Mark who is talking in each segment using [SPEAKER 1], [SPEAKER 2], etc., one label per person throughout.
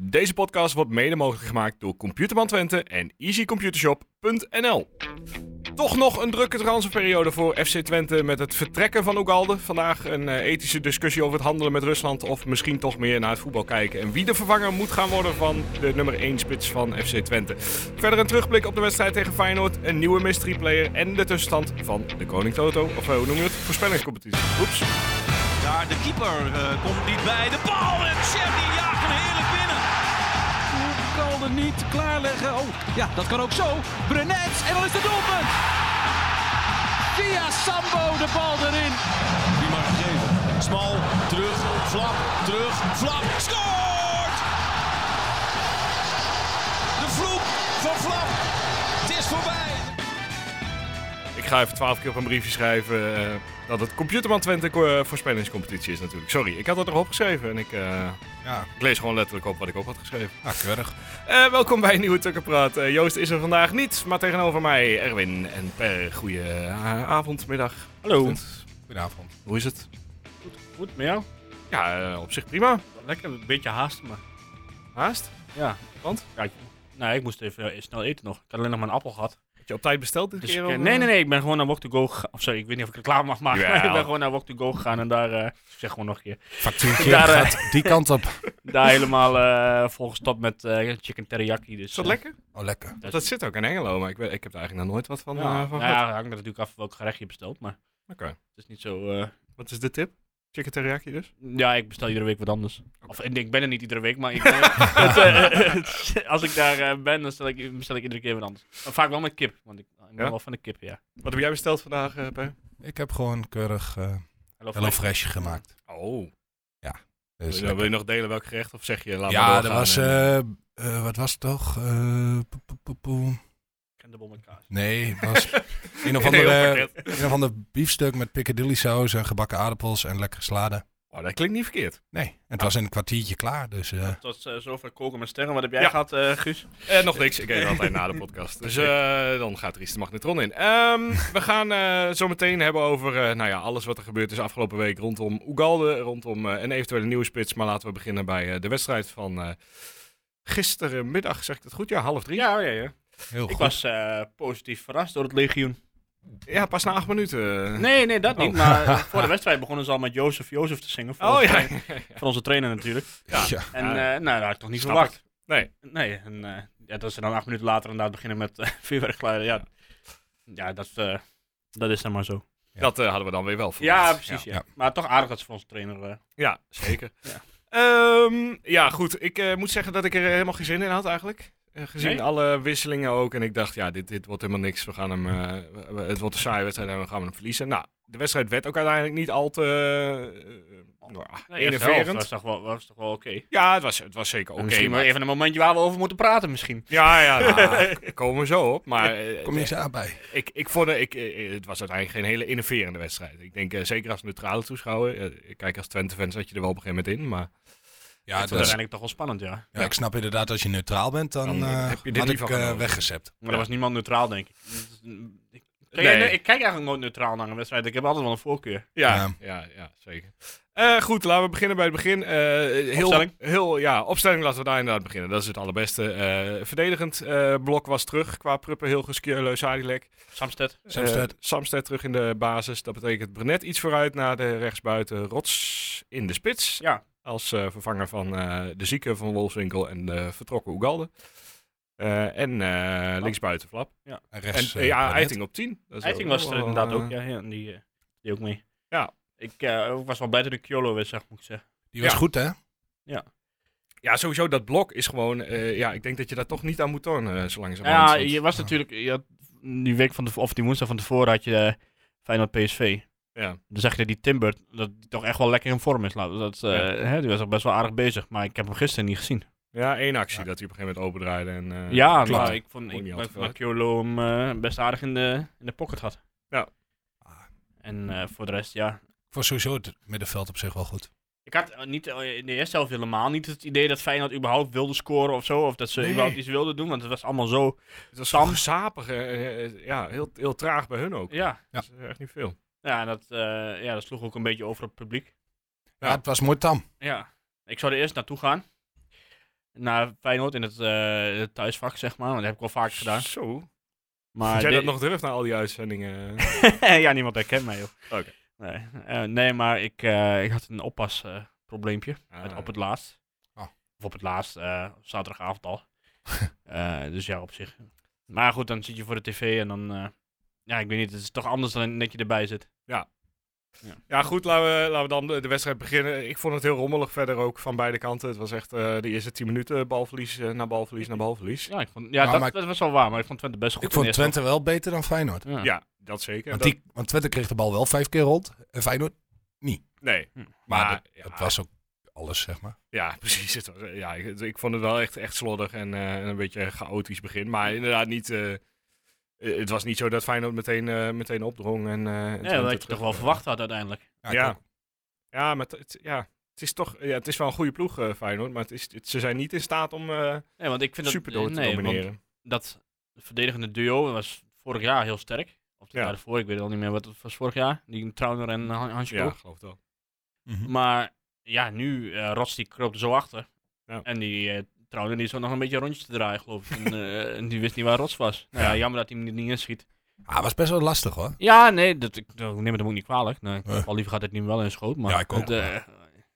[SPEAKER 1] Deze podcast wordt mede mogelijk gemaakt door Computerman Twente en easycomputershop.nl. Toch nog een drukke transferperiode voor FC Twente met het vertrekken van Ugalde. Vandaag een eh, ethische discussie over het handelen met Rusland of misschien toch meer naar het voetbal kijken. En wie de vervanger moet gaan worden van de nummer 1 spits van FC Twente. Verder een terugblik op de wedstrijd tegen Feyenoord, een nieuwe mystery player en de tussenstand van de Koning Toto. Of eh, hoe noem je het? Voorspellingscompetitie. Oeps.
[SPEAKER 2] Daar de keeper eh, komt niet bij. De bal en Chef die jaagt hem heerlijk binnen.
[SPEAKER 3] kan er niet klaarleggen. Oh, ja, dat kan ook zo. Brenets, en dan is het doelpunt. Via Sambo de bal erin.
[SPEAKER 2] Die mag geven. Smal, terug, flap, terug, flap. Scoort! De vloek van flap. Het is voorbij.
[SPEAKER 1] Ik ga even twaalf keer op een briefje schrijven eh, dat het Computerman Twente ko- eh, voorspellingscompetitie is natuurlijk. Sorry, ik had dat erop geschreven en ik, eh,
[SPEAKER 4] Ja,
[SPEAKER 1] ik lees gewoon letterlijk op wat ik op had geschreven.
[SPEAKER 4] ah, keurig.
[SPEAKER 1] Eh, welkom bij een nieuwe Tukkenpraat. Eh, Joost is er vandaag niet, maar tegenover mij Erwin en Per. Goeie eh, avond, middag.
[SPEAKER 5] Hallo.
[SPEAKER 1] Ochtend.
[SPEAKER 4] Goedenavond.
[SPEAKER 1] Hoe is het?
[SPEAKER 5] Goed, met jou?
[SPEAKER 1] Ja, eh, op zich prima.
[SPEAKER 5] Lekker, een beetje haast maar.
[SPEAKER 1] Haast?
[SPEAKER 5] Ja.
[SPEAKER 1] Want?
[SPEAKER 5] Ja, ik, nou, ik moest even eh, snel eten nog. Ik had alleen nog maar een appel gehad.
[SPEAKER 1] Had je op tijd besteld dit
[SPEAKER 5] Dus
[SPEAKER 1] keer?
[SPEAKER 5] ik, eh,
[SPEAKER 1] of,
[SPEAKER 5] nee,
[SPEAKER 1] eh?
[SPEAKER 5] nee, nee. Ik ben gewoon naar Walk to Go gegaan. Of sorry, ik weet niet of ik reclame mag maken. maar
[SPEAKER 1] Jawel.
[SPEAKER 5] ik ben gewoon naar Walk to Go gegaan en daar, eh, ik zeg gewoon nog een keer,
[SPEAKER 4] Factuurtje
[SPEAKER 5] Daar, eh,
[SPEAKER 4] gaat die kant op.
[SPEAKER 5] daar helemaal eh volgestopt met eh, chicken teriyaki. Dus,
[SPEAKER 1] Is dat
[SPEAKER 5] eh,
[SPEAKER 1] lekker?
[SPEAKER 4] Oh, lekker.
[SPEAKER 5] Dat,
[SPEAKER 1] Dat zit ook in Engelo, maar ik, weet, ik heb er eigenlijk nog nooit wat van,
[SPEAKER 5] ja,
[SPEAKER 1] eh, van
[SPEAKER 5] nou,
[SPEAKER 1] gehad.
[SPEAKER 5] ja, hangt er natuurlijk af welk gerecht je bestelt, maar
[SPEAKER 1] Oké.
[SPEAKER 5] het is niet zo... eh,
[SPEAKER 1] Wat is de tip? Chicken teriyaki dus?
[SPEAKER 5] ja, ik bestel iedere week wat anders. Of en ik ben er niet iedere week, maar ik, eh, het, eh, het- als ik daar eh, ben, dan stel ik, bestel ik iedere keer wat anders. Maar vaak wel met kip, want ik, ik ben
[SPEAKER 1] Ja?
[SPEAKER 5] wel van de kip, ja.
[SPEAKER 1] Wat heb jij besteld vandaag, eh, Per?
[SPEAKER 4] Ik heb gewoon keurig eh
[SPEAKER 5] Hello
[SPEAKER 4] Hello
[SPEAKER 5] Fresh.
[SPEAKER 4] Fresh gemaakt.
[SPEAKER 1] Oh.
[SPEAKER 4] Dus
[SPEAKER 1] wil, je,
[SPEAKER 4] lekker.
[SPEAKER 1] wil je nog delen welk gerecht of zeg je laat maar
[SPEAKER 4] ja, dat
[SPEAKER 1] doorgaan
[SPEAKER 4] was...
[SPEAKER 1] en-
[SPEAKER 4] eh, eh, wat was het toch? Eh, poe, poe, poe, poe.
[SPEAKER 5] En de met kaas.
[SPEAKER 4] Nee, het was een eh, of
[SPEAKER 1] Een heel
[SPEAKER 4] andere...
[SPEAKER 1] pakket.
[SPEAKER 4] Een of ander biefstuk met piccadilly saus en gebakken aardappels en lekkere salade.
[SPEAKER 1] Oh, dat klinkt niet verkeerd.
[SPEAKER 4] Nee, en het was in een kwartiertje klaar, dus... eh,
[SPEAKER 5] Tot eh, zover koken met sterren. Wat heb jij
[SPEAKER 1] Ja.
[SPEAKER 5] gehad, eh, Guus?
[SPEAKER 1] Eh, nog niks, ik eet altijd na de podcast. Dus eh, dan gaat er iets de magnetron in. Ehm, we gaan eh zo meteen hebben over eh, nou ja, alles wat er gebeurd is afgelopen week rondom Ugalde. Rondom eh, een eventuele nieuwe spits. Maar laten we beginnen bij eh, de wedstrijd van eh, gisterenmiddag. Zeg ik dat goed? Ja, half drie.
[SPEAKER 5] Ja, ja, ja.
[SPEAKER 4] heel
[SPEAKER 5] Ik
[SPEAKER 4] goed.
[SPEAKER 5] was eh, positief verrast door het legioen.
[SPEAKER 1] Ja, pas na acht minuten.
[SPEAKER 5] Nee, nee, dat niet.
[SPEAKER 1] Oh.
[SPEAKER 5] Maar eh, voor de wedstrijd begonnen ze al met Jozef Jozef te zingen. Voor,
[SPEAKER 1] Oh
[SPEAKER 5] onze,
[SPEAKER 1] ja.
[SPEAKER 5] voor onze trainer natuurlijk.
[SPEAKER 1] Ja.
[SPEAKER 4] Ja.
[SPEAKER 5] En
[SPEAKER 1] Ja.
[SPEAKER 5] eh, nou, dat had ik toch niet
[SPEAKER 1] Snap
[SPEAKER 5] verwacht.
[SPEAKER 1] Nee.
[SPEAKER 5] Nee, en eh, ja, dat ze dan acht minuten later inderdaad beginnen met eh vuurwerkgeluiden. Ja, ja dat, eh, dat is dan maar zo.
[SPEAKER 4] Ja.
[SPEAKER 1] Dat eh, hadden we dan weer wel. verwacht.
[SPEAKER 5] Ja, precies. Ja.
[SPEAKER 4] Ja.
[SPEAKER 5] Maar toch aardig dat ze voor onze trainer... eh,
[SPEAKER 1] Ja, zeker.
[SPEAKER 5] Ja.
[SPEAKER 1] Ehm, ja, goed. Ik eh, moet zeggen dat ik er helemaal geen zin in had eigenlijk. Eh, gezien
[SPEAKER 5] Nee?
[SPEAKER 1] alle wisselingen ook. En ik dacht, ja, dit, dit wordt helemaal niks. We gaan hem, eh, we- we- het wordt een saaie wedstrijd en we gaan hem verliezen. Nou, de wedstrijd werd ook uiteindelijk niet al te eh, nou,
[SPEAKER 5] nee, eerste helft
[SPEAKER 1] enerverend.
[SPEAKER 5] was toch wel, was toch wel oké.
[SPEAKER 1] Ja, het was, het was zeker oké.
[SPEAKER 5] Oké, misschien maar
[SPEAKER 1] maar-
[SPEAKER 5] even een momentje waar we over moeten praten misschien.
[SPEAKER 1] Ja, ja, nou, k- komen we zo op. Maar eh,
[SPEAKER 4] Kom je eens aan bij.
[SPEAKER 1] ik, ik vond eh, ik, eh, het was uiteindelijk geen hele innoverende wedstrijd. Ik denk, eh, zeker als neutrale toeschouwer. eh, kijk, als Twente-fan zat je er wel op een gegeven moment in. Maar
[SPEAKER 5] dat is
[SPEAKER 4] Ja, dat is-
[SPEAKER 5] uiteindelijk toch wel spannend, ja.
[SPEAKER 4] ja, ik snap inderdaad, als je neutraal bent, dan,
[SPEAKER 1] Dan
[SPEAKER 4] eh,
[SPEAKER 1] heb je dit
[SPEAKER 4] had
[SPEAKER 1] niet
[SPEAKER 4] ik
[SPEAKER 1] van
[SPEAKER 4] eh,
[SPEAKER 1] genoten.
[SPEAKER 4] weggezet.
[SPEAKER 5] Maar er was niemand neutraal, denk ik. Ik, kijk,
[SPEAKER 1] Nee.
[SPEAKER 5] nee, ik kijk eigenlijk nooit neutraal naar een wedstrijd. Ik heb altijd wel een voorkeur.
[SPEAKER 1] Ja,
[SPEAKER 4] Ja.
[SPEAKER 1] ja, ja zeker. Eh, goed, laten we beginnen bij het begin. Eh, heel,
[SPEAKER 5] Opstelling?
[SPEAKER 1] Heel, ja, opstelling laten we daar inderdaad beginnen. Dat is het allerbeste. Eh, verdedigend eh, blok was terug qua Pruppen, Hilgers, Kjörleus, Sadilek.
[SPEAKER 5] Samsted.
[SPEAKER 4] Samsted.
[SPEAKER 1] Eh, Samsted terug in de basis. Dat betekent Brenet iets vooruit naar de rechtsbuiten. Rots in de spits.
[SPEAKER 5] Ja.
[SPEAKER 1] Als eh, vervanger van eh, de zieke van Wolfswinkel en de vertrokken Oegalde. Eh, en eh, linksbuiten Flap.
[SPEAKER 4] En
[SPEAKER 1] En
[SPEAKER 4] rechts,
[SPEAKER 1] eh,
[SPEAKER 4] Oh. eh,
[SPEAKER 1] ja,
[SPEAKER 4] Barnett.
[SPEAKER 1] Eiting op 10. Dat is
[SPEAKER 5] Eiting
[SPEAKER 1] wel-
[SPEAKER 5] was er
[SPEAKER 1] wel,
[SPEAKER 5] inderdaad
[SPEAKER 1] eh,
[SPEAKER 5] ook, ja. ja en die, eh, die ook mee.
[SPEAKER 1] Ja.
[SPEAKER 5] Ik eh, was wel blij dat ik Kyolo weer zag, moet ik zeggen.
[SPEAKER 4] Die was
[SPEAKER 1] Ja.
[SPEAKER 4] goed, hè?
[SPEAKER 1] Ja, sowieso dat blok is gewoon. eh, ja, ik denk dat je daar toch niet aan moet tonen, eh, zo langzamerhand.
[SPEAKER 5] Ja,
[SPEAKER 1] Want-
[SPEAKER 5] je was
[SPEAKER 4] ja.
[SPEAKER 5] natuurlijk... Je had, die week van de, of die woensdag van tevoren had je eh, Feyenoord PSV.
[SPEAKER 1] ja.
[SPEAKER 5] Dan zeg je dat die Timber dat die toch echt wel lekker in vorm is. Laat- Dat, eh,
[SPEAKER 1] Ja.
[SPEAKER 5] hè, die was toch best wel aardig bezig, maar ik heb hem gisteren niet gezien.
[SPEAKER 1] ja, één actie
[SPEAKER 4] Ja.
[SPEAKER 1] dat hij op een gegeven moment opendraaide. En, eh,
[SPEAKER 5] ja,
[SPEAKER 4] klopt.
[SPEAKER 5] maar ik vond,
[SPEAKER 1] Ook
[SPEAKER 5] ik,
[SPEAKER 1] niet al
[SPEAKER 5] ik
[SPEAKER 1] te
[SPEAKER 5] vond
[SPEAKER 1] veel
[SPEAKER 5] dat Kyolo hem eh, best aardig in de, in de pocket had.
[SPEAKER 1] Ja.
[SPEAKER 5] En eh, voor de rest, ja.
[SPEAKER 4] Ik was sowieso het middenveld op zich wel goed.
[SPEAKER 5] Ik had eh, niet, eh, in de eerste helft helemaal niet het idee dat Feyenoord überhaupt wilde scoren of zo. Of dat ze
[SPEAKER 1] Nee.
[SPEAKER 5] überhaupt iets wilden doen, want het was allemaal zo...
[SPEAKER 1] het was
[SPEAKER 5] Sam.
[SPEAKER 1] zo'n sapig. eh, eh, ja, heel, heel traag bij hun ook.
[SPEAKER 5] Ja,
[SPEAKER 1] Dat is eh, echt niet veel.
[SPEAKER 5] ja, en dat, eh, ja dat sloeg ook een beetje over op het publiek.
[SPEAKER 1] Ja.
[SPEAKER 4] Ja, het was mooi tam.
[SPEAKER 5] Ja, ik zou er eerst naartoe gaan. naar Feyenoord in het, eh, het thuisvak, zeg maar. Want dat heb ik wel vaak gedaan.
[SPEAKER 1] Zo.
[SPEAKER 5] Maar
[SPEAKER 1] Als jij dat
[SPEAKER 5] dit-
[SPEAKER 1] nog durft na al die uitzendingen.
[SPEAKER 5] ja, niemand herkent mij, joh.
[SPEAKER 1] Oké.
[SPEAKER 5] Nee, eh, nee, maar ik, eh, ik had een oppasprobleempje.
[SPEAKER 1] Ah.
[SPEAKER 5] Op het laatst.
[SPEAKER 4] Oh.
[SPEAKER 5] Of op het laatst, eh, zaterdagavond al. Eh, dus ja, op zich. Maar goed, dan zit je voor de tv en dan... eh, ja, ik weet niet, het is toch anders dan dat je erbij zit.
[SPEAKER 1] Ja, goed, laten we, laten we dan de, de wedstrijd beginnen. Ik vond het heel rommelig verder ook van beide kanten. Het was echt eh, de eerste 10 minuten balverlies eh, na balverlies na balverlies.
[SPEAKER 5] Ja, ik vond, ja
[SPEAKER 4] Ja,
[SPEAKER 5] dat,
[SPEAKER 4] maar-
[SPEAKER 5] dat was wel waar, maar ik vond Twente best goed.
[SPEAKER 4] Ik
[SPEAKER 5] in
[SPEAKER 4] vond
[SPEAKER 5] de eerste
[SPEAKER 4] Twente wel beter dan Feyenoord.
[SPEAKER 5] helft. Ja.
[SPEAKER 1] Ja, dat zeker.
[SPEAKER 4] Want,
[SPEAKER 1] Dat-
[SPEAKER 4] die, want Twente kreeg de bal wel vijf keer rond. En Feyenoord,
[SPEAKER 1] nee,
[SPEAKER 5] Hm.
[SPEAKER 4] maar
[SPEAKER 1] maar
[SPEAKER 4] dat,
[SPEAKER 1] ja,
[SPEAKER 4] dat was ook alles, zeg maar.
[SPEAKER 1] ja, precies. Het was, eh, ja, ik, ik vond het wel echt, echt slordig en eh, een beetje chaotisch begin. Maar inderdaad niet... eh, eh, het was niet zo dat Feyenoord meteen, eh, meteen opdrong. En, eh, en
[SPEAKER 5] Ja,
[SPEAKER 1] Twente
[SPEAKER 5] dat had je
[SPEAKER 1] terug-
[SPEAKER 5] toch wel verwacht had uiteindelijk.
[SPEAKER 4] ik
[SPEAKER 1] Ja.
[SPEAKER 4] ook.
[SPEAKER 1] Ja, maar het- het, ja, het is toch... Ja, het is wel een goede ploeg, eh, Feyenoord. Maar het is, het- ze zijn niet in staat om eh,
[SPEAKER 5] Nee, want ik vind
[SPEAKER 1] super
[SPEAKER 5] dat, eh,
[SPEAKER 1] door te
[SPEAKER 5] nee, want
[SPEAKER 1] domineren.
[SPEAKER 5] dat verdedigende duo was vorig jaar heel sterk. Of
[SPEAKER 1] Ja.
[SPEAKER 5] ja. daarvoor, ik weet het al niet meer wat het was vorig jaar. Die Trauner en Han- Hansje
[SPEAKER 1] Ja,
[SPEAKER 5] Krog.
[SPEAKER 1] geloof het wel.
[SPEAKER 5] Maar ja, nu, eh Rots die kroop er zo achter.
[SPEAKER 1] Ja.
[SPEAKER 5] En die eh Trauner die zo nog een beetje rondjes te draaien, geloof ik. en, eh, en die wist niet waar Rots was. Nou ja, jammer dat hij hem er niet inschiet.
[SPEAKER 4] Ah, het was best wel lastig hoor.
[SPEAKER 5] Ja, nee, dat, ik, dat- ik neem het hem ook niet kwalijk. Nee,
[SPEAKER 4] Nee.
[SPEAKER 5] Al liever gaat het nu wel in schoot. Maar,
[SPEAKER 4] Ja, ik ook,
[SPEAKER 5] het, eh,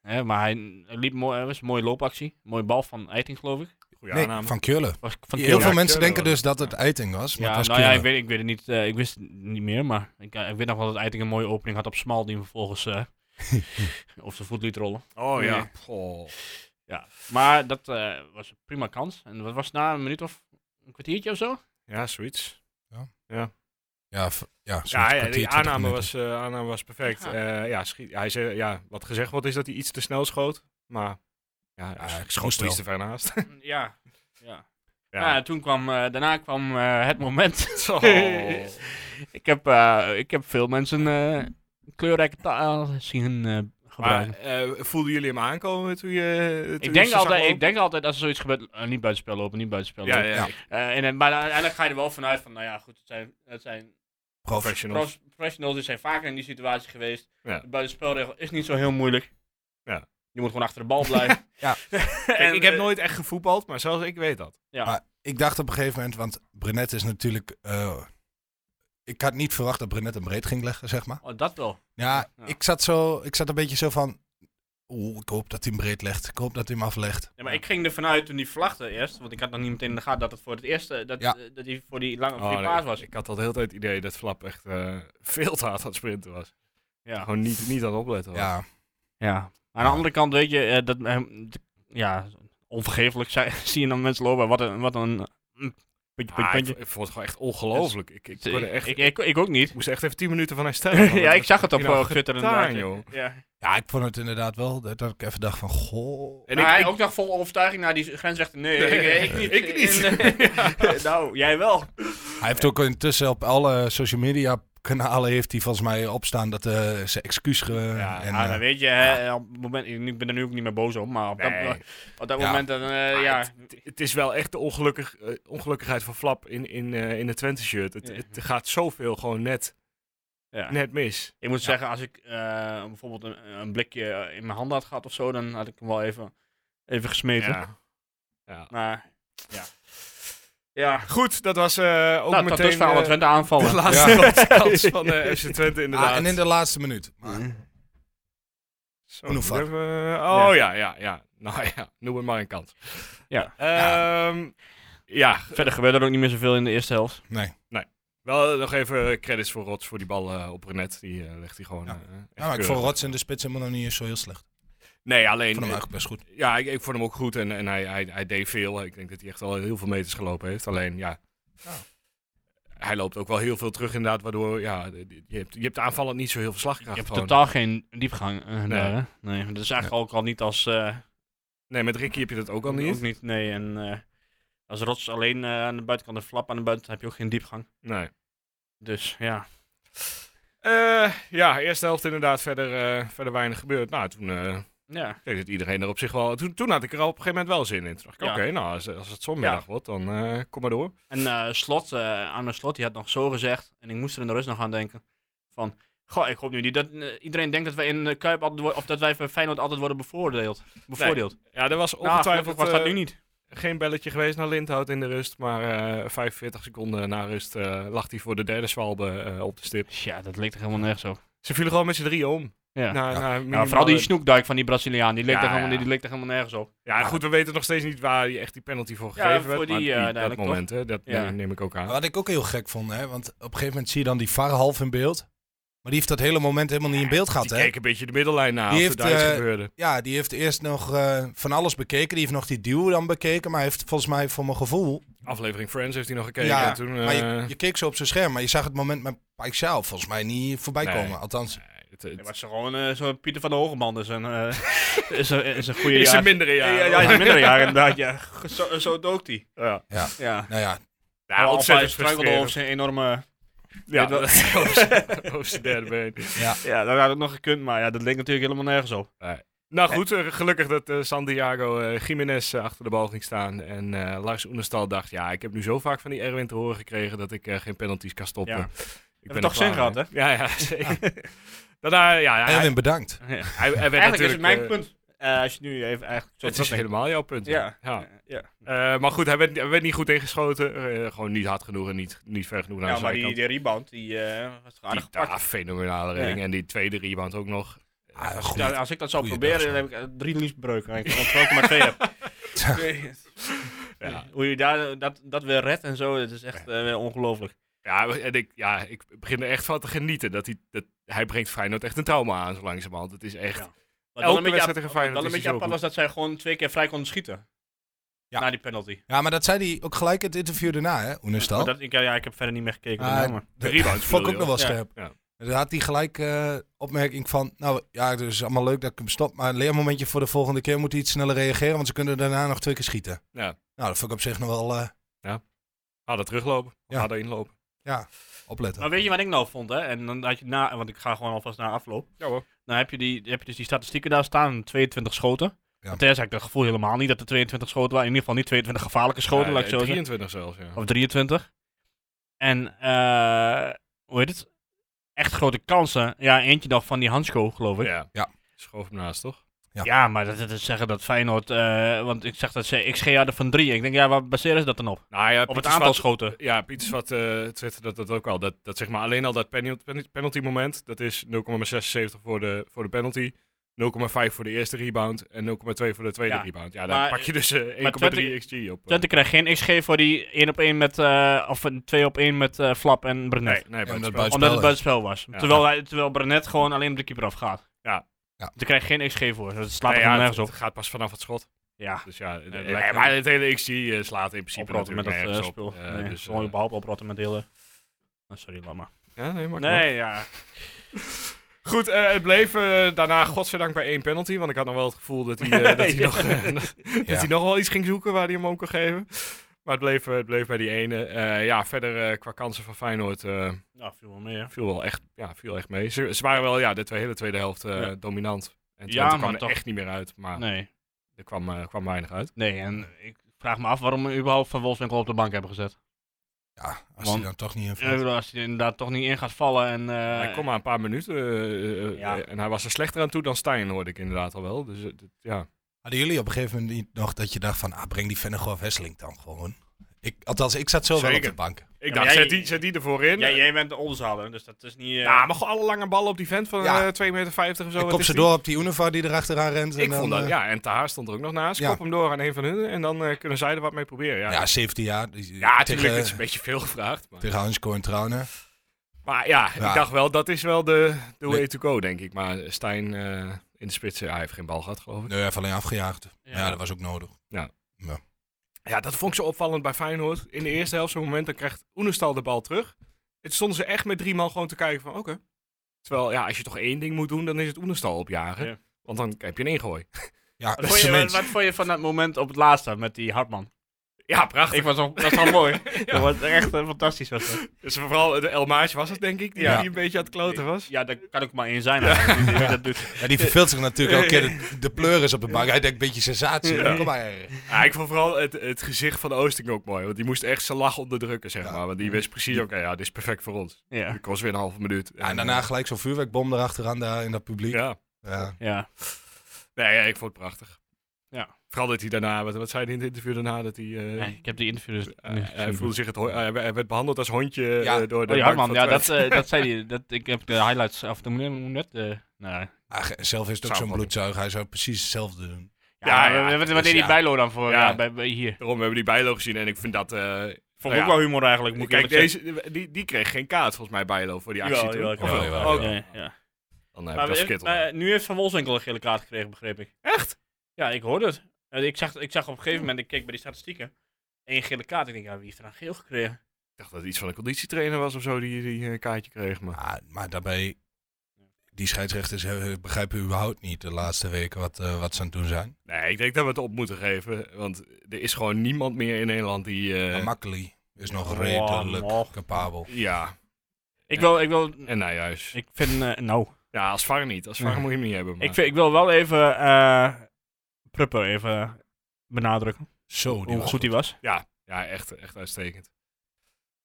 [SPEAKER 5] hè, maar hij liep mooi, het was een mooie loopactie. Mooie bal van Eiting, geloof ik.
[SPEAKER 1] Goeie
[SPEAKER 4] nee,
[SPEAKER 1] aanname.
[SPEAKER 4] van Keulen.
[SPEAKER 5] Was van
[SPEAKER 4] Heel
[SPEAKER 5] Keulen.
[SPEAKER 4] veel
[SPEAKER 1] nou, Ja,
[SPEAKER 4] mensen
[SPEAKER 1] Keulen
[SPEAKER 4] denken
[SPEAKER 1] was
[SPEAKER 4] dus dat het Eiting was, maar
[SPEAKER 5] Ja,
[SPEAKER 4] het was
[SPEAKER 5] nou ja,
[SPEAKER 4] Keulen.
[SPEAKER 5] ik weet, ik weet het niet. eh, ik wist het niet meer, maar ik, eh, ik weet nog wel dat Eiting een mooie opening had op Smal, die hem vervolgens eh op zijn voet liet rollen.
[SPEAKER 1] Oh ja.
[SPEAKER 5] Nee.
[SPEAKER 1] Goh.
[SPEAKER 5] Ja. Maar dat eh, was een prima kans. En wat was het na een minuut of een kwartiertje of zo?
[SPEAKER 1] Ja, zoiets.
[SPEAKER 4] Ja, v- ja, zo'n
[SPEAKER 1] Ja, ja,
[SPEAKER 4] kwartier,
[SPEAKER 1] die
[SPEAKER 4] 20
[SPEAKER 1] aanname
[SPEAKER 4] minuten.
[SPEAKER 1] was, eh, aanname was perfect.
[SPEAKER 5] Ja.
[SPEAKER 1] Ja. ja, schiet, hij zei, ja, wat gezegd wordt is dat hij iets te snel schoot. Maar ja, hij
[SPEAKER 4] hij
[SPEAKER 1] schoot
[SPEAKER 4] moest
[SPEAKER 1] er iets te
[SPEAKER 4] wel.
[SPEAKER 1] ver naast.
[SPEAKER 5] ja. ja.
[SPEAKER 1] ja. Oh.
[SPEAKER 5] toen kwam, eh, daarna kwam eh, het moment.
[SPEAKER 1] Zo.
[SPEAKER 5] ik, heb, eh, ik heb veel mensen eh, kleurrijke taal zien eh,
[SPEAKER 1] Maar
[SPEAKER 5] gebruiken.
[SPEAKER 1] eh, voelden jullie hem aankomen toen je... toen
[SPEAKER 5] ik,
[SPEAKER 1] je
[SPEAKER 5] denk
[SPEAKER 1] ze zag
[SPEAKER 5] altijd,
[SPEAKER 1] lopen?
[SPEAKER 5] ik denk altijd als er zoiets gebeurt, eh, niet buitenspel lopen, niet buitenspel
[SPEAKER 1] Ja,
[SPEAKER 5] lopen.
[SPEAKER 1] ja,
[SPEAKER 4] Ja.
[SPEAKER 1] ik-
[SPEAKER 5] Eh, en, en- maar uiteindelijk ga je er wel vanuit van, nou ja, goed, het zijn, het zijn
[SPEAKER 4] Prof.
[SPEAKER 1] professionals.
[SPEAKER 5] profs- professionals, die zijn vaker in die situatie geweest.
[SPEAKER 1] Ja.
[SPEAKER 5] De buitenspelregel is niet zo heel moeilijk.
[SPEAKER 1] Ja.
[SPEAKER 5] Je moet gewoon achter de bal blijven.
[SPEAKER 4] Ja.
[SPEAKER 5] En,
[SPEAKER 1] Kijk, ik heb
[SPEAKER 5] eh,
[SPEAKER 1] nooit echt gevoetbald, maar zelfs ik weet dat.
[SPEAKER 5] Ja.
[SPEAKER 4] Maar ik dacht op een gegeven moment, want Brenet is natuurlijk... eh, ik had niet verwacht dat Brenet hem breed ging leggen, zeg maar.
[SPEAKER 5] Oh, dat wel.
[SPEAKER 4] Ja,
[SPEAKER 5] Ja.
[SPEAKER 4] ik zat zo, ik zat een beetje zo van, oeh, ik hoop dat hij hem breed legt. Ik hoop dat hij hem aflegt.
[SPEAKER 5] Ja, maar ik ging er vanuit toen die vlagde eerst, want ik had nog niet meteen in de gaten dat het voor het eerste, dat,
[SPEAKER 4] Ja.
[SPEAKER 5] eh, dat hij voor die lange voor
[SPEAKER 1] Oh,
[SPEAKER 5] die
[SPEAKER 1] nee,
[SPEAKER 5] paas was.
[SPEAKER 1] Ik had al de hele tijd het idee dat Flap echt eh, veel te hard aan het sprinten was.
[SPEAKER 5] Ja.
[SPEAKER 1] Gewoon niet, niet aan het opletten was.
[SPEAKER 4] Ja,
[SPEAKER 5] Ja. Aan de andere kant weet je, eh, dat, eh, d- ja, onvergeeflijk zi- zie je dan mensen lopen. Wat een, wat een, mm, puntje, puntje,
[SPEAKER 1] Ah, ik,
[SPEAKER 5] puntje.
[SPEAKER 1] vo- ik vond het gewoon echt ongelooflijk. Ik, ik, kon er echt,
[SPEAKER 5] Dus ik, ik, ik ook niet.
[SPEAKER 1] ik moest echt even 10 minuten van herstellen. Want
[SPEAKER 5] ja,
[SPEAKER 1] het
[SPEAKER 5] ik
[SPEAKER 1] was-
[SPEAKER 5] zag het op
[SPEAKER 1] heb je nou
[SPEAKER 5] eh, Twitter
[SPEAKER 1] gedaan,
[SPEAKER 5] inderdaad.
[SPEAKER 1] joh?
[SPEAKER 5] Ja.
[SPEAKER 4] ja, ik vond het inderdaad wel dat, dat ik even dacht van, goh.
[SPEAKER 1] En
[SPEAKER 5] maar
[SPEAKER 1] ik-
[SPEAKER 5] hij
[SPEAKER 1] ik-
[SPEAKER 5] ook nog vol overtuiging naar die grensrechter. Nee,
[SPEAKER 1] Nee,
[SPEAKER 5] ik, ik niet.
[SPEAKER 1] ik niet.
[SPEAKER 5] En, eh, nou, jij wel.
[SPEAKER 4] Hij heeft ook intussen op alle social media kanalen heeft hij volgens mij opstaan dat eh zijn excuus ge...
[SPEAKER 1] Ja, ah, nou,
[SPEAKER 4] en,
[SPEAKER 5] Ja,
[SPEAKER 4] eh,
[SPEAKER 5] dan weet je, hè, op het moment, ik ben er nu ook niet meer boos op, maar op
[SPEAKER 1] Nee.
[SPEAKER 5] dat, op dat
[SPEAKER 4] Ja.
[SPEAKER 5] moment dan, eh,
[SPEAKER 1] Maar
[SPEAKER 5] ja.
[SPEAKER 1] het, het is wel echt de ongelukkig, eh, ongelukkigheid van Flap in, in, eh, in het Twente-shirt. Het,
[SPEAKER 5] Ja.
[SPEAKER 1] het gaat zoveel gewoon net,
[SPEAKER 5] ja.
[SPEAKER 1] net mis.
[SPEAKER 5] Ik moet zeggen, als ik eh, bijvoorbeeld een, een blikje eh, in mijn handen had gehad of zo, dan had ik hem wel even, even gesmeten.
[SPEAKER 1] Ja. Ja. Nou,
[SPEAKER 5] Maar ja. Ja,
[SPEAKER 1] Goed, dat was eh, ook
[SPEAKER 5] nou, tot
[SPEAKER 1] meteen
[SPEAKER 5] dusver al wat
[SPEAKER 1] eh,
[SPEAKER 5] Twente
[SPEAKER 1] de
[SPEAKER 5] aanvallen.
[SPEAKER 1] laatste
[SPEAKER 4] Ja.
[SPEAKER 1] kans van eh, FC Twente
[SPEAKER 4] ah,
[SPEAKER 1] inderdaad.
[SPEAKER 4] en in de laatste minuut. Maar,
[SPEAKER 1] Zo,
[SPEAKER 4] Oenoefak.
[SPEAKER 1] hebben we- oh ja. ja, ja, Nou ja, noem het maar een kans.
[SPEAKER 5] Ja.
[SPEAKER 1] Ehm, ja,
[SPEAKER 5] Verder gebeurde er ook niet meer zoveel in de eerste helft.
[SPEAKER 4] nee.
[SPEAKER 1] wel eh, nog even credits voor Rots voor die bal eh, op Renet. Die eh, legt hij gewoon.
[SPEAKER 4] Ja.
[SPEAKER 1] eh, echt
[SPEAKER 4] Nou, maar ik
[SPEAKER 1] keurig.
[SPEAKER 4] vond Rots in de spits helemaal nog niet eens zo heel slecht. Ik
[SPEAKER 1] Nee,
[SPEAKER 4] vond hem
[SPEAKER 1] alleen
[SPEAKER 4] eigenlijk best goed.
[SPEAKER 1] Ja, ik, ik vond hem ook goed en, en hij, hij, hij deed veel. Ik denk dat hij echt al heel veel meters gelopen heeft. Alleen ja,
[SPEAKER 4] Ja.
[SPEAKER 1] hij loopt ook wel heel veel terug inderdaad. Waardoor ja, de- de- je, hebt, je hebt aanvallend niet zo heel veel slagkracht.
[SPEAKER 5] Je hebt
[SPEAKER 1] gewoon.
[SPEAKER 5] totaal geen diepgang. eh, daar, hè? nee, dat is eigenlijk
[SPEAKER 4] Nee.
[SPEAKER 5] ook al niet als... eh,
[SPEAKER 1] Nee, met Ricky heb je dat ook al niet.
[SPEAKER 5] Ook niet, nee. En eh, als Rots alleen eh, aan de buitenkant en Flap aan de buitenkant, heb je ook geen diepgang.
[SPEAKER 1] Nee.
[SPEAKER 5] Dus ja.
[SPEAKER 1] Eh, ja, eerste helft inderdaad verder, eh, verder weinig gebeurd. Nou, toen eh,
[SPEAKER 5] Ja.
[SPEAKER 1] deed het iedereen er op zich wel. Toen, toen had ik er al op een gegeven moment wel zin in. Toen dacht ik,
[SPEAKER 5] Ja.
[SPEAKER 1] oké, nou, als, als het zonmiddag
[SPEAKER 5] Ja.
[SPEAKER 1] wordt, dan eh, kom maar door.
[SPEAKER 5] En eh Slot, eh Arne Slot, die had nog zo gezegd, en ik moest er in de rust nog aan denken, van Goh, ik hoop nu niet dat eh, iedereen denkt dat wij in eh, Kuip altijd worden, of dat wij van Feyenoord altijd worden bevoordeeld. Bevoordeeld.
[SPEAKER 1] Ja, er was
[SPEAKER 5] Nou, gelukkig
[SPEAKER 1] ongetwijfeld
[SPEAKER 5] was dat
[SPEAKER 1] eh,
[SPEAKER 5] nu niet.
[SPEAKER 1] geen belletje geweest naar Lindhout in de rust. Maar eh 45 seconden na rust eh, lag hij voor de derde zwalbe eh, op de stip.
[SPEAKER 5] Ja, dat leek er helemaal nergens op.
[SPEAKER 1] Ze vielen gewoon met z'n drieën om.
[SPEAKER 5] Ja.
[SPEAKER 1] Na, na
[SPEAKER 5] Ja,
[SPEAKER 1] minimaal-
[SPEAKER 5] vooral die snoekduik van die Braziliaan, die leek,
[SPEAKER 1] Ja,
[SPEAKER 5] er, helemaal,
[SPEAKER 1] ja.
[SPEAKER 5] die leek er helemaal nergens op.
[SPEAKER 1] Ja, goed, we weten nog steeds niet waar hij echt die penalty voor
[SPEAKER 5] Ja,
[SPEAKER 1] gegeven werd.
[SPEAKER 5] voor die,
[SPEAKER 1] maar
[SPEAKER 5] eh,
[SPEAKER 1] dat
[SPEAKER 5] uiteindelijk toch?
[SPEAKER 1] moment, hè, dat
[SPEAKER 5] Ja.
[SPEAKER 1] neem- neem ik ook aan.
[SPEAKER 4] Wat ik ook heel gek vond, hè, want op een gegeven moment zie je dan die VAR half in beeld. Maar die heeft dat hele moment helemaal niet in beeld gehad,
[SPEAKER 1] die
[SPEAKER 4] hè?
[SPEAKER 1] keek een beetje de middellijn na
[SPEAKER 4] Die
[SPEAKER 1] als er
[SPEAKER 4] heeft,
[SPEAKER 1] Duits
[SPEAKER 4] eh,
[SPEAKER 1] gebeurde.
[SPEAKER 4] Ja, die heeft eerst nog eh, van alles bekeken. Die heeft nog die duw dan bekeken, maar hij heeft volgens mij voor mijn gevoel...
[SPEAKER 1] Aflevering Friends heeft hij nog gekeken.
[SPEAKER 4] ja,
[SPEAKER 1] en toen,
[SPEAKER 4] maar
[SPEAKER 1] eh,
[SPEAKER 4] je, je keek zo op zijn scherm, maar je zag het moment met Pike Sjaal volgens mij niet voorbij
[SPEAKER 1] Nee.
[SPEAKER 4] komen. Althans,
[SPEAKER 1] nee, het, het
[SPEAKER 5] Dat was gewoon eh, zo'n Pieter van de Hogeman, is een, eh, is een, is een goede
[SPEAKER 1] is
[SPEAKER 5] jaar.
[SPEAKER 1] een mindere
[SPEAKER 5] ja,
[SPEAKER 1] jaar.
[SPEAKER 5] ja, is een minderjaar inderdaad. Ja. Zo, zo dook die. Ja.
[SPEAKER 4] Ja.
[SPEAKER 5] ja.
[SPEAKER 4] nou
[SPEAKER 1] Ja,
[SPEAKER 4] ja,
[SPEAKER 5] Of hij
[SPEAKER 1] ontzettend
[SPEAKER 5] struikelde over
[SPEAKER 1] frustrerend.
[SPEAKER 5] zijn enorme...
[SPEAKER 1] Ja,
[SPEAKER 5] Weet wel-
[SPEAKER 1] dat is over zijn- over zijn derde been.
[SPEAKER 5] Ja, dat had het nog gekund, maar ja, dat leek natuurlijk helemaal nergens op.
[SPEAKER 1] Nou goed, eh, gelukkig dat eh, Santiago eh Jiménez eh, achter de bal ging staan. En eh, Lars Oenestal dacht, ja, ik heb nu zo vaak van die Erwin te horen gekregen dat ik eh, geen penalties kan stoppen.
[SPEAKER 5] Ja.
[SPEAKER 1] Ik
[SPEAKER 5] we toch
[SPEAKER 1] er
[SPEAKER 5] zin
[SPEAKER 1] klaar
[SPEAKER 5] gehad,
[SPEAKER 1] mee. Ja, ja, zeker. Daarna, ja, ja, hij,
[SPEAKER 4] Erwin bedankt.
[SPEAKER 1] hij, hij werd
[SPEAKER 5] Eigenlijk
[SPEAKER 1] natuurlijk...
[SPEAKER 5] is het mijn
[SPEAKER 1] eh,
[SPEAKER 5] punt. Eh, als je het nu even eigenlijk zo
[SPEAKER 1] Het is
[SPEAKER 5] terugdenkt.
[SPEAKER 1] helemaal jouw punt.
[SPEAKER 5] Ja.
[SPEAKER 1] ja.
[SPEAKER 5] Ja, ja.
[SPEAKER 1] Eh, maar goed, hij werd, hij werd niet goed ingeschoten. Eh, gewoon niet hard genoeg en niet, niet ver genoeg naar
[SPEAKER 5] ja
[SPEAKER 1] de
[SPEAKER 5] maar
[SPEAKER 1] zijkant.
[SPEAKER 5] die, die rebound, die eh was toch aardig
[SPEAKER 1] Die-
[SPEAKER 5] gepakt.
[SPEAKER 1] ah, fenomenale redding. En die tweede rebound ook nog.
[SPEAKER 4] Ah, goed.
[SPEAKER 5] Ja, als ik dat zou
[SPEAKER 4] Goeie
[SPEAKER 5] proberen,
[SPEAKER 4] dag,
[SPEAKER 5] dan heb ik eh, drie liesbreuken. En ik kan maar twee heb.
[SPEAKER 1] Ja.
[SPEAKER 5] Hoe je daar, eh, dat, dat weer redt en zo, dat is echt eh, weer ongelooflijk.
[SPEAKER 1] Ja, en ik, ja, ik begin er echt van te genieten. Dat hij, dat, hij brengt Feyenoord echt een trauma aan, zo langzamerhand. Het is echt...
[SPEAKER 5] Ja.
[SPEAKER 1] Elke wedstrijd tegen Feyenoord
[SPEAKER 5] Wat
[SPEAKER 1] is
[SPEAKER 5] een beetje
[SPEAKER 1] hij zo
[SPEAKER 5] apart was dat zij gewoon twee keer vrij konden schieten.
[SPEAKER 4] Ja.
[SPEAKER 5] Na die penalty.
[SPEAKER 4] Ja, maar dat zei hij ook gelijk in het interview daarna, hè,
[SPEAKER 5] Maar
[SPEAKER 4] Oenestal.
[SPEAKER 5] dat, ik, ja, ik heb verder niet meer gekeken.
[SPEAKER 4] Ah,
[SPEAKER 5] ja, maar-
[SPEAKER 1] De rebound
[SPEAKER 4] Vond ik ook nog wel
[SPEAKER 5] Ja,
[SPEAKER 4] scherp.
[SPEAKER 1] ja.
[SPEAKER 4] En Dan had hij gelijk eh, opmerking van, nou ja, het is allemaal leuk dat ik hem stop, maar een leermomentje voor de volgende keer moet hij iets sneller reageren, want ze kunnen daarna nog twee keer schieten.
[SPEAKER 1] Ja.
[SPEAKER 4] Nou, dat vond ik op zich nog wel eh,
[SPEAKER 1] Hadden ah, teruglopen. Of
[SPEAKER 4] Ja.
[SPEAKER 1] hadden inlopen.
[SPEAKER 4] opletten.
[SPEAKER 5] Maar weet je wat ik nou vond, hè? En dan had je na, want ik ga gewoon alvast naar afloop.
[SPEAKER 1] Ja hoor.
[SPEAKER 5] Dan heb je, die, heb je dus die statistieken daar staan, 22 schoten.
[SPEAKER 4] Ja.
[SPEAKER 5] Want daar had ik dat gevoel helemaal niet dat er 22 schoten waren. In ieder geval niet 22 gevaarlijke schoten,
[SPEAKER 1] Ja,
[SPEAKER 5] laat ik zo zeggen.
[SPEAKER 1] 23 zelfs, ja.
[SPEAKER 5] Of 23. En, eh hoe heet het? Echt grote kansen. Ja, eentje nog van die Hansko, geloof ik.
[SPEAKER 1] ja.
[SPEAKER 4] Ja.
[SPEAKER 1] Schoof hem naast, toch?
[SPEAKER 4] Ja.
[SPEAKER 5] Ja, maar dat, dat is zeggen dat Feyenoord... eh, want ik zeg dat ze XG hadden van 3. Ik denk, ja, waar baseren ze dat dan op?
[SPEAKER 1] Nou ja,
[SPEAKER 5] Op het
[SPEAKER 1] Pieter
[SPEAKER 5] aantal
[SPEAKER 1] Zwart-
[SPEAKER 5] schoten.
[SPEAKER 1] Ja, Pieter Zwart eh, twitterde dat, dat ook al. Dat, dat zeg maar alleen al dat penalty moment, dat is 0,76 voor de, voor de penalty. 0,5 voor de eerste rebound en 0,2 voor de tweede
[SPEAKER 5] Ja.
[SPEAKER 1] rebound. Ja, daar
[SPEAKER 5] Maar-
[SPEAKER 1] pak je dus eh, 1,3
[SPEAKER 5] Twente-
[SPEAKER 1] xg op. eh.
[SPEAKER 5] Twente kreeg geen XG voor die 1 op 1 met... eh, of 2 op 1 met eh, Flap en Brenet.
[SPEAKER 1] Nee, nee,
[SPEAKER 4] Ja,
[SPEAKER 1] buitenspel.
[SPEAKER 4] dat buiten-
[SPEAKER 5] Omdat het buitenspel
[SPEAKER 4] spel
[SPEAKER 5] was.
[SPEAKER 1] Ja.
[SPEAKER 5] Terwijl, hij, terwijl Brenet gewoon alleen op de keeper afgaat.
[SPEAKER 1] Ja.
[SPEAKER 4] Ja.
[SPEAKER 5] Er krijgt geen XG voor. Dat slaat
[SPEAKER 1] Nee,
[SPEAKER 5] er
[SPEAKER 1] ja,
[SPEAKER 5] helemaal
[SPEAKER 1] het,
[SPEAKER 5] nergens op.
[SPEAKER 1] het gaat pas vanaf het schot.
[SPEAKER 5] Ja.
[SPEAKER 1] Dus ja, het-
[SPEAKER 5] Nee,
[SPEAKER 1] het
[SPEAKER 5] ja,
[SPEAKER 1] lijkt-
[SPEAKER 5] ja.
[SPEAKER 1] maar het hele XG eh, slaat in principe
[SPEAKER 5] Oprotten met dat
[SPEAKER 1] natuurlijk
[SPEAKER 5] eh,
[SPEAKER 1] nergens
[SPEAKER 5] spul.
[SPEAKER 1] op. Eh,
[SPEAKER 5] nee,
[SPEAKER 1] dus,
[SPEAKER 5] gewoon
[SPEAKER 1] eh,
[SPEAKER 5] überhaupt oprotten met delen. Oh, sorry, laat maar.
[SPEAKER 1] ja, nee, maar
[SPEAKER 5] Nee, ja.
[SPEAKER 1] Goed, eh, het bleef eh, daarna godzijdank bij één penalty. Want ik had nog wel het gevoel dat hij, eh, dat hij, nog, eh, dat
[SPEAKER 4] Ja.
[SPEAKER 1] hij nog wel iets ging zoeken waar hij hem om kon geven. Maar het bleef, eh, het bleef bij die ene. Eh, ja, verder eh, qua kansen van Feyenoord eh,
[SPEAKER 5] Nou, viel wel mee, hè.
[SPEAKER 1] viel wel echt, ja, viel echt mee. Ze, ze waren wel ja, de twee, hele tweede helft eh,
[SPEAKER 5] Ja.
[SPEAKER 1] dominant. En
[SPEAKER 5] Ja,
[SPEAKER 1] Twente kwam
[SPEAKER 5] maar
[SPEAKER 1] er
[SPEAKER 5] toch-
[SPEAKER 1] echt niet meer uit. Maar
[SPEAKER 5] Nee.
[SPEAKER 1] er kwam, eh, kwam weinig uit.
[SPEAKER 5] Nee, en ik vraag me af waarom we überhaupt Van Wolfswinkel op de bank hebben gezet.
[SPEAKER 4] Ja, als hij
[SPEAKER 5] Want-
[SPEAKER 4] dan toch niet
[SPEAKER 5] Eh,
[SPEAKER 4] in
[SPEAKER 5] als hij inderdaad toch niet in gaat vallen en... eh,
[SPEAKER 1] hij kwam maar een paar minuten. eh, eh,
[SPEAKER 5] Ja.
[SPEAKER 1] eh, en hij was er slechter aan toe dan Stijn, hoorde ik inderdaad al wel. Dus eh, dit- ja.
[SPEAKER 4] Hadden jullie op een gegeven moment niet nog dat je dacht van, ah, breng die Vennegoor Wesseling dan gewoon. Ik, althans, ik zat zo wel op
[SPEAKER 1] Zeker.
[SPEAKER 4] de bank.
[SPEAKER 1] Ik
[SPEAKER 5] maar
[SPEAKER 1] dacht,
[SPEAKER 5] jij-
[SPEAKER 1] zet, die, zet die ervoor in.
[SPEAKER 5] Jij, jij bent de oldeshouder, dus dat is niet... eh,
[SPEAKER 1] ja, maar gewoon alle lange ballen op die vent van
[SPEAKER 4] Ja.
[SPEAKER 1] eh 2,50 meter of zo.
[SPEAKER 4] Ik
[SPEAKER 1] wat
[SPEAKER 4] kop
[SPEAKER 1] is
[SPEAKER 4] ze
[SPEAKER 1] die?
[SPEAKER 4] door op die Unova die erachteraan rent. en
[SPEAKER 1] Ik
[SPEAKER 4] dan,
[SPEAKER 1] vond dat,
[SPEAKER 4] eh,
[SPEAKER 1] ja, en Taha stond er ook nog naast.
[SPEAKER 4] Ja.
[SPEAKER 1] Kop hem door aan een van hun en dan eh, kunnen zij er wat mee proberen. Ja,
[SPEAKER 4] ja.
[SPEAKER 1] ja,
[SPEAKER 4] 17 jaar. dus
[SPEAKER 1] natuurlijk, dat is een
[SPEAKER 4] tegen,
[SPEAKER 1] beetje veel gevraagd. Maar,
[SPEAKER 4] tegen Hansko en Trauner.
[SPEAKER 1] maar ja, ik
[SPEAKER 4] Ja.
[SPEAKER 1] dacht wel, dat is wel de, de way
[SPEAKER 4] Nee.
[SPEAKER 1] to go, denk ik. Maar Stijn eh, in de spits, eh, hij heeft geen bal gehad, geloof ik.
[SPEAKER 4] Nee, hij heeft alleen afgejaagd. Ja.
[SPEAKER 5] Ja.
[SPEAKER 4] dat was ook nodig.
[SPEAKER 1] Ja, dat vond ik zo opvallend bij Feyenoord. In de eerste helft, zo'n moment, dan krijgt Oenestal de bal terug. Het stonden ze echt met drie man gewoon te kijken van, oké. Terwijl, ja, als je toch één ding moet doen, dan is het Oenestal opjagen.
[SPEAKER 5] Ja.
[SPEAKER 1] Want dan heb je een ingooi.
[SPEAKER 4] Ja,
[SPEAKER 5] Wat
[SPEAKER 4] dat
[SPEAKER 5] vond,
[SPEAKER 4] is
[SPEAKER 5] je,
[SPEAKER 4] een
[SPEAKER 5] wat,
[SPEAKER 4] mens.
[SPEAKER 5] wat vond je van dat moment op het laatste met die Hartman?
[SPEAKER 1] Ja, prachtig.
[SPEAKER 5] Ik was al, dat is al mooi. Dat was echt eh, fantastisch. Was dat.
[SPEAKER 1] Dus vooral de Elmaage was het, denk ik, die,
[SPEAKER 5] Ja.
[SPEAKER 1] die een beetje aan het kloten was.
[SPEAKER 5] Ja, daar kan ook maar één zijn. eigenlijk, die- die dat doet.
[SPEAKER 4] Ja, die verveelt zich natuurlijk elke keer de, de pleur is op de bank. Hij denkt een beetje sensatie.
[SPEAKER 1] Ja.
[SPEAKER 4] Kom maar.
[SPEAKER 1] Ja, ik vond vooral het, het gezicht van Oosting ook mooi. Want die moest echt zijn lach onderdrukken, zeg maar. Want die wist precies, oké, ja, dit is perfect voor ons.
[SPEAKER 5] Ja.
[SPEAKER 1] Ik was weer een halve minuut.
[SPEAKER 4] Ja, en daarna gelijk zo'n vuurwerkbom erachteraan daar in dat publiek. Ja.
[SPEAKER 1] Ja.
[SPEAKER 5] ja.
[SPEAKER 1] Nee, ja, ik vond het prachtig.
[SPEAKER 5] Ja.
[SPEAKER 1] Vooral dat hij daarna, wat, wat zei hij in het interview daarna, dat hij... eh,
[SPEAKER 5] Nee, ik heb die interview dus
[SPEAKER 1] eh,
[SPEAKER 5] niet
[SPEAKER 1] hij
[SPEAKER 5] gezien.
[SPEAKER 1] voelde zich het ho- hij werd behandeld als hondje
[SPEAKER 4] Ja.
[SPEAKER 1] eh, door de
[SPEAKER 5] Oh ja,
[SPEAKER 1] bank
[SPEAKER 5] man,
[SPEAKER 1] van
[SPEAKER 5] ja,
[SPEAKER 1] Twente.
[SPEAKER 5] dat, eh, dat zei hij. Dat, ik heb de highlights, of de net. eh nou,
[SPEAKER 4] Ah, zelf is het ook zo'n
[SPEAKER 1] Samenvatting.
[SPEAKER 4] bloedzuiger. Hij zou precies hetzelfde doen.
[SPEAKER 1] Ja,
[SPEAKER 5] ja,
[SPEAKER 1] ja,
[SPEAKER 5] ja, wat-
[SPEAKER 1] dus
[SPEAKER 5] wat deed die
[SPEAKER 1] ja.
[SPEAKER 5] bijlo dan voor?
[SPEAKER 1] Ja.
[SPEAKER 5] Ja, bij, bij hier. Nou
[SPEAKER 1] Daarom hebben we die bijlo gezien en ik vind dat... eh,
[SPEAKER 5] Vond
[SPEAKER 1] ik
[SPEAKER 5] ik
[SPEAKER 1] ook
[SPEAKER 5] ook wel humor eigenlijk, moet
[SPEAKER 1] kijk, deze, die, die kreeg geen kaart volgens mij bijlo voor die actie toen.
[SPEAKER 5] ja,
[SPEAKER 1] Of wel? Oh,
[SPEAKER 4] jawel, jawel.
[SPEAKER 1] Ook.
[SPEAKER 4] Ja.
[SPEAKER 1] Dan heb
[SPEAKER 5] Maar
[SPEAKER 1] ik dat
[SPEAKER 5] we-
[SPEAKER 1] skittel.
[SPEAKER 5] maar nu heeft Van Wolfswinkel een gele kaart gekregen, begreep ik.
[SPEAKER 1] Echt?
[SPEAKER 5] Ja, ik hoorde het. Eh, Ik zag, ik zag op een gegeven moment, ik keek bij die statistieken, één gele kaart. Ik denk, ja, wie heeft er aan geel gekregen?
[SPEAKER 1] Ik dacht dat het iets van een conditietrainer was of zo die, die eh, kaartje kreeg. Maar...
[SPEAKER 4] Maar, maar daarbij, die scheidsrechters hebben- begrijpen überhaupt niet de laatste weken wat, eh, wat ze aan het doen zijn.
[SPEAKER 1] Nee, ik denk dat we het op moeten geven. Want er is gewoon niemand meer in Nederland die... eh,
[SPEAKER 4] Maar Makkely is nog
[SPEAKER 5] Oh,
[SPEAKER 4] redelijk
[SPEAKER 5] nog.
[SPEAKER 4] capabel.
[SPEAKER 1] ja,
[SPEAKER 5] Ik wil, ik wil,
[SPEAKER 1] en nou juist.
[SPEAKER 5] ik vind, eh, nou,
[SPEAKER 1] Ja, als VAR niet. Als VAR
[SPEAKER 5] Ja.
[SPEAKER 1] moet je hem niet hebben. Maar...
[SPEAKER 5] ik, vind, ik wil wel even eh Prupper even benadrukken,
[SPEAKER 4] Zo, die
[SPEAKER 5] hoe
[SPEAKER 4] was
[SPEAKER 5] goed hij was.
[SPEAKER 1] Ja, ja echt, echt uitstekend.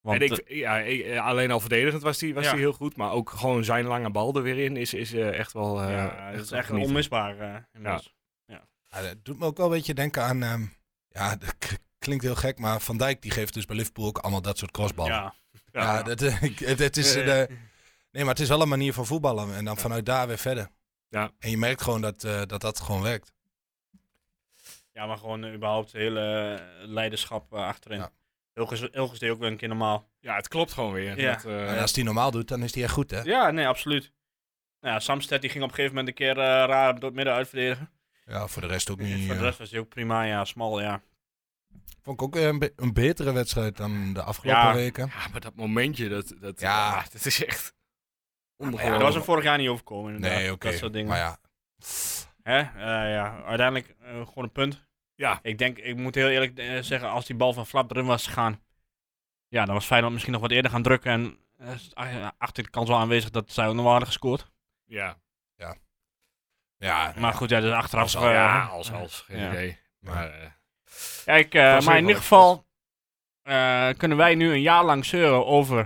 [SPEAKER 5] Want,
[SPEAKER 1] en ik, ja, ik- eh, alleen al verdedigend was hij was
[SPEAKER 5] Ja.
[SPEAKER 1] die heel goed. Maar ook gewoon zijn lange bal er weer in is, is eh, echt wel... eh,
[SPEAKER 5] eh, ja, dat is
[SPEAKER 1] wel
[SPEAKER 5] echt
[SPEAKER 1] genieten.
[SPEAKER 5] onmisbaar. eh, inmiddels.
[SPEAKER 4] Ja, Ah, dat doet me ook wel een beetje denken aan... ehm, ja, dat k- klinkt heel gek, maar Van Dijk die geeft dus bij Liverpool ook allemaal dat soort crossballen. Ja,
[SPEAKER 5] Ja.
[SPEAKER 4] dat, eh, ik- het, het is...
[SPEAKER 5] Ja,
[SPEAKER 4] eh, de- nee, maar het is wel een manier van voetballen. En dan vanuit daar weer verder.
[SPEAKER 1] Ja.
[SPEAKER 4] En je merkt gewoon dat, eh, dat dat gewoon werkt.
[SPEAKER 5] ja, maar gewoon eh, überhaupt hele eh, leiderschap eh, achterin.
[SPEAKER 4] Ja.
[SPEAKER 5] Hilgers, Hilgers deed ook weer een keer normaal.
[SPEAKER 1] Ja, het klopt gewoon weer.
[SPEAKER 5] Ja.
[SPEAKER 1] Dat, eh,
[SPEAKER 4] en als die normaal doet, dan is die echt goed, hè?
[SPEAKER 5] Ja, nee, absoluut. Nou, ja, Samsted die ging op een gegeven moment een keer eh, raar door het midden uitverdedigen.
[SPEAKER 4] Ja, voor de rest ook niet.
[SPEAKER 5] Voor de
[SPEAKER 4] eh,
[SPEAKER 5] rest was hij ook prima, ja, smal, ja.
[SPEAKER 4] Vond ik ook weer een, be- een betere wedstrijd dan de afgelopen
[SPEAKER 5] Ja.
[SPEAKER 4] weken.
[SPEAKER 1] ja, maar dat momentje, dat, dat,
[SPEAKER 4] Ja.
[SPEAKER 1] ah, dat is echt...
[SPEAKER 4] Ja,
[SPEAKER 5] dat
[SPEAKER 1] Ongelooflijk.
[SPEAKER 5] was hem vorig jaar niet overkomen. Inderdaad.
[SPEAKER 4] Nee, oké.
[SPEAKER 5] Dat soort dingen.
[SPEAKER 4] Maar ja,
[SPEAKER 5] Hè? Eh, ja. Uiteindelijk eh, gewoon een punt.
[SPEAKER 1] Ja.
[SPEAKER 5] Ik denk, ik moet heel eerlijk eh, zeggen, als die bal van Flap erin was gegaan, ja, dan was Feyenoord misschien nog wat eerder gaan drukken. En eh, is- ah, achter de kans wel aanwezig dat zij ook nog wel hadden gescoord.
[SPEAKER 1] Ja,
[SPEAKER 4] ja,
[SPEAKER 5] Maar goed, ja, dus achteraf.
[SPEAKER 4] Als
[SPEAKER 5] eh,
[SPEAKER 4] al,
[SPEAKER 1] ja, als, als. Geen
[SPEAKER 5] ja.
[SPEAKER 1] idee. Maar... eh,
[SPEAKER 5] Kijk, eh,
[SPEAKER 1] was
[SPEAKER 5] maar
[SPEAKER 1] heel
[SPEAKER 5] in ieder
[SPEAKER 1] gelukkig.
[SPEAKER 5] geval eh, kunnen wij nu een jaar lang zeuren over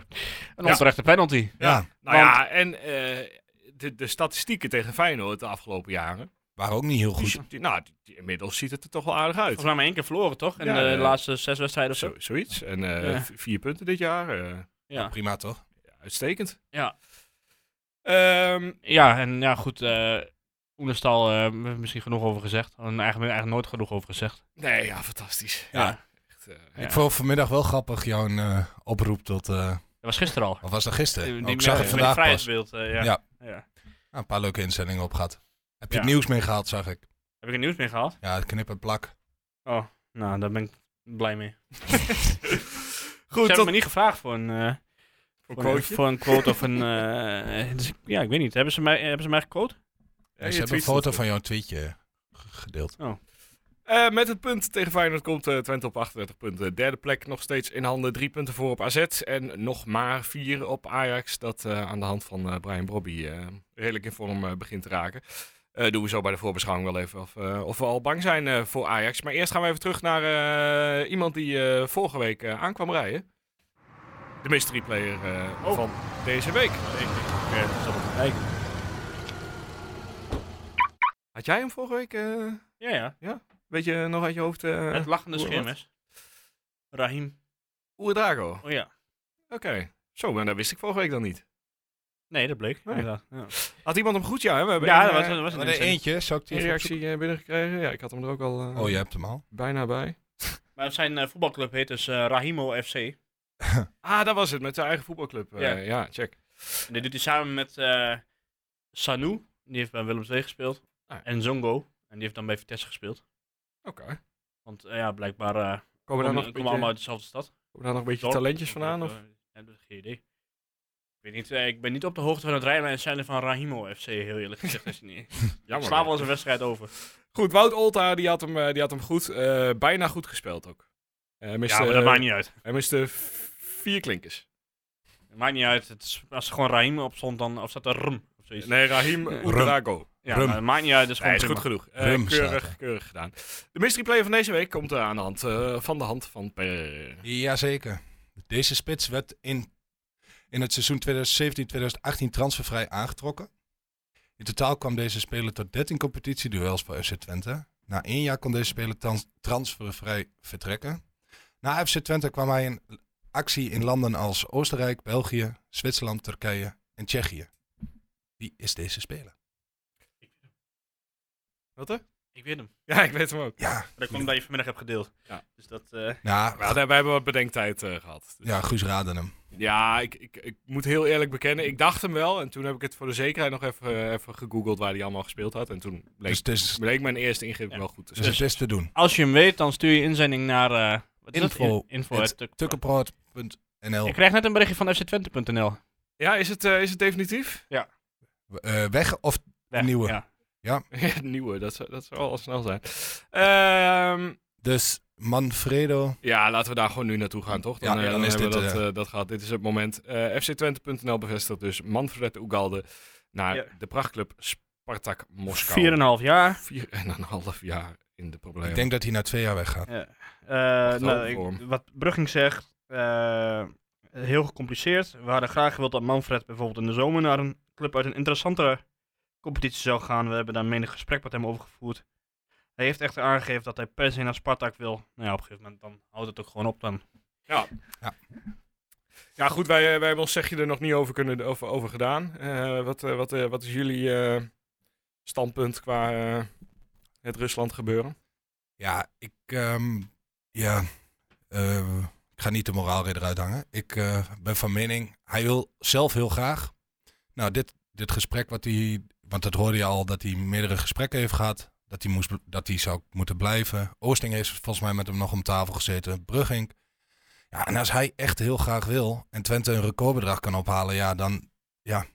[SPEAKER 5] een
[SPEAKER 1] Ja.
[SPEAKER 5] onterechte penalty.
[SPEAKER 1] Ja.
[SPEAKER 4] Ja.
[SPEAKER 1] Nou
[SPEAKER 5] Want-
[SPEAKER 1] ja, en eh, de, de statistieken tegen Feyenoord de afgelopen jaren.
[SPEAKER 4] waren ook niet heel goed.
[SPEAKER 1] Die, die- nou, die- die- inmiddels ziet het er toch wel aardig uit.
[SPEAKER 5] Volgens mij maar één keer verloren, toch? In
[SPEAKER 1] Ja,
[SPEAKER 5] de
[SPEAKER 1] ja.
[SPEAKER 5] laatste zes wedstrijden of zo.
[SPEAKER 1] Zo, zoiets. En eh,
[SPEAKER 5] Ja.
[SPEAKER 1] v- vier punten dit jaar. eh,
[SPEAKER 5] Ja.
[SPEAKER 4] Prima toch?
[SPEAKER 1] uitstekend.
[SPEAKER 5] Ja.
[SPEAKER 1] Ehm,
[SPEAKER 5] Ja, en ja, goed. eh Oenestal, eh, we hebben misschien genoeg over gezegd. En Eigenlijk, eigenlijk nooit genoeg over gezegd.
[SPEAKER 1] nee, ja, fantastisch.
[SPEAKER 5] Ja.
[SPEAKER 1] Echt, eh,
[SPEAKER 5] Ja.
[SPEAKER 4] Ik vond vanmiddag wel grappig jouw eh, oproep tot. eh
[SPEAKER 5] Dat was gisteren al.
[SPEAKER 4] of was dat gisteren?
[SPEAKER 5] Die-
[SPEAKER 4] Oh,
[SPEAKER 5] die eh,
[SPEAKER 4] ik zag
[SPEAKER 5] met-
[SPEAKER 4] het
[SPEAKER 5] met
[SPEAKER 4] vandaag
[SPEAKER 5] die
[SPEAKER 4] pas.
[SPEAKER 5] vrijheidsbeeld, eh, ja.
[SPEAKER 4] Ja.
[SPEAKER 5] Ja.
[SPEAKER 4] Ja, een paar leuke instellingen op gehad. Heb je
[SPEAKER 5] Ja.
[SPEAKER 4] het nieuws mee gehaald, zag ik.
[SPEAKER 5] Heb ik het nieuws mee gehaald?
[SPEAKER 4] Ja, het knip en plak.
[SPEAKER 5] Nou, daar ben ik blij mee. Ze
[SPEAKER 1] Goed,
[SPEAKER 5] hebben
[SPEAKER 1] tot
[SPEAKER 5] me niet gevraagd voor een, eh,
[SPEAKER 1] een
[SPEAKER 5] voor een,
[SPEAKER 1] quoteje.
[SPEAKER 5] voor een quote of een... eh, dus ik- ja, ik weet niet. Hebben ze mij, hebben ze mij gequote?
[SPEAKER 1] Ja,
[SPEAKER 4] ze
[SPEAKER 1] je
[SPEAKER 4] hebben een
[SPEAKER 1] tweet
[SPEAKER 4] foto
[SPEAKER 1] staat
[SPEAKER 4] van jouw tweetje g- gedeeld.
[SPEAKER 1] Eh, met het punt tegen Feyenoord komt eh, Twente op 38 punten. Derde plek nog steeds in handen. Drie punten voor op AZ. En nog maar vier op Ajax. Dat eh, aan de hand van eh, Brian Brobby eh, redelijk in vorm eh, begint te raken. Eh, doen we zo bij de voorbeschouwing wel even of, eh, of we al bang zijn eh, voor Ajax. Maar eerst gaan we even terug naar eh, iemand die eh, vorige week eh, aankwam rijden. De mystery player eh,
[SPEAKER 5] Oh.
[SPEAKER 1] van deze week. Had jij hem vorige week? eh,
[SPEAKER 5] Ja, ja.
[SPEAKER 1] weet je nog uit je hoofd? eh,
[SPEAKER 5] Het lachende
[SPEAKER 1] hoe-
[SPEAKER 5] scherm
[SPEAKER 1] wat?
[SPEAKER 5] is. Rahim.
[SPEAKER 1] Oer Drago. Oké.
[SPEAKER 5] Oh ja.
[SPEAKER 1] Zo, maar dat wist ik vorige week dan niet.
[SPEAKER 5] Nee, dat bleek.
[SPEAKER 1] Nee.
[SPEAKER 5] inderdaad. Ja,
[SPEAKER 1] Had iemand hem goed? Ja, hè? we hebben
[SPEAKER 5] ja
[SPEAKER 1] één,
[SPEAKER 5] dat was,
[SPEAKER 1] eh,
[SPEAKER 5] dat was
[SPEAKER 4] Maar
[SPEAKER 5] een
[SPEAKER 4] er
[SPEAKER 5] inzending.
[SPEAKER 4] eentje, zou ik die
[SPEAKER 1] één
[SPEAKER 4] even
[SPEAKER 1] reactie eh, binnengekregen. Ja, ik had hem er ook al
[SPEAKER 4] opzoeken?
[SPEAKER 1] eh,
[SPEAKER 4] Oh, je hebt hem al.
[SPEAKER 1] bijna bij.
[SPEAKER 5] Maar zijn eh, voetbalclub heet dus eh, Rahimo FC.
[SPEAKER 1] Ah, dat was het, met zijn eigen voetbalclub. eh,
[SPEAKER 5] Ja.
[SPEAKER 1] ja. check.
[SPEAKER 5] En dit doet hij samen met eh, Sanu, die heeft bij Willem II gespeeld.
[SPEAKER 1] Ah.
[SPEAKER 5] En Zongo, en die heeft dan bij Vitesse gespeeld.
[SPEAKER 1] Oké.
[SPEAKER 5] Want eh, ja, blijkbaar eh,
[SPEAKER 1] Komen, daar
[SPEAKER 5] komen,
[SPEAKER 1] nog
[SPEAKER 5] komen
[SPEAKER 1] een beetje-
[SPEAKER 5] allemaal uit dezelfde stad.
[SPEAKER 1] komen daar nog een beetje
[SPEAKER 5] Dorp,
[SPEAKER 1] talentjes
[SPEAKER 5] of,
[SPEAKER 1] vandaan?
[SPEAKER 5] eh,
[SPEAKER 1] Of?
[SPEAKER 5] eh, eh, geen idee. Ik, weet niet, eh, ik ben niet op de hoogte van het rijden en zeilen van Rahimo FC, heel eerlijk gezegd. Is het niet. Ik sla wel eens een wedstrijd over.
[SPEAKER 1] Goed, Wout Olta, die had hem, eh, die had hem goed. eh, bijna goed gespeeld ook. Hij miste,
[SPEAKER 5] Ja, maar dat
[SPEAKER 1] eh,
[SPEAKER 5] maakt niet uit.
[SPEAKER 1] hij miste v- vier klinkers.
[SPEAKER 5] Het maakt niet uit. Het is- als er gewoon Raim op stond, dan, of zat er Rm of zoiets.
[SPEAKER 1] Nee, Rahim Ouedraogo.
[SPEAKER 5] ja,
[SPEAKER 4] Rum.
[SPEAKER 5] maar het maakt niet uit. Het is
[SPEAKER 1] Hij
[SPEAKER 5] gewoon
[SPEAKER 1] is goed
[SPEAKER 5] prima.
[SPEAKER 1] genoeg. Eh,
[SPEAKER 4] Rum staat
[SPEAKER 1] keurig, keurig gedaan. De mystery player van deze week komt eh, aan de hand, eh, van de hand van Per.
[SPEAKER 4] Jazeker. Deze spits werd in, in het seizoen 2017-2018 transfervrij aangetrokken. In totaal kwam deze speler tot 13 competitieduels voor FC Twente. Na één jaar kon deze speler trans- transfervrij vertrekken. Na FC Twente kwam hij in actie in landen als Oostenrijk, België, Zwitserland, Turkije en Tsjechië. Wie is deze speler?
[SPEAKER 1] Wat hè?
[SPEAKER 5] Ik weet hem.
[SPEAKER 1] Ja, ik weet hem ook.
[SPEAKER 4] Ja,
[SPEAKER 5] Dat komt omdat je vanmiddag hebt gedeeld.
[SPEAKER 1] Ja.
[SPEAKER 5] Dus dat... eh,
[SPEAKER 4] nou,
[SPEAKER 1] Maar we hebben wat bedenktijd eh, gehad. Dus-
[SPEAKER 4] ja, Guus raadde hem.
[SPEAKER 1] Ja, ik, ik, ik moet heel eerlijk bekennen. Ik dacht hem wel. En toen heb ik het voor de zekerheid nog even, eh, even gegoogeld waar hij allemaal gespeeld had. En toen bleek,
[SPEAKER 4] Dus het is,
[SPEAKER 1] bleek mijn eerste ingreep
[SPEAKER 5] Ja.
[SPEAKER 1] wel goed te
[SPEAKER 4] dus het
[SPEAKER 1] zijn.
[SPEAKER 4] is te doen.
[SPEAKER 5] Als je hem weet, dan stuur je inzending naar... eh, wat is dat?
[SPEAKER 4] Info.
[SPEAKER 5] In- Info.
[SPEAKER 4] Het
[SPEAKER 5] at Tuk-
[SPEAKER 4] Tukkenproot.nl
[SPEAKER 5] Ik krijg net een berichtje van fctwente.nl.
[SPEAKER 1] Ja, is het, eh, is het definitief?
[SPEAKER 4] Eh, weg of
[SPEAKER 5] Weg,
[SPEAKER 4] Nieuwe.
[SPEAKER 5] Ja.
[SPEAKER 1] Het Nieuwe, dat zou, dat zou al snel zijn. Ehm,
[SPEAKER 4] Dus Manfredo.
[SPEAKER 1] ja, laten we daar gewoon nu naartoe gaan, toch?
[SPEAKER 4] Ja,
[SPEAKER 1] eh,
[SPEAKER 4] ja, dan is
[SPEAKER 1] hebben we
[SPEAKER 4] dit,
[SPEAKER 1] dat, eh, dat gehad. Dit is het moment. Eh, fctwente.nl bevestigt dus Manfred Ugalde naar
[SPEAKER 5] Ja.
[SPEAKER 1] de prachtclub Spartak Moskou.
[SPEAKER 5] 4,5 jaar.
[SPEAKER 1] Vier en een half jaar in de problemen.
[SPEAKER 4] Ik denk dat hij na twee jaar weggaat.
[SPEAKER 5] Ja. Eh,
[SPEAKER 1] is
[SPEAKER 5] nou,
[SPEAKER 1] ook
[SPEAKER 5] ik-
[SPEAKER 1] voor hem.
[SPEAKER 5] wat Brugging zegt, eh, heel gecompliceerd. We hadden graag gewild dat Manfred bijvoorbeeld in de zomer naar een club uit een interessantere competitie zou gaan. We hebben daar menig gesprek met hem over gevoerd. Hij heeft echt aangegeven dat hij per se naar Spartak wil. Nou ja, op een gegeven moment dan houdt het ook gewoon op dan.
[SPEAKER 1] Ja.
[SPEAKER 4] Ja.
[SPEAKER 1] Ja, goed, wij, eh, wij hebben ons zegje er nog niet over, kunnen, over, over gedaan. Eh, wat, eh, wat, eh, wat is jullie eh, standpunt qua eh, het Rusland gebeuren?
[SPEAKER 4] Ja, ik. ehm, ja. eh, ik ga niet de moraalridder uithangen. Ik eh, ben van mening. Hij wil zelf heel graag. Nou, dit, dit gesprek wat hij. Want dat hoorde je al dat hij meerdere gesprekken heeft gehad. Dat hij, moest, bl- dat hij zou moeten blijven. Oosting heeft volgens mij met hem nog om tafel gezeten. Brugging. Ja, en als hij echt heel graag wil. En Twente een recordbedrag kan ophalen. Ja, dan.
[SPEAKER 5] Ja,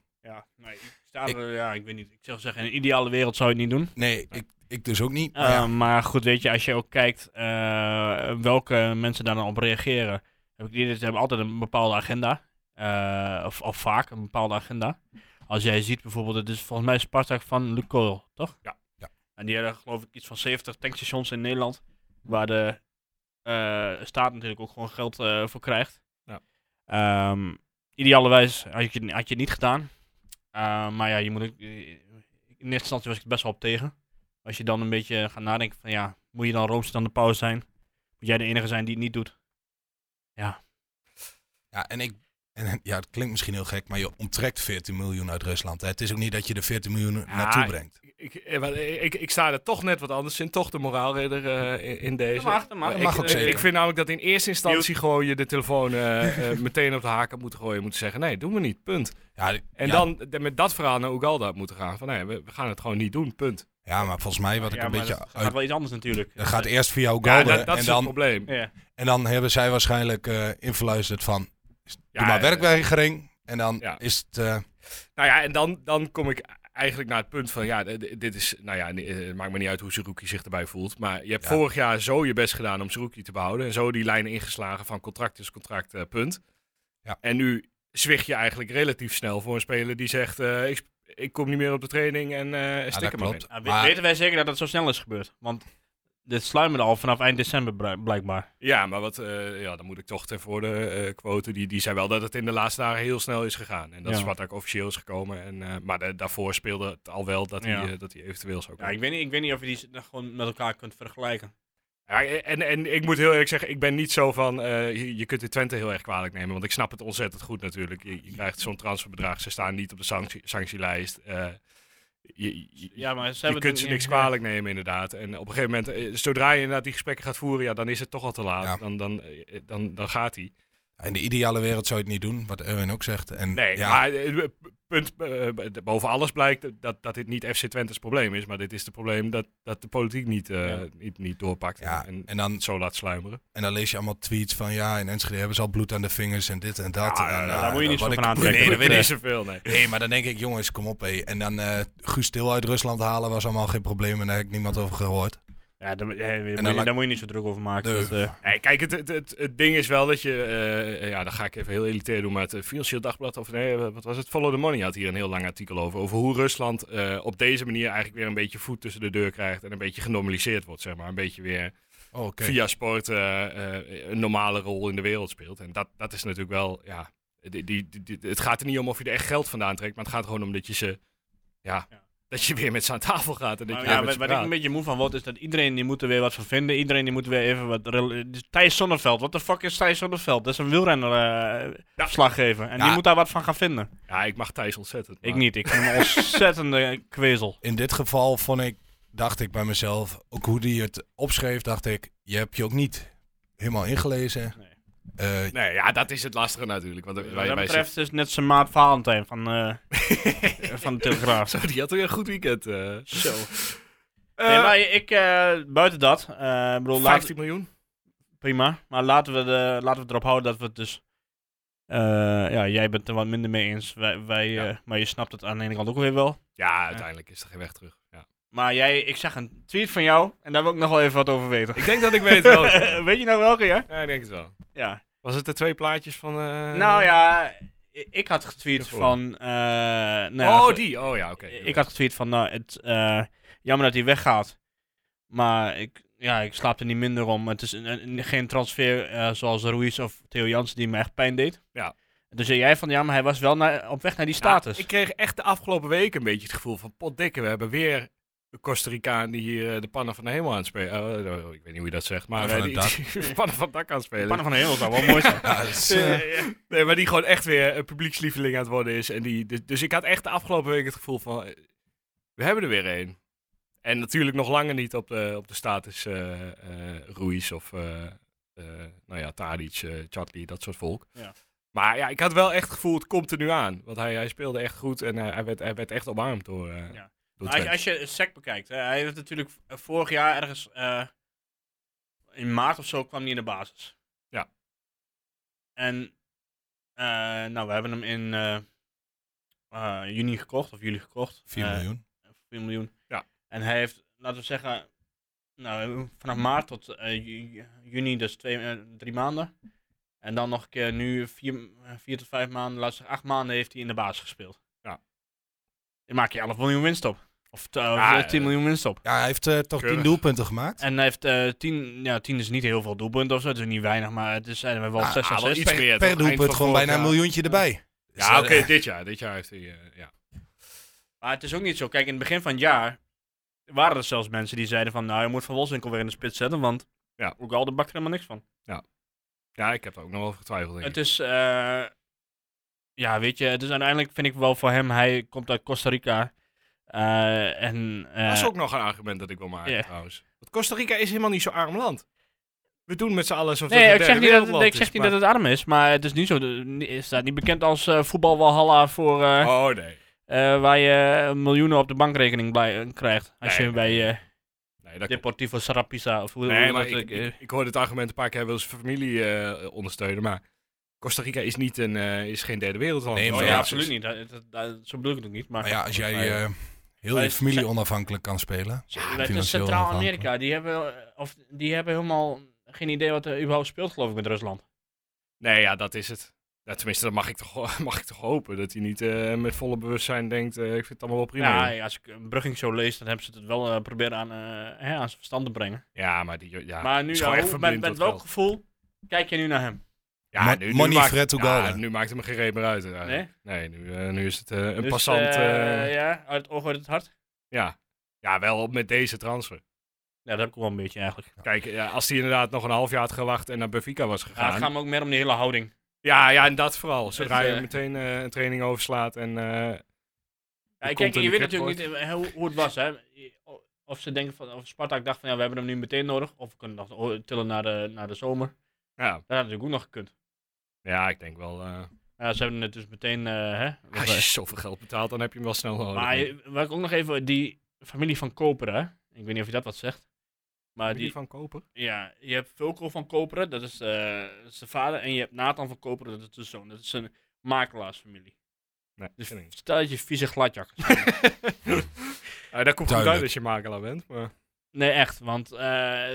[SPEAKER 5] nee, ik, sta er- ja, ik weet niet. Ik zou zeggen, in een ideale wereld zou je het niet doen.
[SPEAKER 4] Nee, ik, ik dus ook niet.
[SPEAKER 5] Eh,
[SPEAKER 4] Maar ja,
[SPEAKER 5] Maar goed, weet je, als je ook kijkt eh, welke mensen daar dan op reageren. Heb ik die, ze hebben altijd een bepaalde agenda. Eh, of, of vaak een bepaalde agenda. Als jij ziet bijvoorbeeld, het is volgens mij Spartak van Lukoil, toch?
[SPEAKER 1] Ja.
[SPEAKER 4] Ja.
[SPEAKER 5] En die hebben geloof ik iets van 70 tankstations in Nederland. Waar de eh, staat natuurlijk ook gewoon geld eh, voor krijgt.
[SPEAKER 1] Ja.
[SPEAKER 5] Ehm, idealerwijs had je, had je het niet gedaan. Eh, maar ja, je moet ook, eh, in eerste instantie was ik er best wel op tegen. Als je dan een beetje gaat nadenken van ja, moet je dan roomster dan de pauze zijn? Moet jij de enige zijn die het niet doet?
[SPEAKER 4] Ja, en ik. En, ja, het klinkt misschien heel gek, maar je onttrekt 14 miljoen uit Rusland. hè. Het is ook niet dat je de 14 miljoen naartoe brengt.
[SPEAKER 1] Ik, eh, wel, eh, ik, ik sta er toch net wat anders in, toch de moraalridder eh, in, in deze.
[SPEAKER 5] mag.
[SPEAKER 1] Ik-
[SPEAKER 4] mag ook
[SPEAKER 1] ik,
[SPEAKER 4] zeker.
[SPEAKER 1] Ik vind namelijk dat in eerste instantie gewoon je de telefoon eh, eh, meteen op de haken moet gooien. Moet zeggen, nee, doen we niet, punt.
[SPEAKER 4] Ja, d-
[SPEAKER 1] En
[SPEAKER 4] ja,
[SPEAKER 1] dan de- met dat verhaal naar Ugalde had moeten gaan. Van nee, we, we gaan het gewoon niet doen, punt.
[SPEAKER 4] Ja, maar volgens mij wat ik een beetje.
[SPEAKER 5] dat
[SPEAKER 4] Dat,
[SPEAKER 5] gaat wel iets anders natuurlijk.
[SPEAKER 4] dat gaat eerst via
[SPEAKER 1] Ja,
[SPEAKER 4] Ugalde.
[SPEAKER 1] dat, dat
[SPEAKER 4] en,
[SPEAKER 1] is het
[SPEAKER 4] dan,
[SPEAKER 1] probleem.
[SPEAKER 5] Ja.
[SPEAKER 4] en dan hebben zij waarschijnlijk eh influisterd van.
[SPEAKER 1] Ja,
[SPEAKER 4] doe maar
[SPEAKER 1] eh,
[SPEAKER 4] werkweigering. En dan
[SPEAKER 1] ja.
[SPEAKER 4] is het. eh,
[SPEAKER 1] Nou ja, en dan, dan kom ik eigenlijk naar het punt van, ja, d- d- dit is, nou ja, eh, het maakt me niet uit hoe Zerouki zich erbij voelt. Maar je hebt
[SPEAKER 4] Ja.
[SPEAKER 1] vorig jaar zo je best gedaan om Zerouki te behouden. En zo die lijn ingeslagen van contract is contract, eh, punt.
[SPEAKER 4] Ja.
[SPEAKER 1] En nu zwig je eigenlijk relatief snel voor een speler die zegt, eh, ik, sp- ik kom niet meer op de training en eh
[SPEAKER 4] ja,
[SPEAKER 1] stik
[SPEAKER 4] dat
[SPEAKER 1] er maar
[SPEAKER 4] klopt.
[SPEAKER 1] in.
[SPEAKER 5] Nou, we-
[SPEAKER 4] Maar-
[SPEAKER 5] Weten wij zeker dat dat zo snel is gebeurd? Want dit sluimerde al vanaf eind december bri- blijkbaar.
[SPEAKER 1] Ja, maar wat, eh, ja, dan moet ik toch ten voor de eh, quoten. Die, die zei wel dat het in de laatste dagen heel snel is gegaan. En dat
[SPEAKER 5] Ja.
[SPEAKER 1] is wat ook officieel is gekomen. En, eh, maar da- daarvoor speelde het al wel dat hij,
[SPEAKER 5] Ja.
[SPEAKER 1] eh, dat hij eventueel zou
[SPEAKER 5] Ja,
[SPEAKER 1] komen.
[SPEAKER 5] ik, weet niet, ik weet niet of je die s- gewoon met elkaar kunt vergelijken.
[SPEAKER 1] Ja, en, en ik moet heel eerlijk zeggen, ik ben niet zo van, eh, je, je kunt de Twente heel erg kwalijk nemen, want ik snap het ontzettend goed natuurlijk. Je, je krijgt zo'n transferbedrag, ze staan niet op de sanctie, sanctielijst. eh, je je-
[SPEAKER 5] Ja, maar ze
[SPEAKER 1] je
[SPEAKER 5] hebben
[SPEAKER 1] kunt
[SPEAKER 5] het-
[SPEAKER 1] ze niks kwalijk nemen inderdaad. En op een gegeven moment, eh, zodra je inderdaad die gesprekken gaat voeren, ja, dan is het toch al te laat.
[SPEAKER 4] Ja.
[SPEAKER 1] Dan, dan, eh, dan, dan gaat hij.
[SPEAKER 4] In de ideale wereld zou je het niet doen, wat Erwin ook zegt. En,
[SPEAKER 1] Nee,
[SPEAKER 4] ja,
[SPEAKER 1] maar eh, p- punt, eh, b- boven alles blijkt dat, dat dit niet FC Twente's probleem is, maar dit is het probleem dat, dat de politiek niet, eh,
[SPEAKER 5] Ja.
[SPEAKER 1] niet, niet doorpakt
[SPEAKER 4] ja,
[SPEAKER 1] en, en
[SPEAKER 4] en, dan,
[SPEAKER 1] zo laat sluimeren.
[SPEAKER 4] en dan lees je allemaal tweets van ja, in Enschede hebben ze al bloed aan de vingers en dit en dat.
[SPEAKER 1] Ja,
[SPEAKER 4] en,
[SPEAKER 1] ja,
[SPEAKER 4] eh,
[SPEAKER 5] daar moet je niet
[SPEAKER 4] word
[SPEAKER 5] zo
[SPEAKER 4] ik-
[SPEAKER 5] van aantrekken.
[SPEAKER 4] Nee, dat weet ik.
[SPEAKER 1] niet zoveel, nee.
[SPEAKER 4] Nee, maar dan denk ik, jongens, kom op hé. En dan eh Guus Til uit Rusland halen was allemaal geen probleem en daar heb ik niemand over gehoord.
[SPEAKER 5] Ja, daar, eh, daar moet
[SPEAKER 4] dan
[SPEAKER 5] je,
[SPEAKER 4] laat-
[SPEAKER 5] daar moet je niet zo druk over maken.
[SPEAKER 4] Nee.
[SPEAKER 5] dat, eh,
[SPEAKER 1] Nee, kijk, het, het, het, het ding is wel dat je, eh, ja, dan ga ik even heel elitair doen, maar het eh, Financieel Dagblad, of nee, eh, wat was het? Follow the Money had hier een heel lang artikel over, over hoe Rusland eh, op deze manier eigenlijk weer een beetje voet tussen de deur krijgt en een beetje genormaliseerd wordt, zeg maar. Een beetje weer
[SPEAKER 4] Oh, oké.
[SPEAKER 1] via sport eh, eh, een normale rol in de wereld speelt. En dat, dat is natuurlijk wel, ja, die, die, die- die- het gaat er niet om of je er echt geld vandaan trekt, maar het gaat gewoon om dat je ze, ja,
[SPEAKER 5] Ja.
[SPEAKER 1] dat je weer met ze aan tafel gaat en dat je
[SPEAKER 5] Maar
[SPEAKER 1] weer
[SPEAKER 5] ja,
[SPEAKER 1] met
[SPEAKER 5] wat,
[SPEAKER 1] ze
[SPEAKER 5] wat ik
[SPEAKER 1] praat.
[SPEAKER 5] een beetje moe van word, is dat iedereen die moet er weer wat van vinden. Iedereen die moet weer even wat... rel- Dus Thijs Sonneveld, wat de fuck is Thijs Sonneveld? Dat is een wielrenner eh, verslaggever. En
[SPEAKER 4] Ja.
[SPEAKER 5] die moet daar wat van gaan vinden.
[SPEAKER 1] Ja, ik mag Thijs ontzettend.
[SPEAKER 5] Ik
[SPEAKER 1] maar-
[SPEAKER 5] niet, ik vind hem een ontzettende kwezel.
[SPEAKER 4] In dit geval vond ik, dacht ik bij mezelf, ook hoe die het opschreef, dacht ik, je hebt je ook niet helemaal ingelezen.
[SPEAKER 5] Nee.
[SPEAKER 4] Eh,
[SPEAKER 1] Nee, ja, dat is het lastige natuurlijk. Want wij,
[SPEAKER 5] Wat
[SPEAKER 1] wij
[SPEAKER 5] dat
[SPEAKER 1] zitten-
[SPEAKER 5] betreft is net zijn maat Valentijn van, eh, van de Telegraaf.
[SPEAKER 1] Zo, die had weer een goed weekend. eh.
[SPEAKER 5] Zo.
[SPEAKER 1] Eh,
[SPEAKER 5] nee, maar ik, eh, buiten dat, eh, ik bedoel, laat,
[SPEAKER 1] 15 miljoen.
[SPEAKER 5] prima. Maar laten we, de, laten we erop houden dat we het dus... eh, ja, jij bent er wat minder mee eens. Wij, wij,
[SPEAKER 1] Ja.
[SPEAKER 5] eh, maar je snapt het aan de ene kant ook weer wel.
[SPEAKER 1] Ja, uiteindelijk is er geen weg terug. Ja.
[SPEAKER 5] Maar jij, ik zag een tweet van jou en daar wil ik nog wel even wat over weten.
[SPEAKER 1] Ik denk dat ik weet wel.
[SPEAKER 5] Weet je nou welke, ja?
[SPEAKER 1] ja, ik denk het wel.
[SPEAKER 5] Ja.
[SPEAKER 1] Was het de twee plaatjes van... eh,
[SPEAKER 5] nou ja, i- ik had getweet
[SPEAKER 1] Daarvoor.
[SPEAKER 5] van... eh nou ja,
[SPEAKER 1] Oh,
[SPEAKER 5] goed.
[SPEAKER 1] die. Oh ja, oké.
[SPEAKER 5] Ik had getweet van, nou, het, eh, jammer dat hij weggaat. Maar ik, ja, ik slaap er niet minder om. Het is een- een- geen transfer eh, zoals Ruiz of Theo Jansen die me echt pijn deed.
[SPEAKER 1] Ja.
[SPEAKER 5] Dus zei jij van, ja, maar hij was wel naar, op weg naar die
[SPEAKER 1] Ja,
[SPEAKER 5] status.
[SPEAKER 1] ik kreeg echt de afgelopen weken een beetje het gevoel van... Potdikke, we hebben weer een Costa Ricaan die hier eh, de pannen van de hemel aan het spelen... eh, eh, ik weet niet hoe je dat zegt, maar...
[SPEAKER 4] Pannen
[SPEAKER 1] eh,
[SPEAKER 4] van
[SPEAKER 1] die,
[SPEAKER 4] het
[SPEAKER 1] die- pannen van het dak aan het spelen.
[SPEAKER 5] Pannen van de hemel zou wel mooi zijn.
[SPEAKER 4] ja, het is, eh,
[SPEAKER 1] Nee, maar die gewoon echt weer een publiekslieveling aan het worden is. En die, dus, dus ik had echt de afgelopen week het gevoel van, eh, we hebben er weer één. En natuurlijk nog langer niet op de, op de status eh eh, Ruiz of, eh, eh, nou ja, Tadic, eh Chatli, dat soort volk.
[SPEAKER 5] Ja.
[SPEAKER 1] Maar ja, ik had wel echt het gevoel, het komt er nu aan. Want hij, hij speelde echt goed en eh, hij, werd, hij werd echt omarmd door, eh
[SPEAKER 5] Ja.
[SPEAKER 1] door
[SPEAKER 5] Als,
[SPEAKER 1] Twente.
[SPEAKER 5] je- Nou, als je SEC bekijkt, hè, hij heeft natuurlijk v- vorig jaar ergens eh, in maart of zo kwam hij in de basis.
[SPEAKER 1] Ja.
[SPEAKER 5] En eh, nou, we hebben hem in eh, eh, juni gekocht, of juli gekocht.
[SPEAKER 4] 4
[SPEAKER 5] Eh,
[SPEAKER 4] miljoen.
[SPEAKER 5] 4 miljoen.
[SPEAKER 1] Ja.
[SPEAKER 5] En hij heeft, laten we zeggen, nou, vanaf maart tot eh, ju- juni, dus twee, eh, drie maanden. En dan nog een keer nu vier, eh, vier tot vijf maanden, laatste acht maanden heeft hij in de basis gespeeld.
[SPEAKER 1] Ja.
[SPEAKER 5] Dan maak je 11 miljoen winst op. Of t- eh,
[SPEAKER 1] Ja,
[SPEAKER 5] 10
[SPEAKER 1] eh,
[SPEAKER 5] miljoen winst op.
[SPEAKER 4] Ja, hij heeft eh, toch
[SPEAKER 1] Keurig.
[SPEAKER 4] 10 doelpunten gemaakt.
[SPEAKER 5] En hij heeft eh 10, ja, 10 is niet heel veel doelpunten of zo, het is niet weinig, maar het is, eh, we hebben wel
[SPEAKER 4] Ah,
[SPEAKER 5] 6
[SPEAKER 1] ah, wel
[SPEAKER 5] assists.
[SPEAKER 1] iets meer,
[SPEAKER 4] Per,
[SPEAKER 1] toch?
[SPEAKER 4] per
[SPEAKER 1] Eind
[SPEAKER 4] doelpunt
[SPEAKER 1] van
[SPEAKER 4] gewoon
[SPEAKER 1] vorig
[SPEAKER 4] bijna een
[SPEAKER 1] jaar.
[SPEAKER 4] miljoentje erbij. Dus,
[SPEAKER 1] Ja,
[SPEAKER 4] eh,
[SPEAKER 1] oké, dit jaar. Dit jaar heeft hij, eh, ja.
[SPEAKER 5] Maar het is ook niet zo. Kijk, in het begin van het jaar waren er zelfs mensen die zeiden van, nou, je moet Van Wolfswinkel weer in de spits zetten, want
[SPEAKER 1] Ja.
[SPEAKER 5] ja. ook al de bak er helemaal niks van.
[SPEAKER 1] ja, ik heb er ook nog wel over getwijfeld. denk ik.
[SPEAKER 5] Het is, eh, ja, weet je, het is uiteindelijk vind ik wel voor hem, hij komt uit Costa Rica. eh, en, eh,
[SPEAKER 1] Dat is ook nog een argument dat ik wil maken
[SPEAKER 5] Ja.
[SPEAKER 1] trouwens. Want Costa Rica is helemaal niet zo'n arm land. We doen met z'n allen alsof
[SPEAKER 5] Nee,
[SPEAKER 1] het
[SPEAKER 5] ik
[SPEAKER 1] een
[SPEAKER 5] zeg,
[SPEAKER 1] derde
[SPEAKER 5] niet dat,
[SPEAKER 1] wereldland
[SPEAKER 5] ik zeg
[SPEAKER 1] is,
[SPEAKER 5] niet
[SPEAKER 1] maar-
[SPEAKER 5] dat het arm is, maar het is niet zo. de- ni- Het staat niet bekend als eh voetbalwalhalla voor, eh,
[SPEAKER 1] Oh nee.
[SPEAKER 5] eh, waar je miljoenen op de bankrekening blij- krijgt. Als
[SPEAKER 1] Nee,
[SPEAKER 5] je bij eh,
[SPEAKER 1] Nee, dat klopt.
[SPEAKER 5] Deportivo Sarapisa of hoe hoe
[SPEAKER 1] nee
[SPEAKER 5] dat
[SPEAKER 1] maar
[SPEAKER 5] ook,
[SPEAKER 1] ik,
[SPEAKER 5] eh,
[SPEAKER 1] ik, ik hoor het argument een paar keer, hij wil zijn familie eh, ondersteunen, maar Costa Rica is, niet een, eh, is geen derde wereldland.
[SPEAKER 4] Nee,
[SPEAKER 5] Oh
[SPEAKER 4] maar
[SPEAKER 5] ja,
[SPEAKER 4] ja,
[SPEAKER 5] absoluut niet. Dat, dat- dat- zo bedoel ik het ook niet. Maar,
[SPEAKER 4] Maar ja, als jij
[SPEAKER 5] Maar-
[SPEAKER 4] eh, heel
[SPEAKER 5] Maar
[SPEAKER 4] je
[SPEAKER 5] is-
[SPEAKER 4] familie onafhankelijk kan spelen.
[SPEAKER 5] Ja, het is
[SPEAKER 4] financieel
[SPEAKER 5] Centraal-Amerika. Die hebben, eh, of, die hebben helemaal geen idee wat er überhaupt speelt, geloof ik, met Rusland.
[SPEAKER 1] Nee, ja, dat is het. Ja, tenminste, dat mag ik toch, mag ik toch hopen. Dat hij niet eh, met volle bewustzijn denkt, eh, ik vind het allemaal wel prima.
[SPEAKER 5] Ja,
[SPEAKER 1] joh.
[SPEAKER 5] als ik een Brugging zo lees, dan hebben ze het wel eh, proberen aan, eh, hè, aan zijn verstand te brengen.
[SPEAKER 1] ja maar die... Ja,
[SPEAKER 5] maar nu,
[SPEAKER 1] is gewoon
[SPEAKER 5] ja,
[SPEAKER 1] echt
[SPEAKER 5] hoe- met,
[SPEAKER 1] verblind
[SPEAKER 5] met
[SPEAKER 1] door
[SPEAKER 5] welk
[SPEAKER 1] het geld.
[SPEAKER 5] gevoel kijk je nu naar hem?
[SPEAKER 1] Ja,
[SPEAKER 4] Mo-
[SPEAKER 1] nu, nu
[SPEAKER 4] money
[SPEAKER 1] maakt,
[SPEAKER 4] Fred
[SPEAKER 1] ja,
[SPEAKER 4] Ugalde.
[SPEAKER 1] nu maakt hem geen reet meer uit. eigenlijk.
[SPEAKER 5] Nee?
[SPEAKER 1] Nee, nu, eh, nu is het eh, een
[SPEAKER 5] Dus,
[SPEAKER 1] passant...
[SPEAKER 5] eh,
[SPEAKER 1] eh,
[SPEAKER 5] ja, uit het oog, uit het hart.
[SPEAKER 1] Ja. ja, wel op met deze transfer.
[SPEAKER 5] Ja, dat heb ik wel een beetje eigenlijk.
[SPEAKER 1] Kijk, ja, als hij inderdaad nog een half jaar had gewacht en naar Benfica was
[SPEAKER 5] Ja, het
[SPEAKER 1] gegaan.
[SPEAKER 5] gaat me ook meer om die hele houding.
[SPEAKER 1] Ja, ja, en dat vooral. Zodra
[SPEAKER 5] Het,
[SPEAKER 1] je
[SPEAKER 5] eh,
[SPEAKER 1] meteen eh, een training overslaat en... eh,
[SPEAKER 5] Ja,
[SPEAKER 1] komt
[SPEAKER 5] kijk,
[SPEAKER 1] in
[SPEAKER 5] je
[SPEAKER 1] de
[SPEAKER 5] weet
[SPEAKER 1] krip
[SPEAKER 5] natuurlijk niet eh, hoe, hoe het was. Hè? Of ze denken van, of Spartak dacht van ja, we hebben hem nu meteen nodig. Of we kunnen nog o- tillen naar de, naar de zomer.
[SPEAKER 1] ja.
[SPEAKER 5] Dat had natuurlijk ook nog gekund.
[SPEAKER 1] ja, ik denk wel... eh,
[SPEAKER 5] Ja, ze hebben het dus meteen. eh, hè, nog,
[SPEAKER 1] als je
[SPEAKER 5] eh,
[SPEAKER 1] zoveel geld betaalt, dan heb je hem wel snel nodig.
[SPEAKER 5] maar eh, waar ik ook nog even die familie van Koperen. hè? Ik weet niet of je dat wat zegt. Maar
[SPEAKER 1] Heb je
[SPEAKER 5] die,
[SPEAKER 1] die van kopen?
[SPEAKER 5] ja, je hebt Vulko van Koperen, dat is eh, dat is zijn vader. En je hebt Nathan van Koperen, dat is de zoon. Dat is een makelaarsfamilie.
[SPEAKER 1] Nee,
[SPEAKER 5] Dus
[SPEAKER 1] ken ik niet.
[SPEAKER 5] stel dat je vieze gladjakkers.
[SPEAKER 1] Ah, dat komt goed
[SPEAKER 4] Duidelijk.
[SPEAKER 1] uit als je makelaar bent. Maar...
[SPEAKER 5] Nee, echt. Want eh,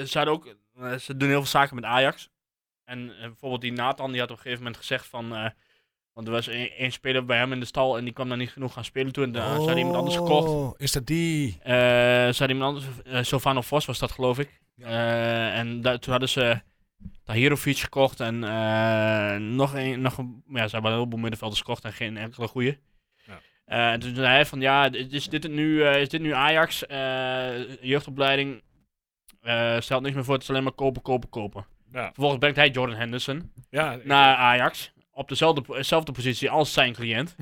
[SPEAKER 5] ze, hadden ook, eh, ze doen heel veel zaken met Ajax. En eh, bijvoorbeeld die Nathan, die had op een gegeven moment gezegd van... eh, want er was één één speler bij hem in de stal en die kwam daar niet genoeg gaan spelen toe. En daar ze hadden iemand anders gekocht.
[SPEAKER 4] Oh, Is dat die?
[SPEAKER 5] Eh, ze hadden iemand anders... eh, Silvano Vos was dat, geloof ik. Eh, en da- toen hadden ze Tahirovic gekocht en eh, nog een... Nog een- ja, ze hebben een heleboel middenvelders gekocht en geen enkele goeie.
[SPEAKER 1] Ja.
[SPEAKER 5] Eh, en toen zei hij van, ja, d- is dit, het nu, eh, is dit nu Ajax? Eh, jeugdopleiding eh, stelt niks meer voor, het is alleen maar kopen, kopen, kopen.
[SPEAKER 1] Ja.
[SPEAKER 5] Vervolgens brengt hij Jordan Henderson
[SPEAKER 1] Ja,
[SPEAKER 5] naar Ajax. Op dezelfde, po- dezelfde positie als zijn cliënt.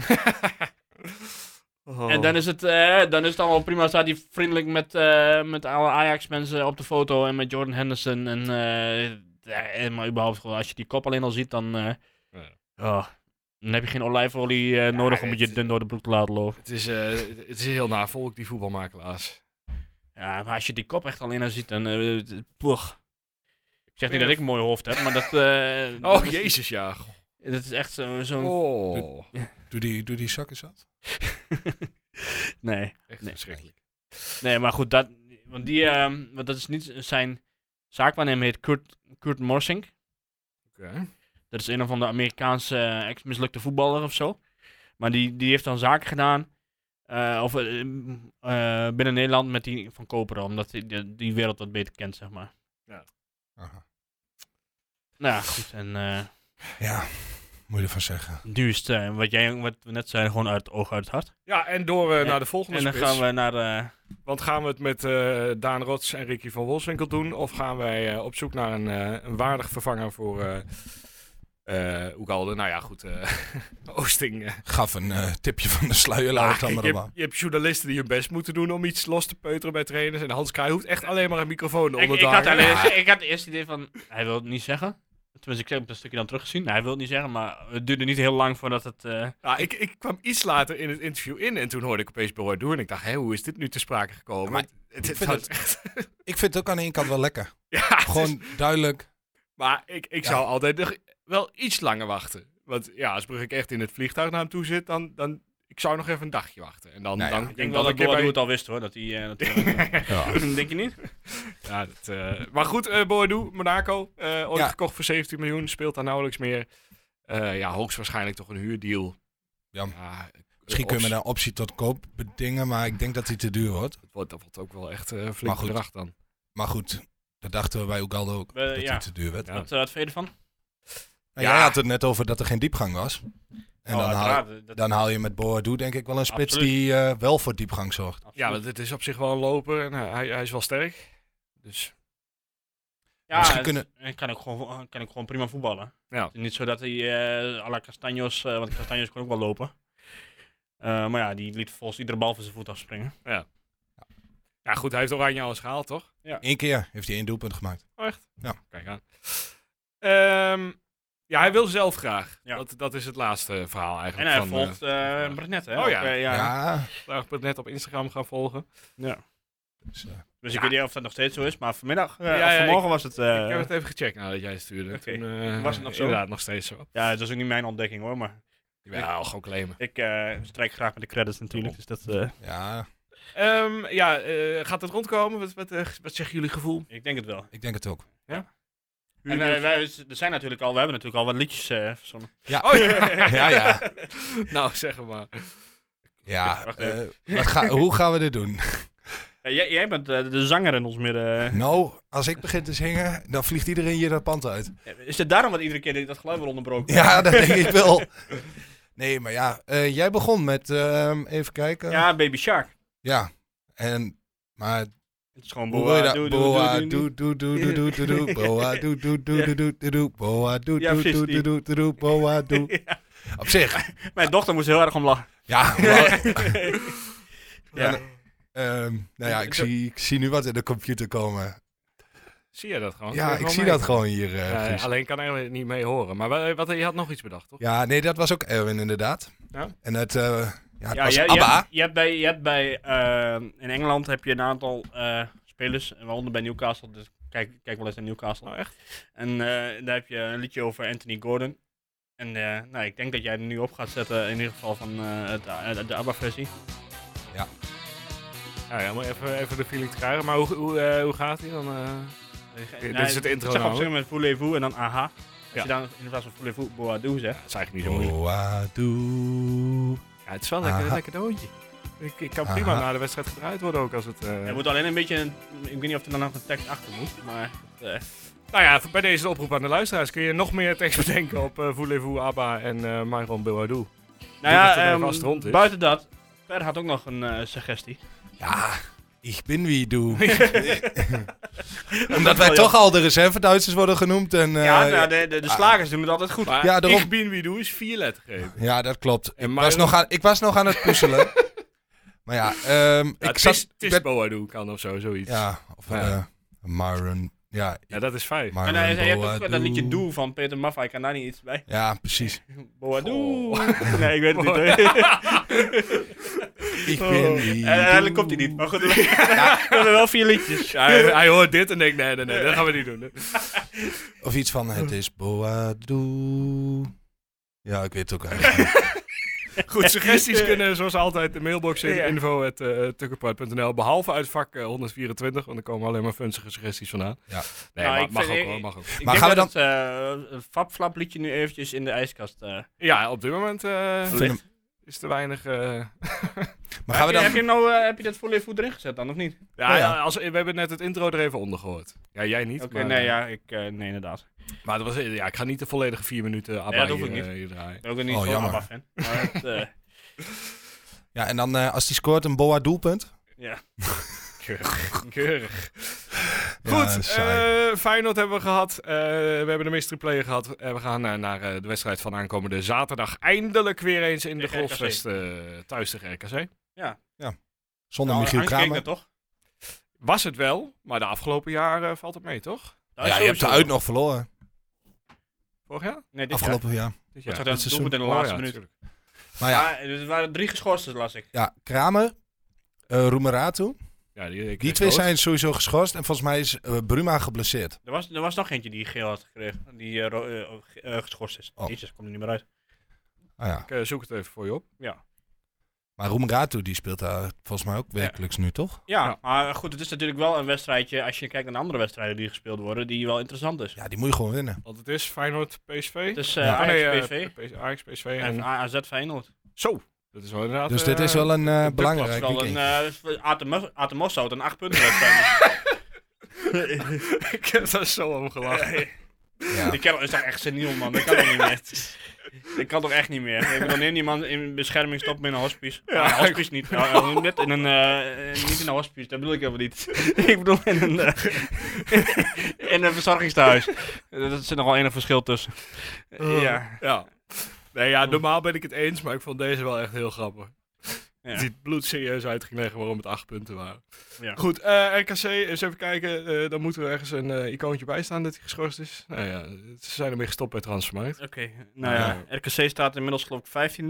[SPEAKER 5] En dan is, het, eh, dan is het allemaal prima. Staat hij vriendelijk met, eh, met alle Ajax-mensen op de foto en met Jordan Henderson. En, eh, eh, maar überhaupt, gewoon, als je die kop alleen al ziet, dan, eh,
[SPEAKER 1] Ja.
[SPEAKER 5] oh, dan heb je geen olijfolie eh, nodig om
[SPEAKER 1] het-
[SPEAKER 5] het je dun door de broek te laten lopen.
[SPEAKER 1] het, is, eh, het is heel naar volk, die voetbalmakelaars.
[SPEAKER 5] Ja, maar als je die kop echt alleen al ziet, dan... eh, eh, poeh. Ik zeg niet
[SPEAKER 1] Ja.
[SPEAKER 5] dat ik een mooi hoofd heb, maar dat... eh,
[SPEAKER 1] Oh,
[SPEAKER 5] dat is-
[SPEAKER 1] jezus, ja.
[SPEAKER 5] Dat is echt zo- zo'n...
[SPEAKER 1] Oh,
[SPEAKER 4] Doe die, doe die zak eens af.
[SPEAKER 5] nee.
[SPEAKER 1] echt
[SPEAKER 5] Nee.
[SPEAKER 1] verschrikkelijk.
[SPEAKER 5] Nee, maar goed, dat, want die, ehm, want dat is niet zijn zaakwaarnemer heet Kurt, Kurt Morsink.
[SPEAKER 1] Oké.
[SPEAKER 5] Dat is een of andere Amerikaanse eh, ex-mislukte voetballer of zo. Maar die, die heeft dan zaken gedaan. eh, of, eh, mm, eh, binnen Nederland met die van Koperen. Omdat hij die, die wereld wat beter kent, zeg maar.
[SPEAKER 4] Aha.
[SPEAKER 5] Nou ja, goed. En eh
[SPEAKER 4] Ja, moet je ervan zeggen.
[SPEAKER 5] nu is het, eh, wat, jij, wat we net zeiden, gewoon uit het oog, uit het hart.
[SPEAKER 1] Ja, en door eh,
[SPEAKER 5] En-
[SPEAKER 1] naar de volgende
[SPEAKER 5] En dan
[SPEAKER 1] spits.
[SPEAKER 5] gaan we naar... eh,
[SPEAKER 1] Want gaan we het met eh, Daan Rots en Ricky van Wolfswinkel doen? Of gaan wij eh, op zoek naar een, eh, een waardig vervanger voor eh eh Oegalde? Nou ja, goed. eh, Oosting. eh.
[SPEAKER 4] Gaf een eh, tipje van de sluier, laat het
[SPEAKER 1] Ah,
[SPEAKER 4] allemaal
[SPEAKER 1] je,
[SPEAKER 4] maar.
[SPEAKER 1] hebt, je hebt journalisten die hun best moeten doen om iets los te peuteren bij trainers. En Hans Krij hoeft echt alleen maar een microfoon
[SPEAKER 5] ik,
[SPEAKER 1] onder
[SPEAKER 5] ik,
[SPEAKER 1] te
[SPEAKER 5] had
[SPEAKER 1] hangen.
[SPEAKER 5] alleen, ik had het eerste idee van... Hij wil het niet zeggen. Tenminste, ik heb het een stukje dan teruggezien. Nou, hij wil het niet zeggen, maar het duurde niet heel lang voordat het... eh,
[SPEAKER 1] Ja, ik, ik kwam iets later in het interview in en toen hoorde ik opeens Boer Doer. En ik dacht, hé, hoe is dit nu te sprake gekomen?
[SPEAKER 4] Ja, maar
[SPEAKER 1] het,
[SPEAKER 4] ik vind
[SPEAKER 1] had echt-
[SPEAKER 4] Ik vind het ook aan de ene kant wel lekker.
[SPEAKER 1] ja, het is-
[SPEAKER 4] Gewoon duidelijk.
[SPEAKER 1] Maar ik, ik
[SPEAKER 4] Ja.
[SPEAKER 1] zou altijd nog wel iets langer wachten. Want ja, als Brugge echt in het vliegtuig naar hem toe zit, dan, dan ik zou nog even een dagje wachten. En dan,
[SPEAKER 4] Nou ja,
[SPEAKER 1] dan
[SPEAKER 5] ik denk wel dat
[SPEAKER 1] een
[SPEAKER 5] Boadu
[SPEAKER 1] keer
[SPEAKER 5] het al wist, hoor. Dat hij... eh, dat hij-
[SPEAKER 4] Ja.
[SPEAKER 5] denk je niet?
[SPEAKER 1] Ja, dat, eh, maar goed, eh Boadu, Monaco, eh, ooit
[SPEAKER 4] Ja.
[SPEAKER 1] gekocht voor 17 miljoen, speelt daar nauwelijks meer. Eh, ja, hoogstwaarschijnlijk toch een huurdeal.
[SPEAKER 4] Ja.
[SPEAKER 1] Ja, eh,
[SPEAKER 4] Misschien kunnen
[SPEAKER 1] of-
[SPEAKER 4] we daar optie tot koop bedingen, maar ik denk dat die te duur wordt.
[SPEAKER 1] Dat wordt, dat wordt ook wel echt eh, een
[SPEAKER 4] Maar
[SPEAKER 1] flink
[SPEAKER 4] goed.
[SPEAKER 1] bedrag dan.
[SPEAKER 4] Maar goed, dat dachten we bij Ugaldo ook,
[SPEAKER 5] Eh,
[SPEAKER 4] dat die
[SPEAKER 5] ja.
[SPEAKER 4] te duur werd.
[SPEAKER 1] Ja.
[SPEAKER 5] Wat, eh, wat vind je ervan?
[SPEAKER 4] Nou,
[SPEAKER 1] Ja.
[SPEAKER 4] Jij had het net over dat er geen diepgang was. En
[SPEAKER 1] Oh,
[SPEAKER 4] dan, haal,
[SPEAKER 5] Oh, uiteraard, dat-
[SPEAKER 4] dan haal je met Boadu denk ik wel een spits
[SPEAKER 5] Absoluut.
[SPEAKER 4] die eh, wel voor diepgang zorgt.
[SPEAKER 5] absoluut.
[SPEAKER 1] Ja, want het is op zich wel een loper en eh, hij, hij is wel sterk. Dus
[SPEAKER 5] Ja,
[SPEAKER 4] misschien
[SPEAKER 5] het-
[SPEAKER 4] kunnen-
[SPEAKER 5] en kan ik, gewoon, kan ik gewoon prima voetballen.
[SPEAKER 1] Ja.
[SPEAKER 5] Het is Niet zo dat hij eh à la Castanjos, eh, want Castanjos kon ook wel lopen. Eh, maar ja, die liet volgens iedere bal van zijn voet afspringen.
[SPEAKER 1] ja, goed, hij heeft Oranje al eens gehaald, toch?
[SPEAKER 4] Eén keer heeft hij één doelpunt gemaakt.
[SPEAKER 1] Kijk aan. Ehm, ja, hij wil zelf graag.
[SPEAKER 5] Ja.
[SPEAKER 1] Dat, dat is het laatste verhaal
[SPEAKER 5] En
[SPEAKER 1] eigenlijk.
[SPEAKER 5] hij
[SPEAKER 1] van,
[SPEAKER 5] volgt eh Brenet, hè?
[SPEAKER 1] Oh ja.
[SPEAKER 5] Ook, eh,
[SPEAKER 4] Ja.
[SPEAKER 5] ja.
[SPEAKER 1] eh, vandaag ben ik net op Instagram gaan volgen.
[SPEAKER 4] Dus, eh,
[SPEAKER 5] Dus
[SPEAKER 1] Ja.
[SPEAKER 5] ik weet niet of dat nog steeds zo is, maar vanmiddag, eh,
[SPEAKER 1] Ja,
[SPEAKER 5] of
[SPEAKER 1] ja,
[SPEAKER 5] vanmorgen was het... eh,
[SPEAKER 1] ik heb het even gecheckt nadat jij het stuurde.
[SPEAKER 5] Oké.
[SPEAKER 1] Toen, eh,
[SPEAKER 5] Was het nog zo?
[SPEAKER 1] Inderdaad, nog steeds zo.
[SPEAKER 5] Ja, het was ook niet mijn ontdekking hoor, maar
[SPEAKER 1] Ja, al gewoon claimen.
[SPEAKER 5] ik eh, strijk graag met de credits natuurlijk. Dus dat, eh,
[SPEAKER 4] ja,
[SPEAKER 1] Ehm, ja, eh, gaat het rondkomen? Wat, wat, eh, wat zeggen jullie gevoel?
[SPEAKER 5] ik denk het wel.
[SPEAKER 4] ik denk het ook.
[SPEAKER 5] En eh, wij, er zijn natuurlijk al, we hebben natuurlijk al wat liedjes eh verzonnen.
[SPEAKER 1] Oh ja.
[SPEAKER 4] Ja, ja.
[SPEAKER 1] nou, zeg het maar.
[SPEAKER 4] ja
[SPEAKER 5] Wacht even.
[SPEAKER 4] eh, wat ga- hoe gaan we dit doen?
[SPEAKER 5] Eh, jij, jij bent eh, de zanger in ons midden. eh.
[SPEAKER 4] Nou, als ik begin te zingen, dan vliegt iedereen hier dat pand uit.
[SPEAKER 5] Eh, Is het daarom dat iedere keer dat geluid wordt onderbroken?
[SPEAKER 4] Ja, dat denk ik wel. Nee, maar ja, eh, jij begon met, ehm, even kijken.
[SPEAKER 5] Ja, Baby Shark.
[SPEAKER 4] Ja. En, maar
[SPEAKER 5] Het is gewoon
[SPEAKER 4] Boa,
[SPEAKER 5] boa,
[SPEAKER 4] da-
[SPEAKER 5] doe, doe,
[SPEAKER 4] boa,
[SPEAKER 5] doe, doe,
[SPEAKER 4] doe, doe, doe, doe, doe, doe, doe, boa, doe, doe, doe, doe, doe, doe, doe, boa, doe,
[SPEAKER 5] Ja,
[SPEAKER 4] doe,
[SPEAKER 5] precies
[SPEAKER 4] doe,
[SPEAKER 5] die.
[SPEAKER 4] doe, doe, doe, doe, boa, doe.
[SPEAKER 5] doe. Ja,
[SPEAKER 4] Op zich,
[SPEAKER 5] Mijn dochter moest heel erg om lachen.
[SPEAKER 4] ja. wel,
[SPEAKER 5] Ja.
[SPEAKER 4] ehm, nou ja, ik zie, ik zie nu wat in de computer komen.
[SPEAKER 1] Zie je dat
[SPEAKER 5] Oh,
[SPEAKER 1] gewoon? Kun
[SPEAKER 4] Ja,
[SPEAKER 1] je
[SPEAKER 4] ik zie
[SPEAKER 1] mee?
[SPEAKER 4] dat gewoon hier, eh,
[SPEAKER 1] Ja,
[SPEAKER 4] Guus.
[SPEAKER 1] alleen kan hij niet mee horen. Maar wa- wat, je had nog iets bedacht, toch?
[SPEAKER 4] Ja, nee, dat was ook Erwin inderdaad.
[SPEAKER 1] Ja.
[SPEAKER 4] En het, eh, ja, het
[SPEAKER 5] Ja,
[SPEAKER 4] was
[SPEAKER 5] je, je,
[SPEAKER 4] ABBA.
[SPEAKER 5] hebt, je hebt bij, je hebt bij eh, in Engeland heb je een aantal eh, spelers, en waaronder bij Newcastle. Dus kijk, kijk wel eens naar Newcastle. nou,
[SPEAKER 1] Oh, echt?
[SPEAKER 5] En eh, daar heb je een liedje over Anthony Gordon. En eh, nou, ik denk dat jij hem nu op gaat zetten, in ieder geval van eh, het, eh, de ABBA-versie.
[SPEAKER 4] Ja.
[SPEAKER 1] Ja, ja, maar even, even de feeling te krijgen. Maar hoe, hoe, eh, hoe gaat die dan? eh? dit is het intro
[SPEAKER 5] Ik zag op
[SPEAKER 1] nou,
[SPEAKER 5] zich met voulez-vous en dan aha. Als
[SPEAKER 1] Ja.
[SPEAKER 5] je dan in plaats van voulez-vous boadou zegt.
[SPEAKER 1] Dat is eigenlijk niet
[SPEAKER 4] Oh.
[SPEAKER 1] zo moeilijk.
[SPEAKER 4] ah, Boadoe.
[SPEAKER 1] Ja, het is wel lekker,
[SPEAKER 4] Aha.
[SPEAKER 1] lekker doontje. Ik, ik kan
[SPEAKER 4] Aha.
[SPEAKER 1] prima na de wedstrijd gedraaid worden ook als het... eh,
[SPEAKER 5] Er moet alleen een beetje, een- ik weet niet of er dan nog een tekst achter moet, maar... eh,
[SPEAKER 1] Nou ja, bij deze de oproep aan de luisteraars. Kun je nog meer tekst bedenken op eh Voulez-vous, Abba en eh Myron Bilhardou? dat
[SPEAKER 5] nou
[SPEAKER 1] er
[SPEAKER 5] ja,
[SPEAKER 1] een
[SPEAKER 5] ehm,
[SPEAKER 1] vast rond is.
[SPEAKER 5] buiten dat, Per had ook nog een eh, suggestie.
[SPEAKER 4] Ja, ik ben wie doe. Omdat wij toch al de reserve-Duitsers worden genoemd. En, eh,
[SPEAKER 5] ja, nou, de, de, de slagers doen het altijd goed.
[SPEAKER 1] Maar
[SPEAKER 4] Ja, daarom. Ah.
[SPEAKER 1] ik bin wie doe is vier lettergrepen.
[SPEAKER 4] ja, dat klopt.
[SPEAKER 1] En
[SPEAKER 4] Ik was, nog aan, ik was nog aan het puzzelen. maar ja, ehm, ik zat... ik ben-
[SPEAKER 1] Boadu kan of zo, zoiets. Ja,
[SPEAKER 4] ja, of
[SPEAKER 1] Ja.
[SPEAKER 4] eh, Myron... Ja,
[SPEAKER 1] dat is fijn.
[SPEAKER 4] Myron
[SPEAKER 5] en hij zei, je hebt ook
[SPEAKER 4] Boadu.
[SPEAKER 5] dat liedje Doe van Peter Maffay, kan daar niet iets bij?
[SPEAKER 4] Ja, precies.
[SPEAKER 5] Boadou.
[SPEAKER 1] Goh.
[SPEAKER 5] Nee, ik weet het niet.
[SPEAKER 4] Ik ben wie
[SPEAKER 5] Oh. En uiteindelijk komt hij niet, maar goed. we hebben wel vier liedjes. Ja,
[SPEAKER 1] Hij, hij hoort dit en denkt, nee, nee, nee, dat gaan we niet doen.
[SPEAKER 4] Of iets van het is Boadu. Ja, ik weet het ook eigenlijk. niet.
[SPEAKER 1] Goed,
[SPEAKER 5] Eh,
[SPEAKER 1] suggesties kunnen zoals altijd de mailbox in eh,
[SPEAKER 5] Ja.
[SPEAKER 1] info.tukkenpart.nl. behalve uit vak eh, 124, want er komen alleen maar funzige suggesties vandaan.
[SPEAKER 4] Ja.
[SPEAKER 1] Nee,
[SPEAKER 5] Nou,
[SPEAKER 1] maar-
[SPEAKER 5] ik
[SPEAKER 1] mag,
[SPEAKER 5] vind-
[SPEAKER 1] ook, hoor, mag ook.
[SPEAKER 5] Ik
[SPEAKER 4] Maar
[SPEAKER 5] denk
[SPEAKER 4] gaan we
[SPEAKER 5] dat het eh, Fab-Flap liedje nu eventjes in de ijskast eh
[SPEAKER 1] Ja, op dit moment eh,
[SPEAKER 5] ligt.
[SPEAKER 1] is te weinig... eh,
[SPEAKER 4] Maar gaan we dan...
[SPEAKER 5] Heb je, nou, eh, heb je dat volle voet erin gezet dan, of niet?
[SPEAKER 1] Ja,
[SPEAKER 4] Nou ja.
[SPEAKER 1] ja, Als, we hebben net het intro er even onder gehoord. Ja, jij niet.
[SPEAKER 5] Oké,
[SPEAKER 1] maar,
[SPEAKER 5] nee, ja, ik, eh, nee, inderdaad.
[SPEAKER 1] maar dat was, ja, ik ga niet de volledige vier minuten ABBA
[SPEAKER 5] Ja, dat hoef
[SPEAKER 1] hier,
[SPEAKER 5] ik
[SPEAKER 1] eh, hier draaien.
[SPEAKER 5] Ik ben ook niet
[SPEAKER 4] Oh,
[SPEAKER 5] zo'n
[SPEAKER 4] jammer.
[SPEAKER 5] ABBA-fan. Maar het, eh,
[SPEAKER 4] Ja, en dan eh, als die scoort een Boa doelpunt.
[SPEAKER 5] ja.
[SPEAKER 1] Keurig.
[SPEAKER 4] Ja,
[SPEAKER 1] Goed,
[SPEAKER 4] saai.
[SPEAKER 1] eh, Feyenoord hebben we gehad. Eh, we hebben de mystery player gehad. en we gaan eh, naar eh, de wedstrijd van aankomende zaterdag. Eindelijk weer eens in de
[SPEAKER 5] Tegen RKC.
[SPEAKER 1] golfvest eh, thuis tegen RKC.
[SPEAKER 4] Zonder Michiel
[SPEAKER 5] Hans keek
[SPEAKER 4] Kramer.
[SPEAKER 5] er nou, toch?
[SPEAKER 1] Was het wel, maar de afgelopen jaren eh, valt het mee, toch?
[SPEAKER 5] Dat is
[SPEAKER 4] ja,
[SPEAKER 5] Nou,
[SPEAKER 4] je hebt
[SPEAKER 5] sowieso.
[SPEAKER 4] de uit nog verloren.
[SPEAKER 1] Vorig jaar?
[SPEAKER 5] Nee, dit jaar.
[SPEAKER 4] Afgelopen jaar.
[SPEAKER 1] Dit
[SPEAKER 5] Wat
[SPEAKER 1] jaar.
[SPEAKER 5] zou dat
[SPEAKER 4] seizoen.
[SPEAKER 5] doelpunt in de
[SPEAKER 1] Oh,
[SPEAKER 5] laatste
[SPEAKER 1] ja,
[SPEAKER 5] minuut?
[SPEAKER 1] tuurlijk.
[SPEAKER 4] Maar ja,
[SPEAKER 5] Ja, er waren drie geschorsten, las ik.
[SPEAKER 4] ja Kramer, eh Roemeratu.
[SPEAKER 1] Ja, die, ik
[SPEAKER 4] Die
[SPEAKER 1] kreeg
[SPEAKER 4] twee
[SPEAKER 1] rood.
[SPEAKER 4] zijn sowieso geschorst. En volgens mij is eh, Bruma geblesseerd.
[SPEAKER 5] Er was, er was nog eentje die geel had gekregen, die eh, ro- eh, oh, ge- eh, geschorst is.
[SPEAKER 4] Oh.
[SPEAKER 5] Jezus, komt er niet meer uit.
[SPEAKER 4] Ah ja.
[SPEAKER 1] Ik eh, zoek het even voor je op.
[SPEAKER 4] Maar Roemeratu die speelt daar volgens mij ook wekelijks nu, toch?
[SPEAKER 5] Ja,
[SPEAKER 1] Ja.
[SPEAKER 5] maar goed, het is natuurlijk wel een wedstrijdje, als je kijkt naar de andere wedstrijden die gespeeld worden, die wel interessant is.
[SPEAKER 4] Ja, die moet je gewoon winnen.
[SPEAKER 1] Want het is Feyenoord PSV.
[SPEAKER 5] Het is eh
[SPEAKER 4] Ja.
[SPEAKER 1] Ah, nee, eh,
[SPEAKER 5] Ajax, PSV
[SPEAKER 1] P- Ajax, PSV en
[SPEAKER 5] en AZ Feyenoord.
[SPEAKER 1] Zo, dat is wel inderdaad.
[SPEAKER 4] Dus dit is wel een eh,
[SPEAKER 5] Dat is
[SPEAKER 4] belangrijk
[SPEAKER 5] wel een
[SPEAKER 4] weekend.
[SPEAKER 5] eh, Atemos- Atemos zou het een 8 punten wedstrijd.
[SPEAKER 1] ik heb daar zo om gelachen.
[SPEAKER 4] Ja.
[SPEAKER 5] Die kerel is daar echt seniel, man. Dat kan toch niet meer. Dat kan toch echt niet meer. Ik bedoel, neem die man in bescherming, stop hem in een hospice. Ja, hospice niet. Ja, eh, net in een, eh, eh, niet in een hospice, dat bedoel ik helemaal niet. ik bedoel in een, eh, in een verzorgingstehuis. Er zit nogal enig verschil tussen.
[SPEAKER 4] Eh,
[SPEAKER 5] ja.
[SPEAKER 1] ja. Nee, ja, normaal ben ik het eens, maar ik vond deze wel echt heel grappig.
[SPEAKER 5] Ja.
[SPEAKER 1] Die het bloed serieus uit ging leggen waarom het acht punten waren.
[SPEAKER 5] Ja.
[SPEAKER 1] Goed, eh, RKC, eens even kijken. eh, dan moet er ergens een eh, icoontje bij staan dat hij geschorst is. Nou ja, ze zijn ermee gestopt bij Transfermarkt.
[SPEAKER 5] Oké, nou ja.
[SPEAKER 1] Ja.
[SPEAKER 5] RKC staat inmiddels geloof ik 15e.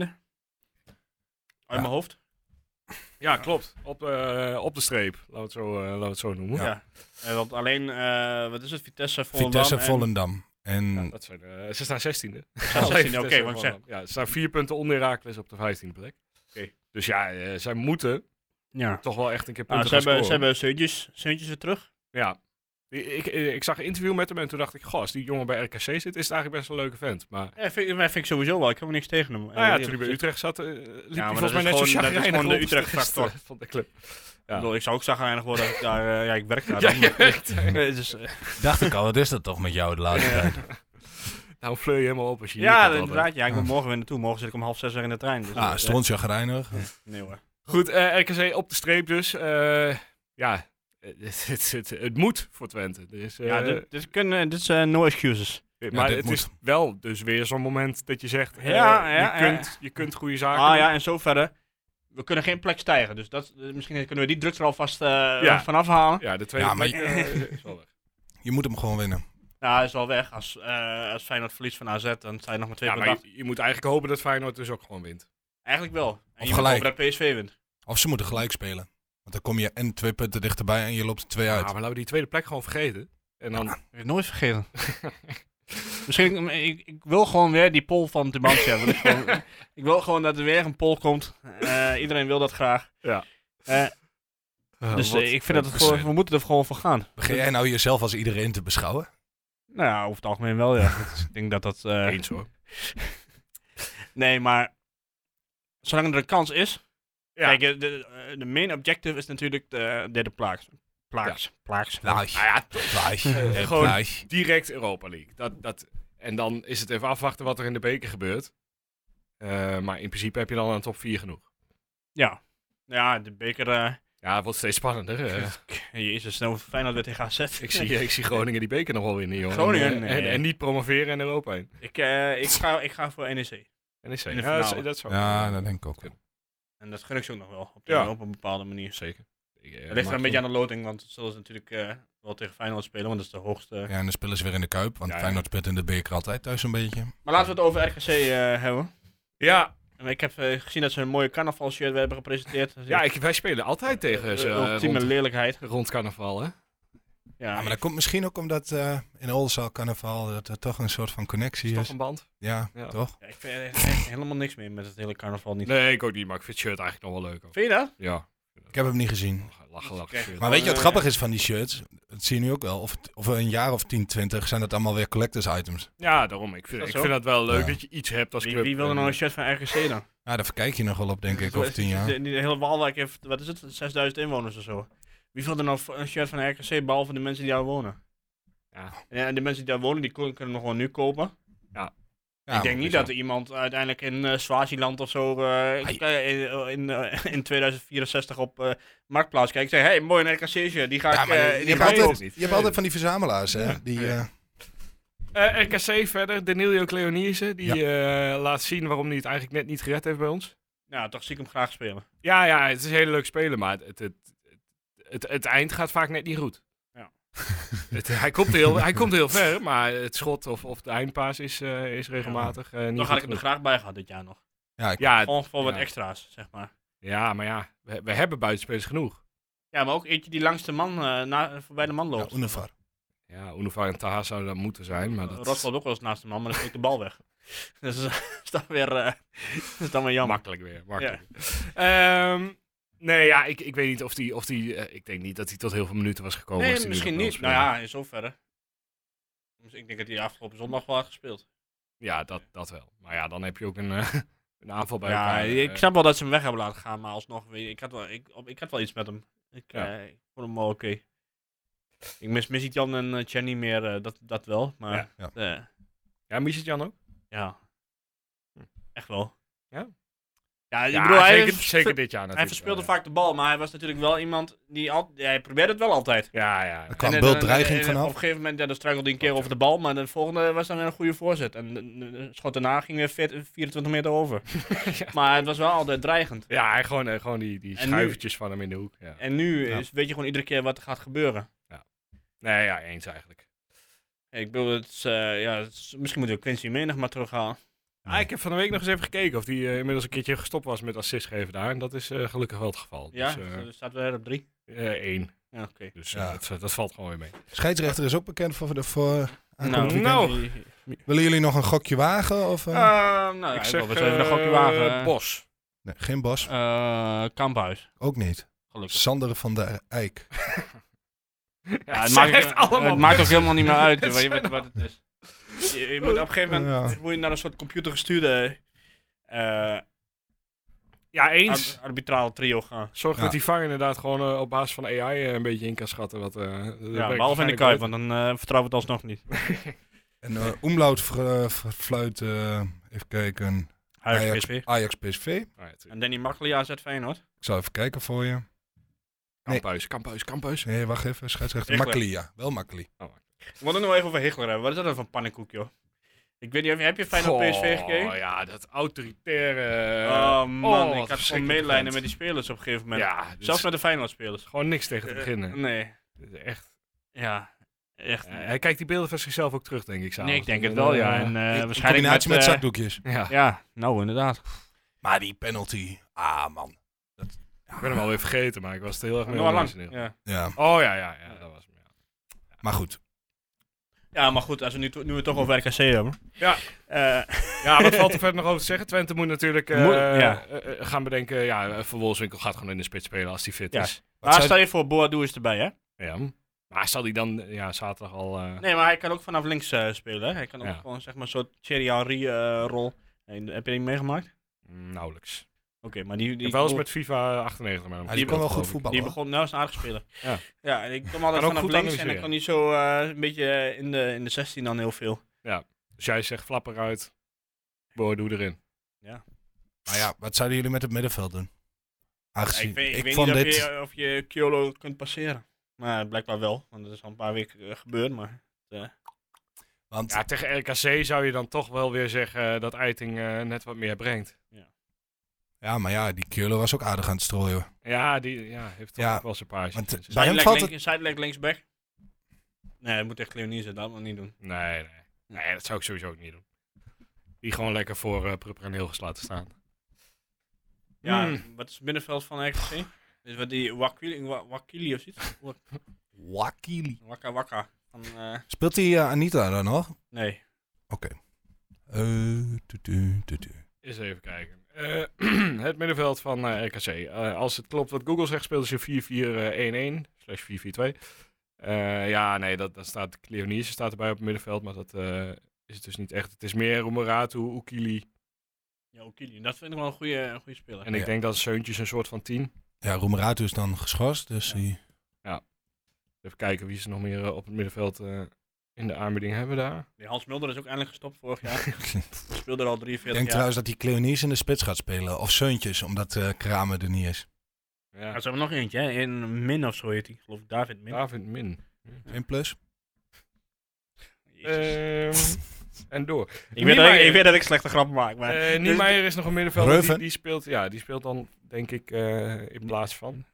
[SPEAKER 5] Uit mijn hoofd.
[SPEAKER 1] Ja, klopt. Op, eh, op de streep, laten we het zo, eh, laten we het zo noemen.
[SPEAKER 5] Ja. Eh, want alleen, eh, wat is het? Vitesse, Volendam
[SPEAKER 4] Vitesse
[SPEAKER 5] en-
[SPEAKER 4] Volendam. En
[SPEAKER 1] Dat zijn, eh, ze staan 16e.
[SPEAKER 5] Staan 16e, oké,
[SPEAKER 1] Vitesse
[SPEAKER 5] want
[SPEAKER 1] en
[SPEAKER 5] zeg-
[SPEAKER 1] Volendam. Ja, ze staan vier punten onder Heracles op de 15e plek.
[SPEAKER 5] Oké.
[SPEAKER 1] Dus ja, eh, zij moeten
[SPEAKER 5] Ja.
[SPEAKER 1] toch wel echt een keer
[SPEAKER 5] Ah,
[SPEAKER 1] punten
[SPEAKER 5] ze,
[SPEAKER 1] gaan
[SPEAKER 5] hebben, ze
[SPEAKER 1] scoren.
[SPEAKER 5] hebben Seuntjes, Seuntjes weer terug.
[SPEAKER 1] Ja. Ik, ik, ik zag een interview met hem en toen dacht ik, goh, als die jongen bij RKC zit, is het eigenlijk best een leuke vent. Maar
[SPEAKER 5] Ja, vind, maar vind ik sowieso wel. Ik heb er niks tegen hem. Eh,
[SPEAKER 1] nou ja, toen hij bij Utrecht zat, eh, liep hij
[SPEAKER 5] maar
[SPEAKER 1] volgens mij
[SPEAKER 5] dat
[SPEAKER 1] net
[SPEAKER 5] is
[SPEAKER 1] zo
[SPEAKER 5] gewoon- dat is
[SPEAKER 1] chagrijnig
[SPEAKER 5] gewoon de
[SPEAKER 1] rond als de
[SPEAKER 5] Utrecht-factor.
[SPEAKER 1] rest, eh, van de club.
[SPEAKER 5] Ik, bedoel, ik zou ook zeggen eigenlijk worden dat ik daar... eh, ja, ik werk daar.
[SPEAKER 1] Ja,
[SPEAKER 5] dan.
[SPEAKER 1] je werkt
[SPEAKER 5] Eh, dus, eh,
[SPEAKER 4] dacht ik al, wat is dat toch met jou de laatste tijd?
[SPEAKER 1] Nou, fleur je helemaal op als je hier
[SPEAKER 5] ja,
[SPEAKER 1] komt, altijd.
[SPEAKER 5] inderdaad. Ja, ik
[SPEAKER 1] Ah.
[SPEAKER 5] moet morgen weer naartoe. Morgen zit ik om half zes weer in de trein. Dus,
[SPEAKER 4] Ah,
[SPEAKER 5] eh,
[SPEAKER 4] strontjagrijnig.
[SPEAKER 5] Nee hoor.
[SPEAKER 1] Goed, eh, RKC op de streep dus. Eh, ja, eh, het, het, het, het moet voor Twente. Dus, eh,
[SPEAKER 5] ja, dit, dit, kunnen, dit is eh, no excuses.
[SPEAKER 1] maar
[SPEAKER 4] dit
[SPEAKER 1] het
[SPEAKER 4] moet.
[SPEAKER 1] is wel dus weer zo'n moment dat je zegt, eh,
[SPEAKER 5] Ja, ja,
[SPEAKER 1] je,
[SPEAKER 5] ja.
[SPEAKER 1] kunt, je kunt goede zaken
[SPEAKER 5] Ah
[SPEAKER 1] doen.
[SPEAKER 5] ja, en zoverre. We kunnen geen plek stijgen. Dus dat, eh, misschien kunnen we die druk er alvast eh vanaf halen.
[SPEAKER 1] Ja, de tweede
[SPEAKER 4] Ja, maar
[SPEAKER 1] plek, eh, is wel weg.
[SPEAKER 4] Je moet hem gewoon winnen.
[SPEAKER 5] Nou, hij is wel weg. Als, eh als Feyenoord verliest van AZ, dan zijn nog maar twee
[SPEAKER 1] Ja,
[SPEAKER 5] punten
[SPEAKER 1] maar
[SPEAKER 5] af.
[SPEAKER 1] je, je moet eigenlijk hopen dat Feyenoord dus ook gewoon wint.
[SPEAKER 5] Eigenlijk wel. En
[SPEAKER 4] Of
[SPEAKER 5] je moet
[SPEAKER 4] gelijk.
[SPEAKER 5] hopen dat PSV wint.
[SPEAKER 4] Of ze moeten gelijk spelen. Want dan kom je en twee punten dichterbij en je loopt er twee
[SPEAKER 1] Ja,
[SPEAKER 4] uit.
[SPEAKER 1] Ah, maar laten we die tweede plek gewoon vergeten. En dan,
[SPEAKER 5] Ik heb het nooit vergeten. Misschien, mm, ik, ik wil gewoon weer die poll van Tumantia. hebben. ik, gewoon- ik wil gewoon dat er weer een poll komt. Eh, iedereen wil dat graag.
[SPEAKER 1] Ja.
[SPEAKER 5] Eh, dus eh, ik vind dat het
[SPEAKER 4] wat-
[SPEAKER 5] gewoon, we moeten er gewoon voor gaan.
[SPEAKER 4] Begin jij nou jezelf als iedereen te beschouwen?
[SPEAKER 5] Nou ja, over het algemeen wel, ja. Dat is- ik denk dat dat... eh,
[SPEAKER 1] Eens hoor.
[SPEAKER 5] nee, maar zolang er een kans is...
[SPEAKER 1] Ja.
[SPEAKER 5] Kijk, eh, de, eh, de main objective is natuurlijk de derde plaats. Plaats. Plaats.
[SPEAKER 4] Plaatje.
[SPEAKER 5] Nou ja,
[SPEAKER 4] Plaatje. Eh,
[SPEAKER 1] gewoon-
[SPEAKER 4] plaatje.
[SPEAKER 1] Direct Europa League. Dat, dat, en dan is het even afwachten wat er in de beker gebeurt. Eh, maar in principe heb je dan een top 4 genoeg.
[SPEAKER 5] ja. Ja, de beker... eh,
[SPEAKER 1] Ja, het wordt steeds spannender. eh.
[SPEAKER 5] Jezus, nou fijn dat we tegen AZ.
[SPEAKER 1] ik, zie, ik zie Groningen die beker nog wel winnen, jongen.
[SPEAKER 5] Groningen?
[SPEAKER 1] En, eh, en,
[SPEAKER 5] Nee.
[SPEAKER 1] en niet promoveren in Europa heen.
[SPEAKER 5] Ik, eh, ik, ga, ik ga voor NEC.
[SPEAKER 1] NEC.
[SPEAKER 5] In de
[SPEAKER 1] Ja, dat, is-
[SPEAKER 5] finale.
[SPEAKER 1] dat zou
[SPEAKER 4] Ja, nou, dat denk ik ook.
[SPEAKER 5] En dat gun ik ze ook nog wel. Op,
[SPEAKER 1] Ja.
[SPEAKER 5] op een bepaalde manier.
[SPEAKER 1] zeker. Ik, eh,
[SPEAKER 5] Het ligt er een
[SPEAKER 1] mag-
[SPEAKER 5] beetje aan de loting, want het zullen ze natuurlijk eh, wel tegen Feyenoord spelen, want dat is de hoogste.
[SPEAKER 4] Ja, en dan spelen ze weer in de Kuip. Want
[SPEAKER 5] Ja, ja.
[SPEAKER 4] Feyenoord speelt in de beker altijd thuis een beetje.
[SPEAKER 5] Maar laten we het over RKC eh, hebben.
[SPEAKER 1] Ja,
[SPEAKER 5] En ik heb eh, gezien dat ze een mooie carnavalshirt hebben gepresenteerd. Dat is
[SPEAKER 1] ja
[SPEAKER 5] echt
[SPEAKER 1] ik, wij spelen altijd tegen ze
[SPEAKER 5] de
[SPEAKER 1] eh,
[SPEAKER 5] ultieme
[SPEAKER 1] rond,
[SPEAKER 5] lelijkheid.
[SPEAKER 1] rond carnaval, hè?
[SPEAKER 5] Ja,
[SPEAKER 4] Ja, maar dat komt misschien ook omdat eh, in Oldenzaal carnaval dat er toch een soort van connectie is.
[SPEAKER 1] Toch een band?
[SPEAKER 4] Ja,
[SPEAKER 1] Ja.
[SPEAKER 4] toch?
[SPEAKER 5] ik vind er echt, echt helemaal niks meer met het hele carnaval niet.
[SPEAKER 1] Nee, ik ook niet, maar ik vind het shirt eigenlijk nog wel leuk. Ook.
[SPEAKER 5] Vind je dat?
[SPEAKER 1] Ja,
[SPEAKER 4] Ik heb hem niet gezien.
[SPEAKER 1] lachen, lachen.
[SPEAKER 5] Kijk,
[SPEAKER 1] shirt.
[SPEAKER 4] Maar weet je wat
[SPEAKER 5] eh,
[SPEAKER 4] grappig is van die shirts? Dat zie je nu ook wel. Of, het- over een jaar of 10, 20 zijn dat allemaal weer collectors items.
[SPEAKER 1] Ja, daarom. Ik vind,
[SPEAKER 5] dat
[SPEAKER 1] ik
[SPEAKER 5] zo?
[SPEAKER 1] vind dat wel leuk
[SPEAKER 4] Ja.
[SPEAKER 1] dat je iets hebt als
[SPEAKER 5] Wie,
[SPEAKER 1] club.
[SPEAKER 5] wie wil er
[SPEAKER 1] En-
[SPEAKER 5] nou
[SPEAKER 1] eh,
[SPEAKER 5] een shirt van RKC dan?
[SPEAKER 4] Ja, daar verkijk je nog wel op, denk ik, over 10 jaar.
[SPEAKER 5] De, de- de hele Waalwijk heeft, wat is het, 6000 inwoners of zo. Wie wil er nou een shirt van RKC, behalve de mensen die daar wonen?
[SPEAKER 1] Ja.
[SPEAKER 5] En en de mensen die daar wonen, die kon- kunnen hem gewoon nu kopen.
[SPEAKER 4] Ja,
[SPEAKER 5] ik denk
[SPEAKER 1] Ah, dus
[SPEAKER 5] niet dat er iemand uiteindelijk in eh, Swaziland of zo
[SPEAKER 1] Ah,
[SPEAKER 5] eh,
[SPEAKER 4] Ai.
[SPEAKER 5] eh, in, eh, in 2064 op eh, Marktplaats kijkt en zegt, hey, mooi een RKC'sje, die ga
[SPEAKER 4] Ja,
[SPEAKER 5] ik...
[SPEAKER 4] maar
[SPEAKER 5] eh,
[SPEAKER 4] je,
[SPEAKER 5] die
[SPEAKER 4] hebt
[SPEAKER 5] ga ik
[SPEAKER 4] altijd,
[SPEAKER 5] kopen."
[SPEAKER 4] je hebt altijd van die verzamelaars, hè? Die, eh,
[SPEAKER 1] Eh, RKC verder, Danilo Cleonise, die eh, laat zien waarom hij het eigenlijk net niet gered heeft bij ons.
[SPEAKER 5] Nou, toch zie ik hem graag spelen.
[SPEAKER 1] Ja, ja, het is een hele leuk spelen, maar het, het, het, het, het eind gaat vaak net niet goed.
[SPEAKER 5] Ja.
[SPEAKER 1] het, hij, komt heel, hij komt heel ver, maar het schot of, of de eindpaas is, eh, is regelmatig eh, niet
[SPEAKER 5] Dan
[SPEAKER 1] goed
[SPEAKER 5] had ik hem er
[SPEAKER 1] genoeg.
[SPEAKER 5] graag bij gehad dit jaar nog.
[SPEAKER 4] ja, ik-
[SPEAKER 1] ja, het-
[SPEAKER 5] Gewoon voor wat
[SPEAKER 1] ja.
[SPEAKER 5] extra's, zeg maar.
[SPEAKER 1] ja, maar ja, we, we hebben buitenspelers genoeg.
[SPEAKER 5] Ja, maar ook eentje die langs de man, eh, na, voorbij de man
[SPEAKER 4] ja,
[SPEAKER 5] loopt.
[SPEAKER 4] Unifar.
[SPEAKER 1] Ja, Unifar en Taha zouden dat moeten zijn, maar
[SPEAKER 5] Eh, Rot
[SPEAKER 1] dat
[SPEAKER 5] loopt ook wel eens naast de man, maar dan steekt de bal weg. Dus dat is dan weer, eh, dat is dan weer jammer.
[SPEAKER 1] Makkelijk weer. Makkelijk. Ehm, nee, ja, ik, ik weet niet of die. Of die eh, ik denk niet dat hij tot heel veel minuten was gekomen. als
[SPEAKER 5] nee,
[SPEAKER 1] die nu
[SPEAKER 5] misschien
[SPEAKER 1] had
[SPEAKER 5] niet. Nou
[SPEAKER 1] willen
[SPEAKER 5] ja, in zoverre. Dus ik denk dat hij afgelopen zondag wel had gespeeld.
[SPEAKER 1] spelen. Ja, dat, dat wel. Maar ja, dan heb je ook een, eh, een aanval bij
[SPEAKER 5] ja,
[SPEAKER 1] elkaar. eh,
[SPEAKER 5] ik snap wel dat ze hem weg hebben laten gaan, maar alsnog, weet je, ik had wel, ik, op- ik had wel iets met hem. Ik,
[SPEAKER 1] Ja.
[SPEAKER 5] eh, ik vond hem wel oké. Ik mis Jan en eh, Chen niet meer, eh, dat, dat wel, maar
[SPEAKER 4] Ja,
[SPEAKER 5] ja,
[SPEAKER 1] ja, Michel Jan ook?
[SPEAKER 5] ja. echt wel.
[SPEAKER 1] Ja?
[SPEAKER 5] Ja, ik
[SPEAKER 1] Ja,
[SPEAKER 5] bedoel, hij,
[SPEAKER 1] zeker,
[SPEAKER 5] vers-
[SPEAKER 1] zeker dit jaar natuurlijk.
[SPEAKER 5] hij verspeelde
[SPEAKER 1] wel,
[SPEAKER 5] vaak de bal, maar hij was natuurlijk wel iemand die al, ja, hij probeerde het wel altijd.
[SPEAKER 1] Ja, ja. ja.
[SPEAKER 4] Er kwam
[SPEAKER 5] En, eh, dan-
[SPEAKER 4] bultdreiging
[SPEAKER 5] en, eh, Op
[SPEAKER 4] vanaf.
[SPEAKER 5] een gegeven moment ja, dan struikelde hij een keer over de bal, maar de volgende was dan weer een goede voorzet. En de, de schot daarna ging weer veert- 24 meter over. Maar het was wel altijd dreigend.
[SPEAKER 1] Ja, hij gewoon, eh, gewoon die, die
[SPEAKER 5] En nu-
[SPEAKER 1] schuivertjes van hem in de hoek. Ja.
[SPEAKER 5] En nu
[SPEAKER 1] Ja.
[SPEAKER 5] is, weet je gewoon iedere keer wat er gaat gebeuren.
[SPEAKER 1] Nee, ja, eens eigenlijk.
[SPEAKER 5] Ik bedoel, het is, eh, ja, het is- misschien moeten we Quincy Menig maar terughalen.
[SPEAKER 1] Ah, ik heb van de week nog eens even gekeken of hij inmiddels een keertje gestopt was met assist geven daar. En dat is eh, gelukkig wel het geval.
[SPEAKER 5] Ja,
[SPEAKER 1] Dus,
[SPEAKER 5] dus,
[SPEAKER 1] eh,
[SPEAKER 5] eh, staat weer op drie.
[SPEAKER 1] eh, één.
[SPEAKER 5] Ja, oké.
[SPEAKER 1] Dus eh,
[SPEAKER 4] Ja.
[SPEAKER 1] dat, dat valt gewoon weer mee.
[SPEAKER 4] Scheidsrechter is ook bekend voor... De, voor aankomend weekend.
[SPEAKER 1] nou.
[SPEAKER 5] eh,
[SPEAKER 4] Willen jullie nog een gokje wagen? Of, eh?
[SPEAKER 5] nou, ja,
[SPEAKER 1] ik
[SPEAKER 5] ik
[SPEAKER 1] zeg
[SPEAKER 5] wil best even een gokje
[SPEAKER 1] eh,
[SPEAKER 5] wagen.
[SPEAKER 1] Bos.
[SPEAKER 4] nee, geen Bos.
[SPEAKER 5] Eh, Kamphuis,
[SPEAKER 4] Ook niet.
[SPEAKER 5] gelukkig.
[SPEAKER 4] Sander van der Eijk.
[SPEAKER 5] Ja,
[SPEAKER 1] Ze
[SPEAKER 5] maakt,
[SPEAKER 1] heeft allemaal
[SPEAKER 5] het maakt ook
[SPEAKER 1] mensen.
[SPEAKER 5] helemaal niet meer uit
[SPEAKER 1] Het
[SPEAKER 5] wat, je-
[SPEAKER 1] zijn
[SPEAKER 5] wat, wat het is. Je, je moet op een gegeven moment
[SPEAKER 4] Ja.
[SPEAKER 5] moet je naar een soort computergestuurde eh
[SPEAKER 1] Ja, eens.
[SPEAKER 5] ar- arbitraal trio gaan.
[SPEAKER 1] Zorg
[SPEAKER 4] Ja.
[SPEAKER 1] dat die VAR inderdaad gewoon eh, op basis van AI eh, een beetje in kan schatten. Wat, eh, dat werkt
[SPEAKER 5] Ja, behalve in de
[SPEAKER 1] waarschijnlijk
[SPEAKER 5] Kuip,
[SPEAKER 1] wel.
[SPEAKER 5] want dan eh, vertrouwen we het alsnog niet.
[SPEAKER 4] En eh Umlaut vr- vr- fluit, eh, even kijken,
[SPEAKER 5] Huis
[SPEAKER 4] Ajax.
[SPEAKER 5] PSV.
[SPEAKER 4] Ajax PSV.
[SPEAKER 1] Ah, ja, tuurlijk.
[SPEAKER 5] En Danny Makkely, AZ Feyenoord.
[SPEAKER 4] Ik zal even kijken voor je. Nee.
[SPEAKER 1] Kamphuis, kamphuis, kamphuis.
[SPEAKER 4] Nee, wacht even, scheidsrechter.
[SPEAKER 5] Echt,
[SPEAKER 4] Makkeli, ja. Wel Makkeli.
[SPEAKER 5] We moeten nog even over Hichler hebben. Wat is dat dan voor een pannenkoek, joh? Ik weet niet, heb je Feyenoord PSV
[SPEAKER 1] Oh
[SPEAKER 5] gekeken?
[SPEAKER 1] ja, dat autoritaire...
[SPEAKER 5] oh man,
[SPEAKER 1] oh,
[SPEAKER 5] ik
[SPEAKER 1] wat
[SPEAKER 5] had gewoon
[SPEAKER 1] verschrikkelijk
[SPEAKER 5] medelijden
[SPEAKER 1] vent.
[SPEAKER 5] met die spelers op een gegeven moment.
[SPEAKER 1] Ja, dus
[SPEAKER 5] Zelfs met de Feyenoord-spelers.
[SPEAKER 1] gewoon niks tegen te
[SPEAKER 5] Eh,
[SPEAKER 1] beginnen.
[SPEAKER 5] Nee,
[SPEAKER 1] Dit is Echt.
[SPEAKER 5] ja, echt.
[SPEAKER 1] Eh, hij kijkt die beelden van zichzelf ook terug, denk ik.
[SPEAKER 5] nee,
[SPEAKER 1] s'avonds.
[SPEAKER 5] ik denk het wel, ja. En, eh,
[SPEAKER 4] In
[SPEAKER 5] waarschijnlijk
[SPEAKER 4] combinatie met,
[SPEAKER 5] eh,
[SPEAKER 4] zakdoekjes.
[SPEAKER 1] ja.
[SPEAKER 5] Ja, nou inderdaad.
[SPEAKER 4] Maar die penalty, ah man.
[SPEAKER 1] Ik ben hem alweer vergeten, maar ik was het heel erg mee
[SPEAKER 5] Nou, al
[SPEAKER 1] oneens
[SPEAKER 5] lang.
[SPEAKER 1] in ieder
[SPEAKER 5] Ja.
[SPEAKER 4] Ja,
[SPEAKER 5] Ah,
[SPEAKER 1] geval. Oh ja, ja, ja, dat was hem, ja.
[SPEAKER 4] maar goed.
[SPEAKER 5] Ja, maar goed, als we nu, to- nu we het toch over RKC hebben.
[SPEAKER 1] Ja.
[SPEAKER 5] Eh,
[SPEAKER 1] Ja, wat valt er verder nog over te zeggen? Twente moet natuurlijk eh,
[SPEAKER 5] Moet- ja.
[SPEAKER 1] eh, eh, gaan bedenken. Ja, Van Wolfswinkel gaat gewoon in de spits spelen als hij fit
[SPEAKER 5] Ja.
[SPEAKER 1] is.
[SPEAKER 4] Wat
[SPEAKER 5] maar
[SPEAKER 4] zou-
[SPEAKER 5] stel je voor, Boadu is erbij, hè?
[SPEAKER 1] Ja. Maar zal hij dan eh, ja, zaterdag al... eh,
[SPEAKER 5] Nee, maar hij kan ook vanaf links eh, spelen. hè? Hij kan ook
[SPEAKER 1] Ja.
[SPEAKER 5] gewoon zeg maar een soort Thierry Henry eh, rol. Nee, heb je die meegemaakt? Oké,
[SPEAKER 1] Nauwelijks.
[SPEAKER 5] maar die, die,
[SPEAKER 1] Ik heb wel eens
[SPEAKER 5] die-
[SPEAKER 1] met FIFA 98 met hem
[SPEAKER 4] Hij Ah, kan wel goed voetballen.
[SPEAKER 5] die
[SPEAKER 4] hoor.
[SPEAKER 5] begon nou is een aardig speler.
[SPEAKER 1] Ja.
[SPEAKER 5] ja, en ik kwam altijd
[SPEAKER 1] ook
[SPEAKER 5] vanaf
[SPEAKER 1] goed
[SPEAKER 5] links en dan
[SPEAKER 1] analyseren.
[SPEAKER 5] kon hij zo eh, een beetje eh, in, de, in de 16 dan heel veel.
[SPEAKER 1] Dus jij zegt flapper uit, doe erin.
[SPEAKER 4] Maar ja, wat zouden jullie met het middenveld doen? Aangezien
[SPEAKER 5] ik
[SPEAKER 4] ik,
[SPEAKER 5] weet, ik weet
[SPEAKER 4] vond
[SPEAKER 5] niet
[SPEAKER 4] dit...
[SPEAKER 5] of, je, of je Kyolo kunt passeren. Maar blijkbaar wel, want dat is al een paar weken eh, gebeurd. Maar
[SPEAKER 4] Want
[SPEAKER 1] Ja, tegen RKC zou je dan toch wel weer zeggen eh, dat Eiting eh, net wat meer brengt.
[SPEAKER 4] Ja, maar ja, die Keulen was ook aardig aan het strooien.
[SPEAKER 1] Ja, die ja, heeft toch
[SPEAKER 4] Ja,
[SPEAKER 1] ook wel zijn paasje.
[SPEAKER 4] want,
[SPEAKER 1] mensen.
[SPEAKER 4] Bij hem
[SPEAKER 5] Sideleg
[SPEAKER 4] valt
[SPEAKER 5] link- sideleg linksback. Nee, dat moet echt Leonize, dat moet niet doen.
[SPEAKER 4] eh,
[SPEAKER 1] Nee, nee. Nee, dat zou ik sowieso ook niet doen. Die gewoon lekker voor eh Prupper en Hilgers laten staan.
[SPEAKER 5] Ja,
[SPEAKER 1] Hmm.
[SPEAKER 5] wat is het middenveld van RKC? Is wat die Wakili, Wa- Wakili of zoiets? Wak-
[SPEAKER 4] Wakili.
[SPEAKER 5] Wakka Wakka. Van, eh,
[SPEAKER 4] Speelt die eh, Anita dan nog?
[SPEAKER 5] nee.
[SPEAKER 4] Eh, tutu, tutu.
[SPEAKER 1] Eens even kijken. Eh, het middenveld van eh, RKC. Eh, als het klopt wat Google zegt, speelden ze 4-4-1-1. eh, Slash 4-4-2. Eh, ja, nee, dat, dat staat, Cleonice staat erbij op het middenveld, maar dat eh, is het dus niet echt. Het is meer Romeratu, Ukili.
[SPEAKER 5] Ja, Wakili. Dat vind ik wel een goede, een goede speler.
[SPEAKER 1] En ik
[SPEAKER 4] Ah, Ja.
[SPEAKER 1] denk dat Seuntjes een soort van 10.
[SPEAKER 4] Ja, Roemeratu is dan geschorst, dus die...
[SPEAKER 1] Even kijken wie ze nog meer eh, op het middenveld eh, in de aanbieding hebben daar.
[SPEAKER 5] Die Hans Mulder is ook eindelijk gestopt vorig jaar. Die speelde er al
[SPEAKER 4] Ik
[SPEAKER 5] 43
[SPEAKER 4] denk
[SPEAKER 5] jaar.
[SPEAKER 4] trouwens dat die Cleonice in de spits gaat spelen. Of Seuntjes, omdat eh Kramer er niet is.
[SPEAKER 5] Ja,
[SPEAKER 1] Ja,
[SPEAKER 5] ze hebben Nou, nog eentje, hè. In Min of zo heet hij. Geloof ik, David Min.
[SPEAKER 1] David Min.
[SPEAKER 4] Geen plus.
[SPEAKER 5] Jezus.
[SPEAKER 1] Ehm, en door.
[SPEAKER 5] ik, weet dat
[SPEAKER 1] Niemeyer.
[SPEAKER 5] ik, ik weet dat ik slechte grappen maak, maar...
[SPEAKER 1] Eh Niemeyer is nog een middenvelder. Die,
[SPEAKER 4] Reuven.
[SPEAKER 1] die, speelt, ja, die speelt dan, denk ik, eh, in plaats van.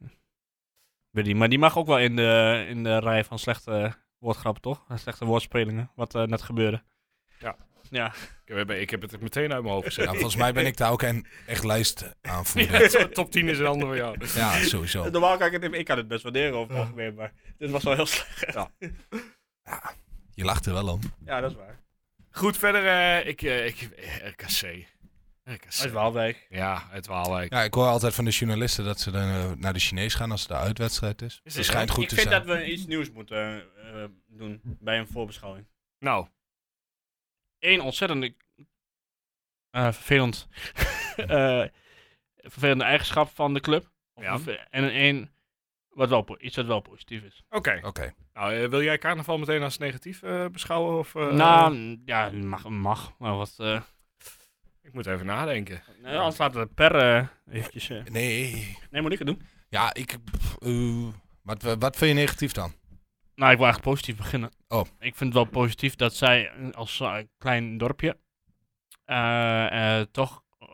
[SPEAKER 5] Weet die, maar die mag ook wel in de, in de rij van slechte woordgrappen, toch? Slechte woordspelingen, wat eh, net gebeurde.
[SPEAKER 1] Ik heb, ik heb het er meteen uit mijn hoofd gezet.
[SPEAKER 4] Ja, volgens mij ben ik daar ook een echt lijst aanvoerder.
[SPEAKER 1] Ja, to- top 10 is een ander voor jou.
[SPEAKER 4] Ja, sowieso.
[SPEAKER 5] Normaal kan ik het... Ik kan het best waarderen over het algemeen, maar... Dit was wel heel slecht.
[SPEAKER 4] Je lacht er wel om.
[SPEAKER 5] Ja, dat is waar.
[SPEAKER 1] Goed, verder. eh, ik, eh, ik, eh, RKC.
[SPEAKER 5] Uit
[SPEAKER 1] RKC.
[SPEAKER 5] Waalwijk.
[SPEAKER 1] Ja, uit Waalwijk.
[SPEAKER 4] Ja, ik hoor altijd van de journalisten dat ze dan, eh, naar de Chinees gaan als het de uitwedstrijd is.
[SPEAKER 1] Is
[SPEAKER 4] Het
[SPEAKER 1] het
[SPEAKER 4] schijnt goed
[SPEAKER 5] ik
[SPEAKER 4] te
[SPEAKER 5] vind
[SPEAKER 4] zijn.
[SPEAKER 5] dat we iets nieuws moeten eh, eh, doen bij een voorbeschouwing.
[SPEAKER 1] Nou,
[SPEAKER 5] Eén ontzettend eh, vervelend, eh, vervelende eigenschap van de club. Of
[SPEAKER 1] Ja.
[SPEAKER 5] een- En één wat wel, po- iets wat wel positief is.
[SPEAKER 1] oké.
[SPEAKER 4] Oké.
[SPEAKER 1] Nou, eh, wil jij carnaval meteen als negatief eh, beschouwen? Of, eh,
[SPEAKER 5] nou, mm, ja, mag, mag maar wat... eh
[SPEAKER 1] Ik moet even nadenken.
[SPEAKER 5] nou, anders laten we per eh, eventjes... eh,
[SPEAKER 4] Nee.
[SPEAKER 5] nee, moet ik het doen?
[SPEAKER 4] Ja, ik... pff, eh, wat, wat vind je negatief dan?
[SPEAKER 5] Nou, ik wil eigenlijk positief beginnen.
[SPEAKER 4] Oh.
[SPEAKER 5] Ik vind het wel positief dat zij eh, als eh, klein dorpje eh, eh, toch eh,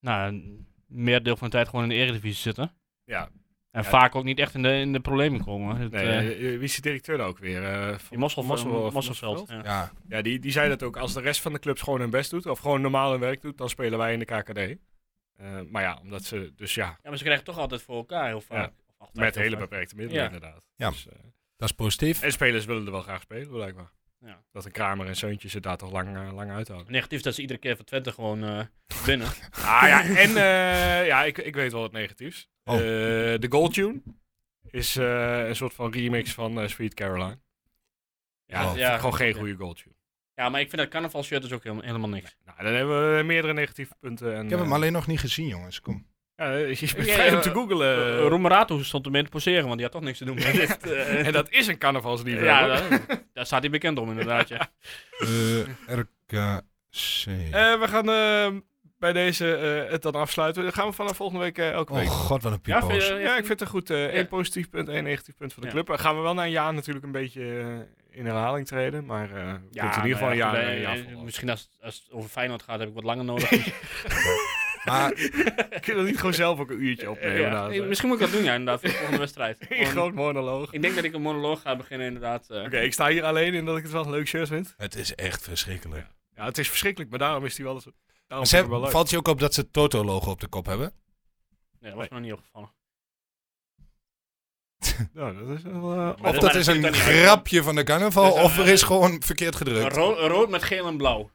[SPEAKER 5] nou, een meerdeel van de tijd gewoon in de eredivisie zitten.
[SPEAKER 1] Ja.
[SPEAKER 5] En
[SPEAKER 1] Ja.
[SPEAKER 5] vaak ook niet echt in de, in de problemen komen. Het,
[SPEAKER 1] Nee,
[SPEAKER 5] eh,
[SPEAKER 1] eh, wie is de directeur nou ook weer? eh, van
[SPEAKER 5] die Mossel,
[SPEAKER 1] Mossel-
[SPEAKER 5] Mossel,
[SPEAKER 1] Mosselveld?
[SPEAKER 5] Ja.
[SPEAKER 4] Ja,
[SPEAKER 1] Ja, die, die zei dat ook. Als de rest van de clubs gewoon hun best doet, of gewoon normaal hun werk doet, dan spelen wij in de KKD. Eh, maar ja, omdat ze dus ja,
[SPEAKER 5] Ja, maar ze krijgen het toch altijd voor elkaar heel vaak. Of altijd
[SPEAKER 1] met
[SPEAKER 5] heel
[SPEAKER 1] hele
[SPEAKER 5] vaak.
[SPEAKER 1] beperkte middelen
[SPEAKER 5] Ja.
[SPEAKER 1] inderdaad.
[SPEAKER 4] Ja.
[SPEAKER 1] Dus, eh,
[SPEAKER 4] dat is positief.
[SPEAKER 1] en spelers willen er wel graag spelen, blijkbaar.
[SPEAKER 5] Ja.
[SPEAKER 1] Dat een Kramer en Zeuntje ze daar toch lang, eh, lang uithouden.
[SPEAKER 5] Negatief dat ze iedere keer van Twente gewoon eh winnen.
[SPEAKER 1] Ah ja, en eh, ja, ik, ik weet wel wat negatiefs.
[SPEAKER 4] Oh.
[SPEAKER 1] Eh, de Gold Tune is eh, een soort van remix van eh, Sweet Caroline. Ja,
[SPEAKER 4] Oh.
[SPEAKER 1] dat vind
[SPEAKER 5] Ja.
[SPEAKER 1] ik gewoon geen goede Gold Tune.
[SPEAKER 5] ja, maar ik vind dat carnavalshirt dus ook helemaal, helemaal niks.
[SPEAKER 1] Nou, dan hebben we meerdere negatieve punten. En,
[SPEAKER 4] Ik heb hem
[SPEAKER 1] eh,
[SPEAKER 4] alleen nog niet gezien, jongens. Kom.
[SPEAKER 1] ja, eh, je bent
[SPEAKER 5] Ja,
[SPEAKER 1] vrij om
[SPEAKER 5] eh,
[SPEAKER 1] te
[SPEAKER 5] Uh,
[SPEAKER 1] googlen.
[SPEAKER 5] stond ermee te poseren, want die had toch niks te doen. met dit, eh,
[SPEAKER 1] en dat is een carnavalsliefde.
[SPEAKER 5] Ja, daar, daar staat hij bekend om inderdaad. Ja.
[SPEAKER 4] Eh RKC.
[SPEAKER 1] Eh, we gaan eh, bij deze eh, het dan afsluiten. Dan gaan we vanaf volgende week eh, elke
[SPEAKER 4] oh
[SPEAKER 1] week.
[SPEAKER 4] god, wat een
[SPEAKER 5] Ja, vind
[SPEAKER 4] pipoos.
[SPEAKER 5] je-
[SPEAKER 1] Ja, ik vind het goed. eh
[SPEAKER 5] Ja.
[SPEAKER 1] één positief punt, één negatief punt voor de
[SPEAKER 5] Ja.
[SPEAKER 1] club. Dan gaan we wel na een jaar natuurlijk een beetje eh, in herhaling treden. Maar eh we moeten in ieder geval
[SPEAKER 5] nou
[SPEAKER 1] een
[SPEAKER 5] ja,
[SPEAKER 1] jaar,
[SPEAKER 5] goed,
[SPEAKER 1] een
[SPEAKER 5] eh,
[SPEAKER 1] jaar
[SPEAKER 5] eh,
[SPEAKER 1] volhouden.
[SPEAKER 5] Misschien als, als het over Feyenoord gaat, heb ik wat langer nodig. Eh,
[SPEAKER 4] Maar
[SPEAKER 1] Kunnen we niet gewoon zelf ook een uurtje opnemen?
[SPEAKER 5] ja.
[SPEAKER 1] na
[SPEAKER 5] Eh,
[SPEAKER 1] het, eh,
[SPEAKER 5] Misschien moet ik dat doen, ja, inderdaad, voor de volgende wedstrijd.
[SPEAKER 1] één
[SPEAKER 5] Gewoon-
[SPEAKER 1] groot monoloog. Oké,
[SPEAKER 5] ik denk dat ik een monoloog ga beginnen, inderdaad. eh.
[SPEAKER 1] ik sta hier alleen in dat ik het wel een leuk shirt vind.
[SPEAKER 4] het is echt verschrikkelijk.
[SPEAKER 1] Ja, het is verschrikkelijk, maar daarom is die wel... Daarom
[SPEAKER 4] Ze
[SPEAKER 1] vind ik het wel
[SPEAKER 4] hebben-
[SPEAKER 1] leuk.
[SPEAKER 4] valt je ook op dat ze het Toto-logo op de kop hebben?
[SPEAKER 5] Nee, dat was me nog niet opgevallen.
[SPEAKER 1] Ja, dat is wel, eh,
[SPEAKER 5] Maar
[SPEAKER 4] Of
[SPEAKER 5] dat
[SPEAKER 4] dat
[SPEAKER 5] maakt
[SPEAKER 4] is
[SPEAKER 5] natuurlijk
[SPEAKER 4] een
[SPEAKER 5] dan niet uit.
[SPEAKER 4] grapje van de carnaval,
[SPEAKER 5] Dus, eh,
[SPEAKER 4] of er is gewoon verkeerd gedrukt.
[SPEAKER 5] Ro- rood met geel en blauw.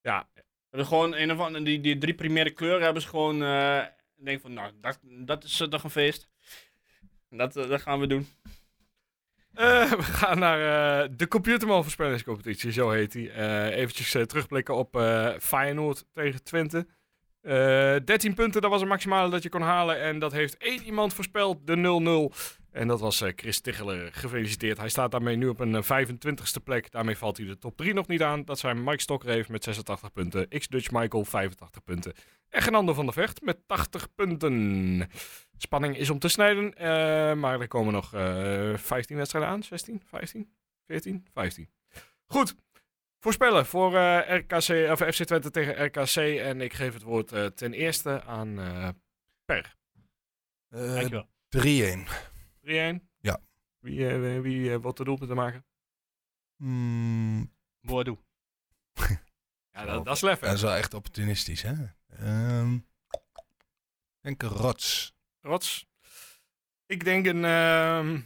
[SPEAKER 1] Ja.
[SPEAKER 5] Dat is gewoon een of andere, die, die drie primaire kleuren hebben ze gewoon. eh, ik denk van, nou, dat, dat is eh, toch een feest. Dat, eh, dat gaan we doen.
[SPEAKER 1] Eh, we gaan naar eh, de Computerman voorspellingscompetitie, zo heet die. Even eventjes eh, terugblikken op eh Feyenoord tegen Twente. Eh 13 punten, dat was het maximale dat je kon halen. En dat heeft één iemand voorspeld, de 0-0. En dat was eh, Chris Ticheler. Gefeliciteerd. Hij staat daarmee nu op een eh, 25ste plek. Daarmee valt hij de top 3 nog niet aan. Dat zijn Mike Stokreef met 86 punten. X-Dutch Michael 85 punten. En Genando van der Vecht met 80 punten. Spanning is om te snijden, eh, maar er komen nog eh 15 wedstrijden aan. 16, 15, 14, 15. Goed, voorspellen voor eh, RKC, of FC Twente tegen RKC. En ik geef het woord eh, ten eerste aan eh, Per.
[SPEAKER 4] Eh,
[SPEAKER 5] Dankjewel.
[SPEAKER 4] 3-1.
[SPEAKER 1] 3-1.
[SPEAKER 4] Ja.
[SPEAKER 1] Wie, eh, wie eh, wordt de doelpunten maken?
[SPEAKER 4] Hmm,
[SPEAKER 6] Boadu.
[SPEAKER 1] Ja, dat, dat is lef.
[SPEAKER 4] dat is wel echt opportunistisch, hè? Ehm, ik denk een rots.
[SPEAKER 1] Rots. Ik denk een, ehm,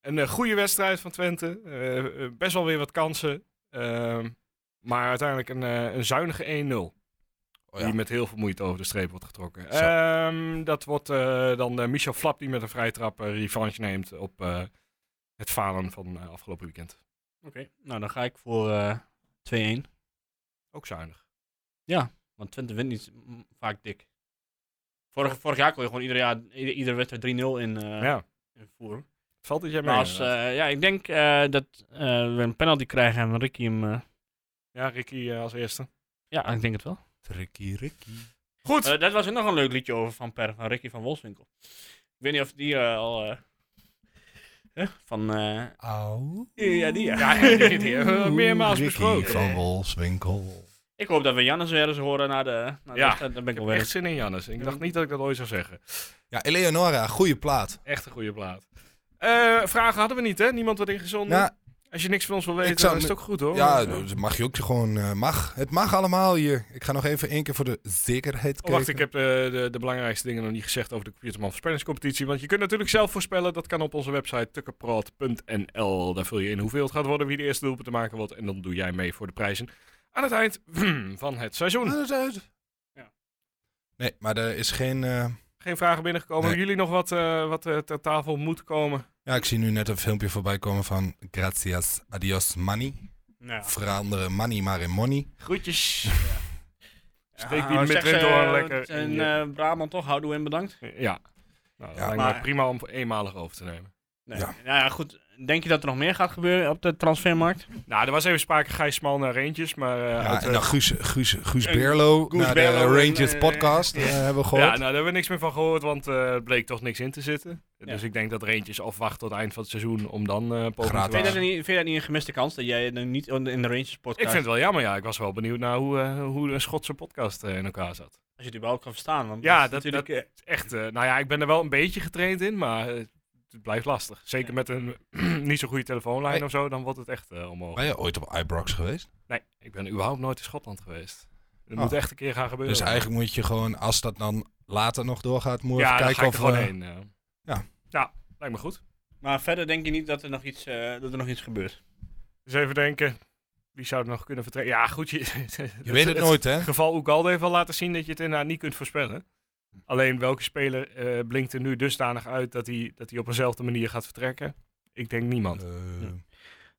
[SPEAKER 1] een eh, goede wedstrijd van Twente. Eh, eh, best wel weer wat kansen. Ehm, maar uiteindelijk een, eh, een zuinige 1-0.
[SPEAKER 4] Oh ja.
[SPEAKER 1] Die met heel veel moeite over de streep wordt getrokken.
[SPEAKER 4] Zo.
[SPEAKER 1] Ehm, dat wordt eh, dan eh, Michel Flap die met een vrije trap eh, revanche neemt op eh, het falen van eh, afgelopen weekend.
[SPEAKER 5] Oké, nou dan ga ik voor eh, 2-1.
[SPEAKER 1] Ook zuinig.
[SPEAKER 5] Want Twente wint niet mm, vaak dik. Vorig, vorig jaar kon je gewoon ieder jaar, ieder, iedere wedstrijd 3-0 in, eh,
[SPEAKER 1] ja, het
[SPEAKER 5] in voeren.
[SPEAKER 1] valt dat jij mee?
[SPEAKER 5] Maar als,
[SPEAKER 1] inderdaad.
[SPEAKER 5] eh, ja, ik denk eh, dat eh, we een penalty krijgen en Ricky hem. eh,
[SPEAKER 1] ja, Ricky eh, als eerste.
[SPEAKER 5] ja, Ah, ik denk het wel.
[SPEAKER 4] Tricky, Ricky.
[SPEAKER 1] Goed,
[SPEAKER 5] Eh, dat was ook nog een leuk liedje over van Per, van Ricky van Wolfswinkel. Ik weet niet of die eh, al. eh, hè, van. eh,
[SPEAKER 4] Au.
[SPEAKER 5] ja, die. Ja.
[SPEAKER 1] Ja, ja, die- die hebben we Eh, meermaals
[SPEAKER 4] Ricky
[SPEAKER 1] besproken.
[SPEAKER 4] van Wolfswinkel.
[SPEAKER 5] Ik hoop dat we Jannes weer eens horen na de. Na de
[SPEAKER 1] Ja.
[SPEAKER 5] wedstrijd. daar ben
[SPEAKER 1] ik
[SPEAKER 5] ik al
[SPEAKER 1] heb
[SPEAKER 5] wel.
[SPEAKER 1] echt zin in Jannes. Ik dacht niet dat ik dat ooit zou zeggen.
[SPEAKER 4] Ja, Eleonora, goede plaat.
[SPEAKER 1] Echt een goede plaat. Eh, vragen hadden we niet, hè? Niemand werd ingezonden.
[SPEAKER 4] Nou,
[SPEAKER 1] Als je niks van ons wil weten,
[SPEAKER 4] Ik zou
[SPEAKER 1] dan is het
[SPEAKER 4] met-
[SPEAKER 1] ook goed, hoor. Oh,
[SPEAKER 4] ja, dus mag je ook gewoon... eh, mag. Het mag allemaal hier. Ik ga nog even één keer voor de zekerheid
[SPEAKER 1] Oh,
[SPEAKER 4] kijken.
[SPEAKER 1] wacht, ik heb de, de, de belangrijkste dingen nog niet gezegd over de Computerman voorspellingscompetitie. Want je kunt natuurlijk zelf voorspellen. Dat kan op onze website tukkenprod.nl. Daar vul je in hoeveel het gaat worden, wie de eerste doelpunt te maken wordt. En dan doe jij mee voor de prijzen aan het eind van het
[SPEAKER 4] Ah,
[SPEAKER 1] seizoen.
[SPEAKER 5] Ja.
[SPEAKER 4] Nee, maar er is geen... eh,
[SPEAKER 1] Geen vragen binnengekomen.
[SPEAKER 4] Nee.
[SPEAKER 1] Hebben jullie nog wat, eh, wat eh, ter tafel moet komen?
[SPEAKER 4] Ja, ik zie nu net een filmpje voorbij komen van Gracias, adios, money.
[SPEAKER 5] Nou,
[SPEAKER 4] Veranderen money maar in money.
[SPEAKER 1] Groetjes. Steek
[SPEAKER 5] ja,
[SPEAKER 1] die
[SPEAKER 5] zeg ze,
[SPEAKER 1] midwinter lekker in
[SPEAKER 5] En
[SPEAKER 1] je-
[SPEAKER 5] eh, Brabant toch, houdoe en bedankt.
[SPEAKER 1] Ja. Nou, dat
[SPEAKER 4] Ja,
[SPEAKER 1] lijkt mij
[SPEAKER 5] maar-
[SPEAKER 1] prima om eenmalig over te nemen.
[SPEAKER 5] Nee.
[SPEAKER 4] Ja.
[SPEAKER 5] Nou ja, goed. Denk je dat er nog meer gaat gebeuren op de transfermarkt?
[SPEAKER 1] Nou, er was even sprake Gijs Smal naar Reentjes, maar... eh,
[SPEAKER 4] Ja,
[SPEAKER 1] uit,
[SPEAKER 4] en dan Guus, Guus, Guus
[SPEAKER 5] en
[SPEAKER 4] Berlo
[SPEAKER 5] Guus
[SPEAKER 4] naar de
[SPEAKER 5] Berlo en,
[SPEAKER 4] Rangers
[SPEAKER 5] eh,
[SPEAKER 4] podcast eh, hebben we
[SPEAKER 1] eh, ja,
[SPEAKER 4] gehoord.
[SPEAKER 1] nou, daar hebben we niks meer van gehoord, want eh, het bleek toch niks in te zitten. Dus ik denk dat Reentjes afwacht tot het eind van het seizoen om dan eh poging te
[SPEAKER 4] Gratis.
[SPEAKER 5] Vind je,
[SPEAKER 1] wagen.
[SPEAKER 5] dat niet, vind je dat niet een gemiste kans dat jij nu niet in de Rangers podcast...
[SPEAKER 1] Ik vind het wel jammer, ja. Ik was wel benieuwd naar hoe, eh, hoe een Schotse podcast eh, in elkaar zat.
[SPEAKER 5] Als je het überhaupt kan verstaan. Want
[SPEAKER 1] Ja,
[SPEAKER 5] is
[SPEAKER 1] dat-
[SPEAKER 5] natuurlijk, eh,
[SPEAKER 1] Het is Echt, eh, nou ja, ik ben er wel een beetje getraind in, maar eh, het blijft lastig. Zeker met een niet zo goede telefoonlijn
[SPEAKER 4] Nee.
[SPEAKER 1] of zo, dan wordt het echt eh, onmogelijk.
[SPEAKER 4] Ben je ooit op Ibrox geweest?
[SPEAKER 1] Nee, ik ben überhaupt nooit in Schotland geweest. Dat
[SPEAKER 4] Oh.
[SPEAKER 1] moet echt een keer gaan gebeuren.
[SPEAKER 4] Dus eigenlijk moet je gewoon, als dat dan later nog doorgaat, moet je
[SPEAKER 1] ja,
[SPEAKER 4] even
[SPEAKER 1] daar ga
[SPEAKER 4] kijken
[SPEAKER 1] ik er
[SPEAKER 4] of...
[SPEAKER 1] gewoon
[SPEAKER 4] eh,
[SPEAKER 1] heen. eh.
[SPEAKER 4] ja.
[SPEAKER 1] ja, lijkt me goed.
[SPEAKER 5] eh, Maar verder denk je niet dat er nog iets, eh, dat er nog iets gebeurt.
[SPEAKER 1] Dus even denken, wie zou er nog kunnen vertrekken? Ja, goed, je,
[SPEAKER 4] Je weet het nooit, hè?
[SPEAKER 1] Het geval Oegalde heeft al laten zien dat je het inderdaad niet kunt voorspellen. Alleen welke speler eh, blinkt er nu dusdanig uit dat hij, dat hij op eenzelfde manier gaat vertrekken? Ik denk niemand.
[SPEAKER 4] Eh,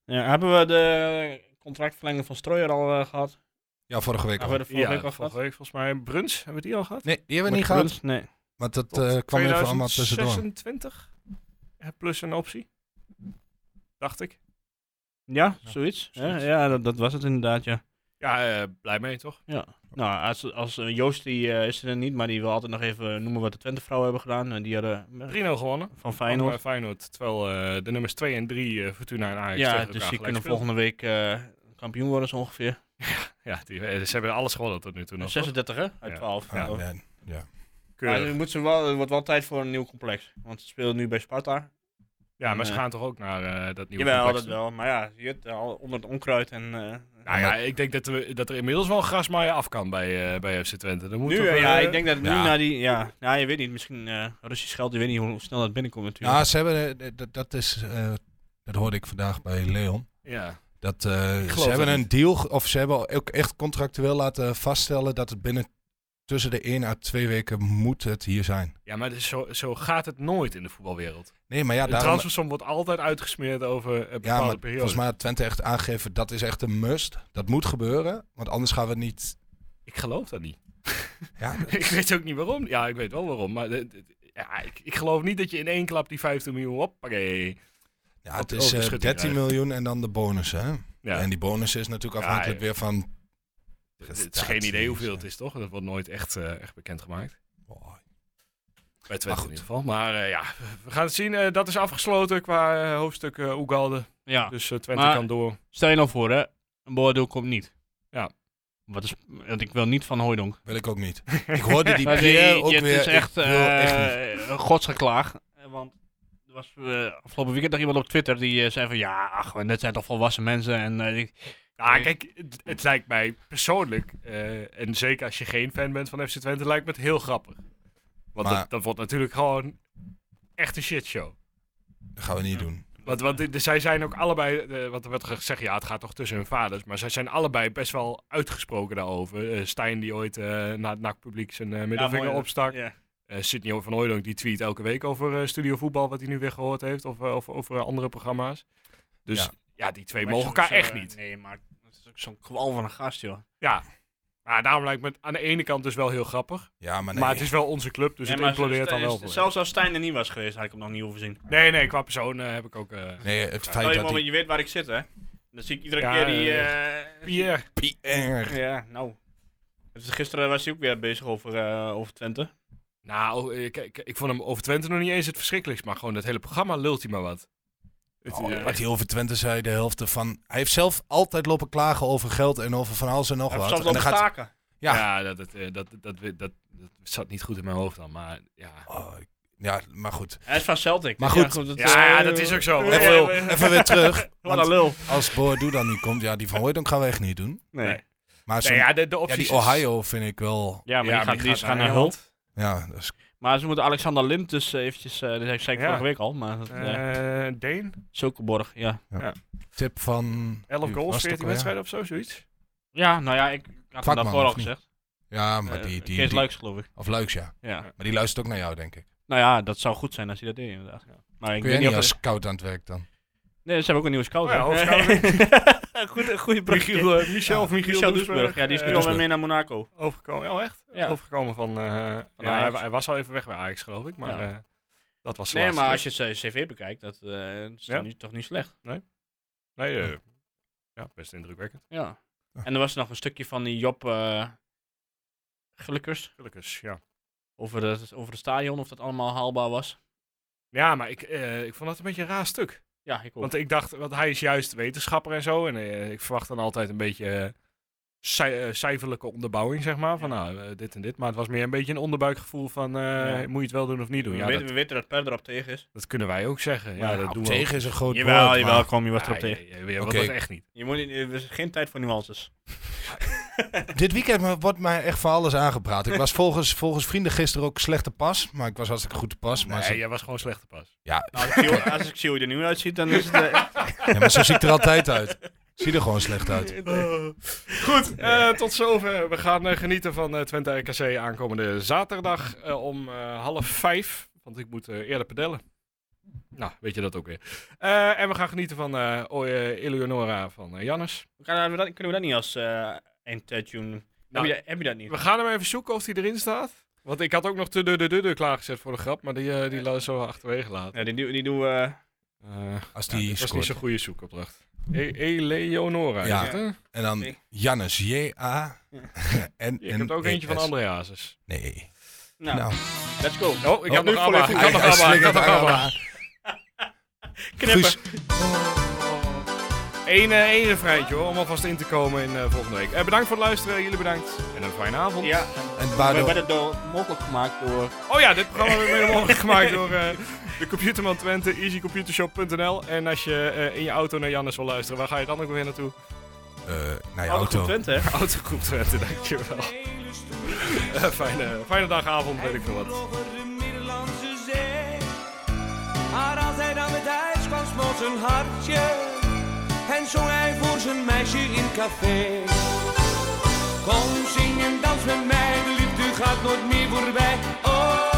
[SPEAKER 5] Ja, hebben we de contractverlenging van Strooier al eh, gehad?
[SPEAKER 4] ja, vorige week al.
[SPEAKER 5] Hebben we de vorige
[SPEAKER 1] ja,
[SPEAKER 5] week al gehad?
[SPEAKER 1] vorige week volgens mij. Bruns, hebben we die al gehad?
[SPEAKER 4] Nee, die hebben we
[SPEAKER 5] Met
[SPEAKER 4] niet gehad.
[SPEAKER 5] Bruns? Nee.
[SPEAKER 4] Want dat eh, kwam even allemaal tussendoor.
[SPEAKER 1] 26 plus een optie, dacht ik.
[SPEAKER 5] Ja, zoiets. Ja,
[SPEAKER 1] zoiets.
[SPEAKER 5] ja, dat, dat was het inderdaad, ja.
[SPEAKER 1] Ja, eh, blij mee toch?
[SPEAKER 5] ja. Nou, als, als eh, Joost die, eh, is er niet, maar die wil altijd nog even noemen wat de Twente-vrouwen hebben gedaan. En die hadden eh,
[SPEAKER 1] 3-0 gewonnen.
[SPEAKER 5] van
[SPEAKER 1] Feyenoord.
[SPEAKER 5] Feyenoord.
[SPEAKER 1] Feyenoord terwijl eh, de nummers 2 en 3 Fortuna en Ajax tegen
[SPEAKER 5] Ja,
[SPEAKER 1] elkaar
[SPEAKER 5] dus die
[SPEAKER 1] gelijk
[SPEAKER 5] kunnen
[SPEAKER 1] speelden.
[SPEAKER 5] volgende week eh, kampioen worden zo ongeveer.
[SPEAKER 1] Ja, die, eh, ze hebben alles gewonnen tot nu toe nog.
[SPEAKER 5] 36 hè,
[SPEAKER 1] Ja.
[SPEAKER 5] uit 12.
[SPEAKER 4] Ah,
[SPEAKER 5] Ja.
[SPEAKER 4] man. ja.
[SPEAKER 5] Maar er, moet ze wel, er wordt wel tijd voor een nieuw complex. Want ze spelen nu bij Sparta.
[SPEAKER 1] Ja, maar ze
[SPEAKER 7] Nee.
[SPEAKER 1] gaan toch ook naar eh, dat nieuwe
[SPEAKER 5] Jawel, dat
[SPEAKER 1] complex?
[SPEAKER 5] wel. Maar ja, je hebt al onder het onkruid en... eh,
[SPEAKER 1] Nou ja, ik denk dat, we, dat er inmiddels wel een grasmaaier af kan bij, eh, bij FC Twente. Dan moet
[SPEAKER 5] nu,
[SPEAKER 1] toch,
[SPEAKER 5] eh, ja,
[SPEAKER 1] eh,
[SPEAKER 5] ik denk dat nu
[SPEAKER 4] ja.
[SPEAKER 5] naar die... Ja, nou, je weet niet. Misschien eh Russisch geld. Je weet niet hoe, hoe snel dat binnenkomt natuurlijk.
[SPEAKER 4] Nou, ze hebben, eh, dat, dat is, eh, dat hoorde ik vandaag bij Leon.
[SPEAKER 1] Ja.
[SPEAKER 4] Dat, eh,
[SPEAKER 1] geloof
[SPEAKER 4] ze hebben
[SPEAKER 1] het
[SPEAKER 4] een deal, ge- of ze hebben ook echt contractueel laten vaststellen dat het binnen tussen de 1 à 2 weken moet het hier zijn.
[SPEAKER 1] ja, maar het is zo, zo gaat het nooit in de voetbalwereld.
[SPEAKER 4] Nee, maar ja,
[SPEAKER 1] de Oh,
[SPEAKER 4] daarom,
[SPEAKER 1] transfersom wordt altijd uitgesmeerd over een bepaalde
[SPEAKER 4] ja, maar
[SPEAKER 1] periode.
[SPEAKER 4] volgens mij had Twente echt aangegeven dat is echt een must. Dat moet gebeuren, want anders gaan we het niet...
[SPEAKER 1] Ik geloof dat niet.
[SPEAKER 4] Ja,
[SPEAKER 1] ik weet ook niet waarom. Ja, ik weet wel waarom. Maar de- de- ja, ik, ik geloof niet dat je in één klap die 15 miljoen op.
[SPEAKER 4] ja
[SPEAKER 1] Op
[SPEAKER 4] het
[SPEAKER 1] de
[SPEAKER 4] is eh,
[SPEAKER 1] overschutting
[SPEAKER 4] 13
[SPEAKER 1] krijgen.
[SPEAKER 4] miljoen en dan de bonus, hè?
[SPEAKER 1] Ja,
[SPEAKER 4] En die bonus is natuurlijk
[SPEAKER 1] Ja,
[SPEAKER 4] afhankelijk
[SPEAKER 1] ja.
[SPEAKER 4] weer van...
[SPEAKER 1] het is geen idee hoeveel het is, toch? Dat wordt nooit echt, eh echt bekendgemaakt.
[SPEAKER 4] Oh,
[SPEAKER 1] Bij
[SPEAKER 4] Maar
[SPEAKER 1] Twente
[SPEAKER 4] goed.
[SPEAKER 1] in ieder geval. Maar eh, ja, we gaan het zien. Eh, dat is afgesloten qua eh, hoofdstuk eh Oegalde.
[SPEAKER 7] Ja.
[SPEAKER 1] Dus eh, Twente
[SPEAKER 7] Maar-
[SPEAKER 1] kan door.
[SPEAKER 7] Stel je nou voor, hè? Een beoordeel komt niet.
[SPEAKER 1] Ja.
[SPEAKER 7] Wat is, want ik wil niet van Hooidonk.
[SPEAKER 4] wil ik ook niet. Ik hoorde die
[SPEAKER 7] Maar
[SPEAKER 4] Pierre
[SPEAKER 7] die-
[SPEAKER 4] ook
[SPEAKER 7] het
[SPEAKER 4] weer...
[SPEAKER 7] is
[SPEAKER 5] dus
[SPEAKER 4] ik
[SPEAKER 7] echt,
[SPEAKER 4] wil
[SPEAKER 7] eh,
[SPEAKER 4] echt niet.
[SPEAKER 7] een godsgeklaag. Eh, Want er was eh, afgelopen weekend nog iemand op Twitter die eh, zei van... Ja, ach, maar dit zijn toch volwassen mensen. En eh, ik-
[SPEAKER 1] Nou,
[SPEAKER 7] Nee.
[SPEAKER 1] kijk, het, het lijkt mij persoonlijk, eh, en zeker als je geen fan bent van FC Twente, lijkt me het heel grappig. Want
[SPEAKER 4] Maar-
[SPEAKER 1] dat, dat wordt natuurlijk gewoon echt een shitshow.
[SPEAKER 4] Dat gaan we niet doen.
[SPEAKER 1] Want, want dit- zij zijn ook allebei, eh, want er werd gezegd, ja, het gaat toch tussen hun vaders. Maar zij zijn allebei best wel uitgesproken daarover. Eh, Stijn die ooit eh, na het NAC-publiek zijn eh, middelvinger
[SPEAKER 5] mooi, hè?
[SPEAKER 1] opstak.
[SPEAKER 5] Ja.
[SPEAKER 1] Eh, Sidney van Hooydonk die tweet elke week over eh, studio voetbal, wat hij nu weer gehoord heeft. Of, eh, of over eh, andere programma's. Dus ja,
[SPEAKER 4] Ja.
[SPEAKER 1] die twee
[SPEAKER 7] maar
[SPEAKER 1] mogen
[SPEAKER 7] zo'n-
[SPEAKER 1] elkaar echt
[SPEAKER 5] eh,
[SPEAKER 7] zo'n-
[SPEAKER 1] niet. Dus
[SPEAKER 7] Nee, maar het is ook zo'n kwal van een gast, joh.
[SPEAKER 1] Ja. Maar daarom lijkt me het aan de ene kant dus wel heel grappig.
[SPEAKER 4] Ja, maar, nee.
[SPEAKER 1] Maar het is wel onze club, dus
[SPEAKER 5] Nee,
[SPEAKER 1] het
[SPEAKER 5] maar
[SPEAKER 1] implodeert dan
[SPEAKER 5] Stijn-
[SPEAKER 1] wel. voor.
[SPEAKER 5] Zelfs als Stijn er niet was geweest, had ik hem nog niet hoeven zien.
[SPEAKER 1] Nee, nee, qua persoon eh, heb ik ook... eh
[SPEAKER 4] Nee, het
[SPEAKER 5] Stel
[SPEAKER 4] feit
[SPEAKER 5] je,
[SPEAKER 4] dat
[SPEAKER 5] maar,
[SPEAKER 4] die
[SPEAKER 5] je weet waar ik zit, hè? Dan zie ik iedere
[SPEAKER 1] Ja,
[SPEAKER 5] keer die... eh,
[SPEAKER 1] Pierre.
[SPEAKER 4] PR...
[SPEAKER 5] Ja, nou. Dus Gisteren was hij ook weer bezig over, eh, over
[SPEAKER 4] Oh,
[SPEAKER 5] Twente.
[SPEAKER 1] Nou, ik, ik, ik vond hem over Twente nog niet eens het verschrikkelijkst. Maar gewoon dat hele programma lult hij maar wat. Het,
[SPEAKER 4] Oh,
[SPEAKER 1] eh,
[SPEAKER 4] wat hij over Twente zei, de helft ervan. Hij heeft zelf altijd lopen klagen over geld en over van alles en nog
[SPEAKER 5] Hij heeft
[SPEAKER 4] wat.
[SPEAKER 5] zelfs
[SPEAKER 4] En
[SPEAKER 5] al
[SPEAKER 4] dan gaat...
[SPEAKER 5] staken.
[SPEAKER 1] ja,
[SPEAKER 4] ja.
[SPEAKER 1] dat, het, eh, dat, dat, dat, dat, zat niet goed in mijn hoofd dan. Maar ja,
[SPEAKER 4] Oh, ik- ja, maar goed.
[SPEAKER 7] Hij is van Celtic.
[SPEAKER 4] Maar
[SPEAKER 7] Ja,
[SPEAKER 4] goed.
[SPEAKER 7] dat,
[SPEAKER 1] ja, Oh, ja,
[SPEAKER 7] eh,
[SPEAKER 1] dat is ook zo.
[SPEAKER 7] eh,
[SPEAKER 1] Wat
[SPEAKER 7] eh,
[SPEAKER 1] een lul.
[SPEAKER 7] eh,
[SPEAKER 4] Even weer terug.
[SPEAKER 5] Wat
[SPEAKER 4] Want
[SPEAKER 5] een lul.
[SPEAKER 4] als Boadu dan niet komt, ja, die van Hooydonk gaan we echt niet doen.
[SPEAKER 1] Nee.
[SPEAKER 4] Maar zo'n-
[SPEAKER 1] Nee,
[SPEAKER 4] ja,
[SPEAKER 1] ja, de, de opties
[SPEAKER 4] die Ohio vind ik wel...
[SPEAKER 7] Ja, maar
[SPEAKER 1] Ja,
[SPEAKER 7] die,
[SPEAKER 1] maar
[SPEAKER 7] gaat,
[SPEAKER 1] die
[SPEAKER 7] die is
[SPEAKER 1] gaat
[SPEAKER 7] gaan
[SPEAKER 1] naar
[SPEAKER 7] naar Hulp.
[SPEAKER 4] Ja, dat is-
[SPEAKER 7] Maar ze moeten Alexander Lind dus eh, eventjes... eh dat zei ik vorige week al, maar... dat, eh,
[SPEAKER 1] eh Deen,
[SPEAKER 7] Zulkeborg, ja.
[SPEAKER 4] tip van...
[SPEAKER 1] 11
[SPEAKER 4] wie was
[SPEAKER 1] goals,
[SPEAKER 4] het
[SPEAKER 1] 14
[SPEAKER 4] ook alweer?
[SPEAKER 1] wedstrijden of zo, zoiets.
[SPEAKER 7] Ja, nou ja, ik had
[SPEAKER 4] Kwakman,
[SPEAKER 7] het daarvoor al
[SPEAKER 4] of niet?
[SPEAKER 7] gezegd.
[SPEAKER 4] Ja, maar
[SPEAKER 7] Eh,
[SPEAKER 4] die... die,
[SPEAKER 7] Kees
[SPEAKER 4] die-
[SPEAKER 7] Luiks, geloof ik.
[SPEAKER 4] Of Luiks, ja.
[SPEAKER 7] Ja.
[SPEAKER 4] Maar die luistert ook naar jou, denk ik.
[SPEAKER 7] Nou ja, dat zou goed zijn als hij dat deed, inderdaad. Maar ik weet
[SPEAKER 4] Kun jij
[SPEAKER 7] niet
[SPEAKER 4] niet
[SPEAKER 7] of...
[SPEAKER 4] als scout aan het werk dan?
[SPEAKER 7] Nee, ze hebben ook een nieuwe scout.
[SPEAKER 1] Oh ja,
[SPEAKER 7] hè?
[SPEAKER 5] Goed, goede brugje.
[SPEAKER 1] Michiel, eh, Michel of Michiel,
[SPEAKER 7] Michel Doesburg, ja, die is nu
[SPEAKER 1] eh,
[SPEAKER 7] al
[SPEAKER 5] Ik ben mee naar Monaco.
[SPEAKER 1] overgekomen. Oh, echt?
[SPEAKER 7] Ja.
[SPEAKER 1] Overgekomen van... eh, ja,
[SPEAKER 7] Ajax.
[SPEAKER 1] hij, hij was al even weg bij Ajax, geloof ik. Maar
[SPEAKER 7] Ja.
[SPEAKER 1] eh, dat was de
[SPEAKER 7] Nee,
[SPEAKER 1] laatste
[SPEAKER 7] maar als
[SPEAKER 1] keer.
[SPEAKER 7] je zijn cv bekijkt, dat eh, is
[SPEAKER 1] Ja.
[SPEAKER 7] toch, niet, toch niet slecht.
[SPEAKER 1] Nee, eh, ja, best indrukwekkend.
[SPEAKER 7] Ja.
[SPEAKER 4] Ja.
[SPEAKER 7] En er was nog een stukje van die Job eh Gullikers
[SPEAKER 1] Gelukkig, ja.
[SPEAKER 7] over het, over het stadion, of dat allemaal haalbaar was.
[SPEAKER 1] Ja, maar ik, eh, ik vond dat een beetje een raar stuk.
[SPEAKER 7] Ja, ik ook.
[SPEAKER 1] Want ik dacht, want hij is juist wetenschapper en zo. En eh, ik verwacht dan altijd een beetje eh, cij- eh, cijferlijke onderbouwing, zeg maar. Van nou, eh, dit en dit. Maar het was meer een beetje een onderbuikgevoel van, eh,
[SPEAKER 7] Ja.
[SPEAKER 1] moet je het wel doen of niet doen?
[SPEAKER 5] eh, we,
[SPEAKER 1] Ja,
[SPEAKER 5] weten,
[SPEAKER 1] dat,
[SPEAKER 5] we weten dat Perder op tegen is.
[SPEAKER 1] dat kunnen wij ook zeggen. Ja, dat
[SPEAKER 4] Nou,
[SPEAKER 1] doen we ook.
[SPEAKER 4] tegen is een groot
[SPEAKER 5] Jawel,
[SPEAKER 4] woord,
[SPEAKER 5] jawel,
[SPEAKER 4] maar-
[SPEAKER 5] kom, je was
[SPEAKER 1] Ja,
[SPEAKER 5] erop tegen.
[SPEAKER 1] ja, ja, ja, want
[SPEAKER 4] Oké.
[SPEAKER 1] dat echt niet.
[SPEAKER 5] Je moet niet, er is geen tijd voor nuances.
[SPEAKER 4] Dit weekend me- wordt mij echt van alles aangepraat. Ik was volgens, volgens vrienden gisteren ook slecht te pas. Maar ik was hartstikke goed te pas. Maar,
[SPEAKER 1] Nee,
[SPEAKER 4] ze-
[SPEAKER 1] jij was gewoon slecht te pas.
[SPEAKER 4] ja.
[SPEAKER 5] Nou, als, ik zie, hoe- als ik zie hoe je er nu uitziet, dan is het... eh,
[SPEAKER 4] Ja, maar zo zie ik er altijd uit. Zie er gewoon slecht uit.
[SPEAKER 1] Goed, eh, tot zover. We gaan eh, genieten van eh, Twente RKC aankomende zaterdag eh, om eh, half vijf. Want ik moet eh, eerder pedellen. Nou, weet je dat ook weer. Eh, en we gaan genieten van eh o- eh, Eleonora van eh, Jannes.
[SPEAKER 5] kunnen, we dat, kunnen we dat niet als eh eindtune?
[SPEAKER 1] Nou,
[SPEAKER 5] heb, je, heb je dat niet?
[SPEAKER 1] We gaan hem even zoeken of hij erin staat. Want ik had ook nog te de de de de klaargezet voor de grap, maar die, eh, die laat zo achterwege laten.
[SPEAKER 5] Ja, die, die, die doen we...
[SPEAKER 1] Eh
[SPEAKER 4] Als
[SPEAKER 1] ja,
[SPEAKER 4] die
[SPEAKER 1] dat was niet
[SPEAKER 4] scoort.
[SPEAKER 1] zo'n goede zoekopdracht. E- Eleonora.
[SPEAKER 4] Ja.
[SPEAKER 1] is het, hè?
[SPEAKER 4] En dan
[SPEAKER 5] Nee.
[SPEAKER 4] Jannes, J-A. En,
[SPEAKER 1] Ik heb er ook eentje van André Hazes.
[SPEAKER 4] Nee.
[SPEAKER 5] Nou,
[SPEAKER 4] Nou,
[SPEAKER 5] let's go.
[SPEAKER 1] Oh, ik had
[SPEAKER 5] nu
[SPEAKER 1] nog ABBA.
[SPEAKER 5] volledig
[SPEAKER 1] Ik had nog
[SPEAKER 4] hij
[SPEAKER 1] ABBA. Ik had
[SPEAKER 4] slingert
[SPEAKER 1] nog
[SPEAKER 4] aan
[SPEAKER 1] ABBA.
[SPEAKER 4] elkaar.
[SPEAKER 5] Knippen.
[SPEAKER 4] Guus.
[SPEAKER 1] Eén, eh, één refreintje hoor, om alvast in te komen in eh, volgende week. Eh, bedankt voor het luisteren, jullie bedankt. En een fijne avond.
[SPEAKER 7] Ja,
[SPEAKER 4] En
[SPEAKER 7] we
[SPEAKER 4] waardoor...
[SPEAKER 7] werden door, mogelijk gemaakt door...
[SPEAKER 1] Oh ja, dit programma werd mede mogelijk gemaakt door eh, de Computerman Twente, easycomputershop.nl. En als je eh, in je auto naar Jannes wil luisteren, waar ga je dan ook weer naartoe?
[SPEAKER 4] eh, naar je
[SPEAKER 1] Oh,
[SPEAKER 7] Oude Groep
[SPEAKER 4] auto.
[SPEAKER 7] Twente, hè?
[SPEAKER 1] Autogroep Twente, dankjewel. Eh fijne, fijne dag, avond, weet ik veel wat.
[SPEAKER 8] vloog over de Middellandse Zee. Maar als hij dan met huis kwam, smolt zijn hartje. En zong hij voor zijn meisje in café. Kom, zing en dans met mij, de liefde gaat nooit meer voorbij. Oh. Oh,